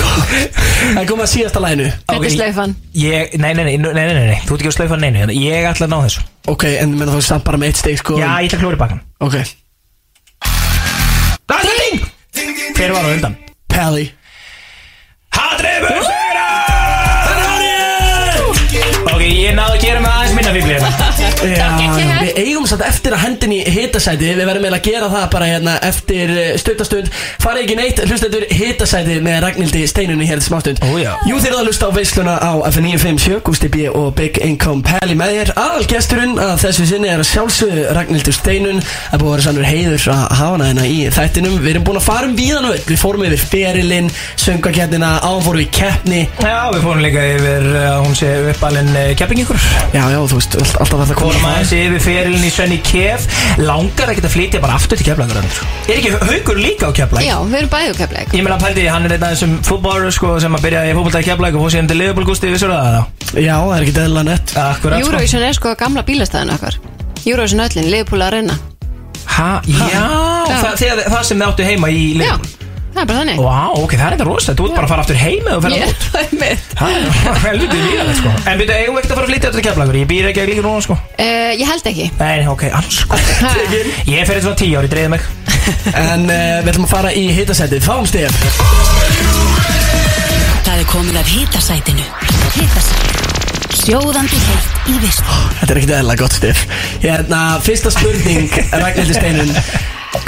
S1: er komið að síðasta læginu
S6: Þetta er sleifan
S2: Ég, nei, nei, nei, nei, nei, nei, nei, þú ert ekki að slaufa neinu hérna. Ég ætla að ná þessu
S1: Ok, en þú menna þá samt bara með eitt steg sko
S2: Já, ég ætla að klóra í bakkan
S1: Ok
S2: Ding! Hver var á undan?
S1: Pally
S2: Hatrefur Sigra! Ok, ég náðu að gera með aðeins minna fíblir
S6: [laughs]
S2: hérna
S1: Já,
S6: gekk
S1: já,
S6: vel.
S1: við eigum samt eftir að hendin í hitasæti Við verðum eiginlega að gera það bara hérna eftir eh, stuttastund Farið ekki neitt, hlustendur hitasæti með Ragnhildi Steinunni hér til smástund
S2: Ó, já.
S1: Jú þeir eru að hlusta á veisluna á F957, Gusti B og Big Income Pally með þér Aðalgesturinn að þessu sinni er að sjálfsögðu Ragnhildur Steinun Það er búið að vera sannur heiður að hafa hana hérna í þættinum Við erum búin að fara um víðan og öll Við fórum yfir ferilinn, söngakettina, áðan fórum við í keppni
S2: Já, við fórum líka yfir uh, að hún sé uppalinn uh, kepping ykkur
S1: Já, já, þú veist, all- alltaf verður að
S2: Fórum
S1: koma
S2: aðeins yfir ferilin í Sönni Kef Langar ekkert að flytja bara aftur til keflagur Er ekki haugur líka á keflag?
S6: Já, við erum bæðið kefleik
S2: Ég meina pældi, hann er einn af þessum fútbólur sko, sem að byrja í fútbóltaði keflag og fór síðan til Liverpool Gusti, við svo það þá
S1: Já, það er ekki eðla nett
S2: Akkurat,
S6: Eurovision er sko gamla bílastæðin okkar
S2: sko
S6: Eurovision öllin, Liverpool að reyna
S2: Ha, já,
S6: Já.
S2: Það, þegar, það sem þið áttu heima í
S6: Já,
S2: Liverpool
S6: það er bara þannig
S2: Vá, ok, það er enda rosa, þú ert bara að fara aftur heima og ferða
S6: Ég-
S2: út
S6: [laughs] það er mitt.
S2: Það [laughs] er helviti líðanlegt sko En við eigum ekki að fara að flytja þetta keflagur Ég býr ekki að líka núna sko
S6: Eh, Ég held ekki
S2: Nei, ok, alls sko Ég fer eitthvað tíu ári, dreigði mig
S1: En uh, við ætlum að fara í hitasætið Fáum stef
S8: Það er komið af hitasætinu Hitasætinu Sjóðandi heitt í vist
S1: Þetta er ekkert eðla gott stef Hérna, fyrsta spurning Ragnhildur Steinun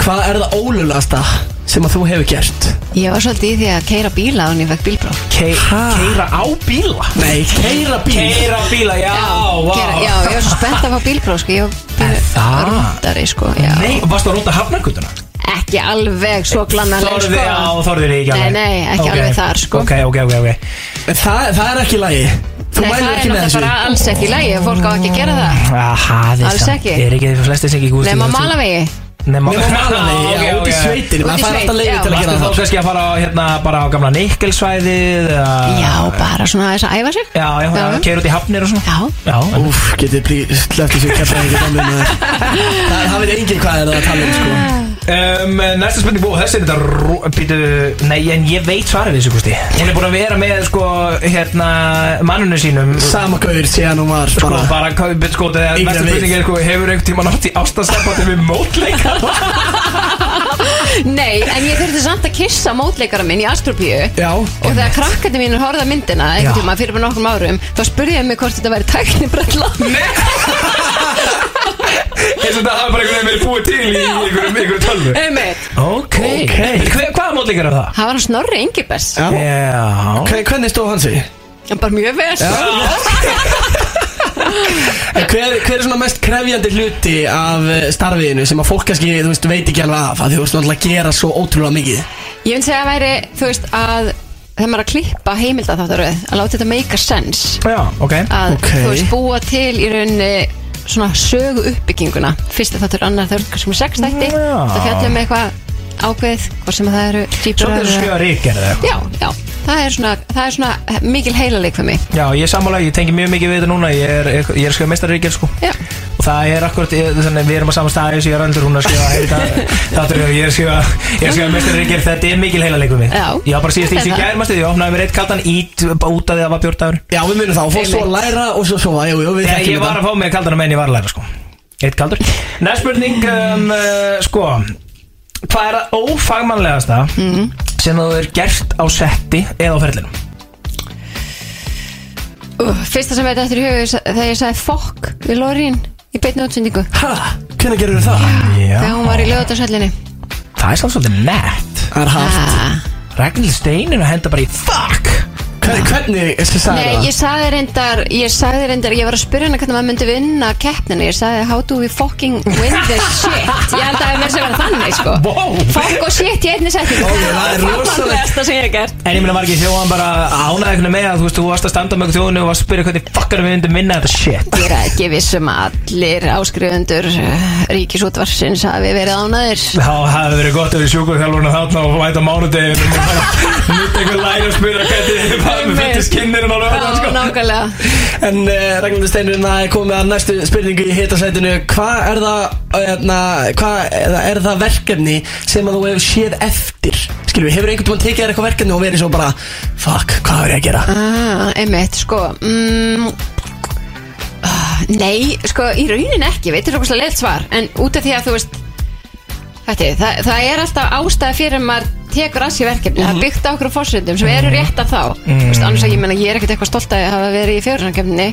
S1: Hvað er það ólulasta sem að þú hefur gert?
S6: Ég var svolítið í því að keira bíla og ég fekk bílbróf
S2: Ke Keira á bíla
S1: Nei, keira bíl
S2: Ah. Keira á bíla, já, vá
S6: Gera- Já, ég var svo spennt að fá bílbróf sko. Ég var
S2: það?
S6: rúndari sko, já.
S2: Nei, varstu að róta hafnarkutuna?
S6: Ekki alveg svo glannaleg
S2: Þorði,
S6: sko.
S2: já, þorði þig ekki
S6: Nei,
S2: alveg
S6: nei, ekki
S2: Ok.
S6: alveg þar, sko.
S2: Ok, ok, ok, ok
S1: En það, það er ekki lægi Þú
S6: Nei, það
S1: mælir
S6: er
S1: ekki með
S6: náttúrulega
S1: þessu
S6: bara alls ekki í lagi Fólk á ekki að gera það
S2: Aha, þið
S6: Alls
S2: það-
S6: ekki.
S2: Þið er ekki því flestir sem ekki gúst
S6: Nefn á malavegi
S2: Nefn
S1: Nefnum malanlega, já, út í sveitinni
S6: Út í
S1: Það fær
S6: sveit,
S1: alltaf leiði
S6: já.
S1: til að
S2: Varstu
S1: gera
S2: þá
S1: það
S2: kannski að fara á, hérna, bara á gamla nikkelsvæðið
S6: Já, bara svona aðeins að æfa sig
S2: Já, já, já,
S6: Já.
S2: keira út í hafnir og svona
S6: Já,
S2: Já, en
S1: Úf, getið slefti sér keflaði ekki Það það veit enginn hvað er það að tala um sko
S2: Um, næsta spurning búið, þessi er þetta rú- Býtu, nei, en ég veit svarið við þessu Gústi Hún er búin að vera með, sko, hérna, mannunum sínum
S1: Sama gaur síðan hún var
S2: Sko,
S1: bara
S2: bara, hvað- sko, þegar
S1: Yngri
S2: næsta
S1: en við.
S2: spurning er, sko, hefur einhvern tíma nátt í ástasambandi við mótleika? [laughs]
S6: Nei, en ég þurfti samt að kissa mótleikara minn í Astropíu
S1: Já,
S6: Og þegar krakkandi mínur horfða myndina einhvern
S2: Já.
S6: tíma fyrir bara nokkrum árum þá spurði ég mig hvort þetta væri tæknibrella
S2: Nei! Eins og þetta hafa bara einhvern veginn verið búið til í einhverjum, einhverjum tölvu
S6: Einmitt.
S2: Ok, ok Hver, Hvaða mótleikar er það?
S6: Það var hann Snorri Engibers
S1: já
S2: Já
S1: Hver- Hvernig stóð hann sig?
S6: Hann bara mjög vel
S1: En Hver, hver er svona mest krefjandi hluti af eh, starfiðinu sem að fólk kannski, þú veist, veit ekki alveg af að þú veist náttúrulega að gera svo ótrúlega mikið
S6: Ég myndi segja að væri, þú veist, að þegar maður er að klippa heimilda þáttaröð að láta þetta make a sense
S2: Já, ok
S6: að
S1: Ok.
S6: þú veist búa til í rauninni svona sögu uppbygginguna fyrst að þetta er annar þegar sem er sex þætti
S2: Já.
S6: það fjallum með eitthvað ákveð hvort sem að það eru
S2: Svolítið
S6: týpurar
S2: þessu skjöða ríkgerði eitthvað
S6: já, já, það er svona, það er svona mikil heilaleik fyrir mig
S2: Já, ég er sammála, ég tengi mjög mikið við þetta núna Ég er, ég er sko mestaríkjel sko
S6: Já.
S2: Og það er akkurat, ég, þannig við erum á saman staði Þessi ég er andur, hún er að [laughs] skrifa heita- Þáttur ég, ég er að skrifa, ég er að skrifa mestaríkjel Þetta er mikil heila leikum mig
S6: Já.
S2: Ég var bara síðast í þessu
S6: Þetta.
S2: gærmastu, ég opnaði mér eitt kaldan ít Bara út af því að það var bjórdagur
S1: Já, við munum það og fólk svo að læra og svo svo að, jú, jú, við
S2: Ég, ég
S1: þekkjum
S2: var
S1: þetta
S2: að fá mig kaldan að menn ég var að læra sko Eitt kaldur Næst spurning, um, uh, sko Hvað er það ófagmannlegasta Sem þú er gert á setti Eða á ferlinum
S6: uh, fyrsta sem veit eftir í hugu þegar ég sagði fokk við Lorín í beitni útsendingu
S1: Hæ, hvernig gerur það?
S6: þegar hún var í lögutarsöllinni
S2: Það er samt svolítið nett
S1: Það er haft
S6: Ah,
S2: Ragnhild Steinin að henda bara í Fuck
S1: Hvernig, hvernig, þessi sagði
S6: Nei,
S1: það?
S6: ég sagði reyndar, ég sagði reyndar, ég var að spyrja hana hvernig maður myndi vinna keppninu, ég sagði how do we fucking win this shit, ég held að það er með sem var þannig sko.
S2: Wow.
S6: Fuck og shit í einni setningu,
S1: það er rosalegt.
S6: besta sem ég hef gert.
S2: En ég meina var ekki þjóðan bara ánaði einhvern með að þú veist, þú varst að standa með einhvern þjóðinu og varst að spyrja hvernig fuckar við myndum vinna þetta shit
S6: Ég er ekki vissum að allir áskrifundur ríkisútvarsins hafi verið ánaðir.
S2: Þá hafði verið gott ef við sjúkuð þjálfurinn að þarna og væta mánudegi og nýtt einhvern læri og spyrja hvernig þið bara með fyrir skinnirinn á
S6: Já,
S2: lögum sko.
S6: nákvæmlega.
S1: En uh, Ragnhildur Steinurinn að komið að næstu spurningu í hitasætinu Hvað er það, hérna, hvað er, er það verkefni sem að þú hefur séð eftir? Skilju, hefur einhvern veginn tekið þér eitthvað verkefni og verið svo bara Fuck, hvað er ég að gera?
S6: Ah, einmitt, sko mm, ah, Nei, sko, í raunin ekki veit, þetta er okkur leilt svar, en út af því að þú veist Þetta, er- það, það er alltaf ástæða fyrir að maður tekur að sér verkefni,
S1: Mhm.
S6: það er byggt á okkur fórsöndum sem eru rétt af þá, þú veist, annars ekki ég meina, ég er ekkert eitthvað stolt að hafa verið í fjórunarkefni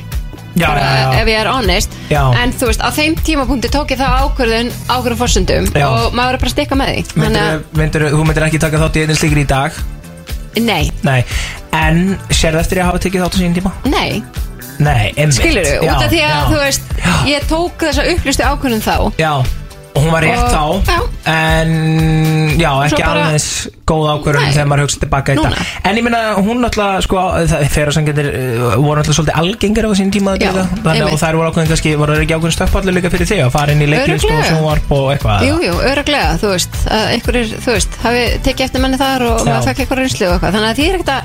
S2: Já,
S6: bara
S2: já, já.
S6: ef ég er honest
S2: Já.
S6: en þú veist, á þeim tímapunkti tók ég það ákvörðun á okkur fórsöndum
S2: Já.
S6: og maður er bara að stikka með því
S2: Myndirðu- myndirðu- Þú myndir ekki taka þátt í einnig slíkri í dag
S6: að, nei,
S2: Nei, en sér eftir að hafa tekið þátt á sínum tíma?
S6: nei
S2: Nei, einmitt
S6: skilur þú, út af því
S2: Já,
S6: að
S2: já.
S6: þú veist ég tók þessa upplustu ákvörðun þá
S2: Já, og hún var rétt
S6: Og-
S2: þá
S6: já.
S2: En já,
S6: svo
S2: ekki
S6: bara-
S2: aðeins góð ákvörðun
S6: Nei.
S2: þegar maður hugsa tilbaka í dag
S6: Núna.
S2: En ég meina, hún náttúrulega, sko, það þeirra sem getur uh, voru náttúrulega svolítið algengir á þessum tíma að
S6: Já,
S2: gera. Þannig að
S6: einmitt.
S2: þær voru ákveðin kannski, voru þær ekki ákveðin stökkpallur líka fyrir þig að fara inn í leiklist og
S6: Örugglega.
S2: sjónvarp og eitthvað
S6: Jú, jú, öruglega, þú veist að einhverjir, þú veist, hafi tekið eftir manni þar
S2: Já.
S6: og maður fekk eitthvað reynslu og eitthvað þannig að því er ekkert að,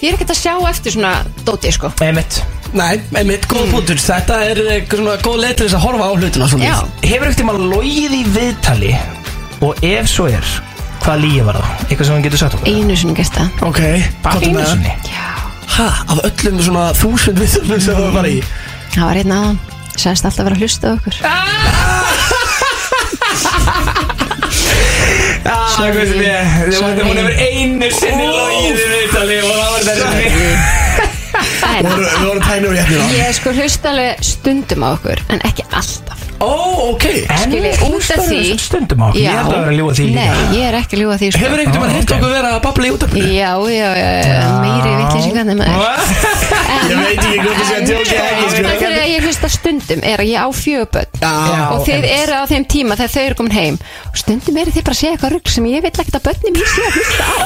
S6: því er ekkert að sjá eftir svona dóti, sko
S2: Einmitt,
S1: Nei, einmitt, góð mm. punktur Þetta er eh, svona góð leið til þess að horfa á hlutina svona.
S6: Já.
S2: Hefur ekkert tíma logið í viðtali og ef svo er, hvað lígi var það? Eitthvað sem hann getur sagt okkur?
S6: Einu sinni gæst það
S1: Ok, hvað er
S2: Einu
S1: með
S2: sinni.
S1: Hæ, af öllum svona þúsund viðtölum sem það var í
S6: Það var einn aðan Sænst alltaf að vera að hlusta á okkur
S9: Sjöku sem ég
S6: Sorry.
S9: Hún hefur einu sinni logið í viðtali og það var
S2: [laughs]
S9: þessi
S6: Það er-
S1: Við vorum tænur í hérna
S6: Ég sko hlusta alveg stundum á okkur En ekki alltaf
S1: Ó, ok
S6: Skilji, út af því
S2: Stundum á, ég
S6: Já.
S2: held að vera að ljúa því líka
S6: Nei, ég er ekki að ljúa því sko.
S1: Hefur einhvern tímann hitt okkur vera að babla í útöfnu?
S6: Já, já, já, meiri vittlýsingarnir maður En-
S1: Ég veit ekki hvort það sé að djóka eða ekki, sko.
S6: En það er að ég hlusta stundum er að ég á fjöguböld
S1: Já,
S6: og þið eru á þeim tíma þegar þau eru komin heim og stundum eru þið bara að segja eitthvað rugg sem ég vil ekkert að börnum mín sé að hlusta á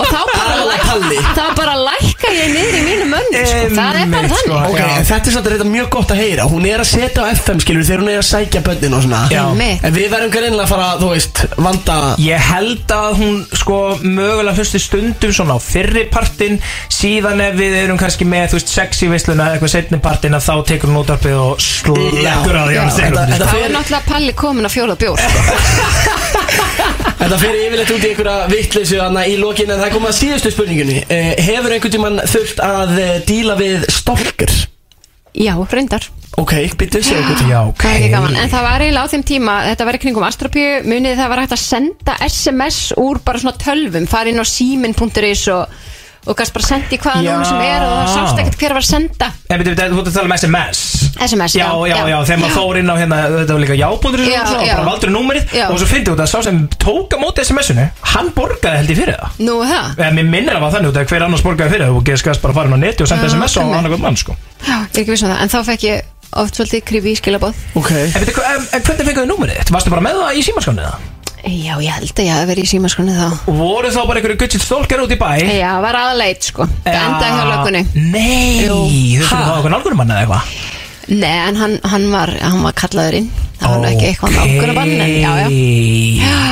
S6: og þá bara,
S1: Alla Palli.
S6: læk, þá bara lækka ég niður í mínu mönnum sko. það er bara
S2: Einmitt, sko.
S6: þannig
S1: Ok,
S2: Já.
S1: en þetta er svolítið reynda mjög gott að heyra Hún er að setja á FM skilur þegar hún er að sækja börnin og svona
S2: Já.
S6: Einmitt.
S1: En við verðum greinlega að fara, þú veist, vanda
S2: Ég held að hún sko mögulega hlusti stundum svona á fyrri partinn síðan ef við erum kannski með þú veist sexy visluna eða eitthvað setni partinn að þá tekur hún útarpið og slekkur á því
S1: Já,
S2: að
S1: þetta-
S2: segja
S1: þetta
S6: þá
S1: fer-
S6: er náttúrulega Palli komin að fjóla bjór sko.
S1: Þetta fyrir yfirleitt út í einhverja vittleysu hana í lokin En það er komið að síðustu spurningunni Eh, Hefur einhvern tímann þurft að eh, díla við stalker?
S6: já, reyndar
S1: Ok, byttu, segja einhvern
S2: Já,
S6: Það er ekki gaman,
S2: ok
S6: en það var eiginlega á þeim tíma, þetta var í kringum Astropíu, munið það var hægt að senda SMS úr bara svona tölvum, farið inn á símin.is og, og gæst bara sendi hvaða
S2: Já.
S6: núna sem er og það sást ekkert hver var að senda
S2: En byrju, þetta- þú ert að tala um SMS
S6: SMS,
S2: Já, já, já, þegar maður fór inn á hérna Þetta var líka jábúndur
S6: Já,
S2: og
S6: já.
S2: bara valdur um númerið
S6: Já.
S2: Og svo fyndi út að sá sem tók á móti SMS-unu Hann borgaði held ég fyrir það
S6: Nú er það,
S2: Eða Eh, mér minnir að það var þannig út að hver annars borgaði fyrir það Og geskast bara farin á neti og senda
S6: Já,
S2: SMS á
S6: einmitt.
S2: annarkvæm mann sko
S6: já, ég er ekki vissum það, en þá fekk ég oft svolítið krifi í skilabóð.
S1: Ok
S2: En, beti, en, en eh, hvernig fenguðu númerið þitt? Varstu bara með það í símaskónu það?
S6: Já, ég held að ég hafi verið í símaskonu þá.
S2: Og voru þá bara einhverju guttsitt stólkar út í bæ? Eh, ah,
S6: Já, var aðleit sko, það endaði hjá lökunni.
S2: Nei,
S6: Jú.
S2: þau
S6: Ha?
S2: fyrir þá okkur nálgurum manna eða eitthvað
S6: Nei, en hann, hann, var, hann var kallaður inn, það var nú ekki eitthvað nálgur að banna, en já, já.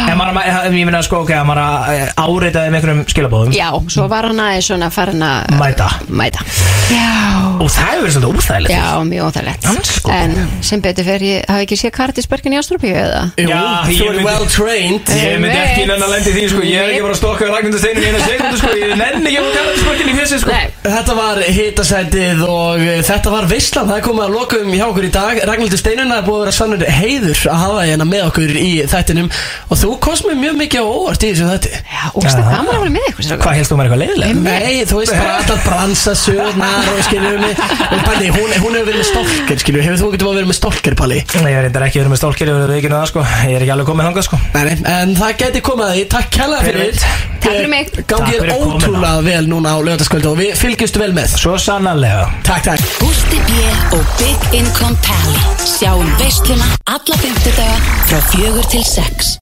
S2: En maður, en ég minna sko, ok, að maður áreitaði með einhverjum skilabóðum
S6: Já, svo var hann aðeins svona farin að
S2: Mæta.
S6: Mæta Já
S2: Og það hefur verið svolítið óþægilegt
S6: Já, mjög óþægilegt
S2: Andskotinn.
S6: En sem betur fyrir, ég hafi ekki séð Kardisbergin í Ástrupíu eða?
S1: Jú,
S2: Já, ég
S1: þú er
S2: myndi-
S1: well trained
S2: Ég myndi ekki
S6: Einmitt.
S2: nenn að lendi því sko, ég er ekki bara að stokka við Ragnhildur Steinu í eina sekundu sko, ég nenni ekki að kalla þessu spökinn í fjössi sko
S6: Nei,
S1: Þetta var hitasætið og eh, þetta var veislan, það er komið að lokum hjá okkur í dag Ragnhildur Steinuna er búið að vera sannur heiður að hafa hérna með okkur í þættinum og þú komst mér mjög mikið á óvart í þessu þætti
S6: já, úrsta
S2: Já.
S6: gaman að vera með ykkur strákar.
S2: Hvað helst þú maður eitthvað leiðilegt?
S1: Nei, þú veist bara alltaf bransa sögurnar og skiljum mig og Palli, hún, hún hefur verið með stolker, skiljum hefur þú getur verið með stolker, Palli
S2: Nei, ég er reyndar ekki verið með stólkir, ég verið ekki það sko, ég er ekki alveg komið þangað sko
S1: Nei, nei, en það geti komið að því, takk kæla fyrir
S2: Fyrir.
S6: Takk fyrir mig.
S1: Gangið
S2: Takk fyrir komuna.
S1: ótrúlega vel núna á lögataskvöldu og við fylgjumst vel með
S2: Svo sannarlega
S1: Takk, takk
S8: Gústi B. og Big Income Pally Sjáum veisluna alla fymtudaga frá fjögur til sex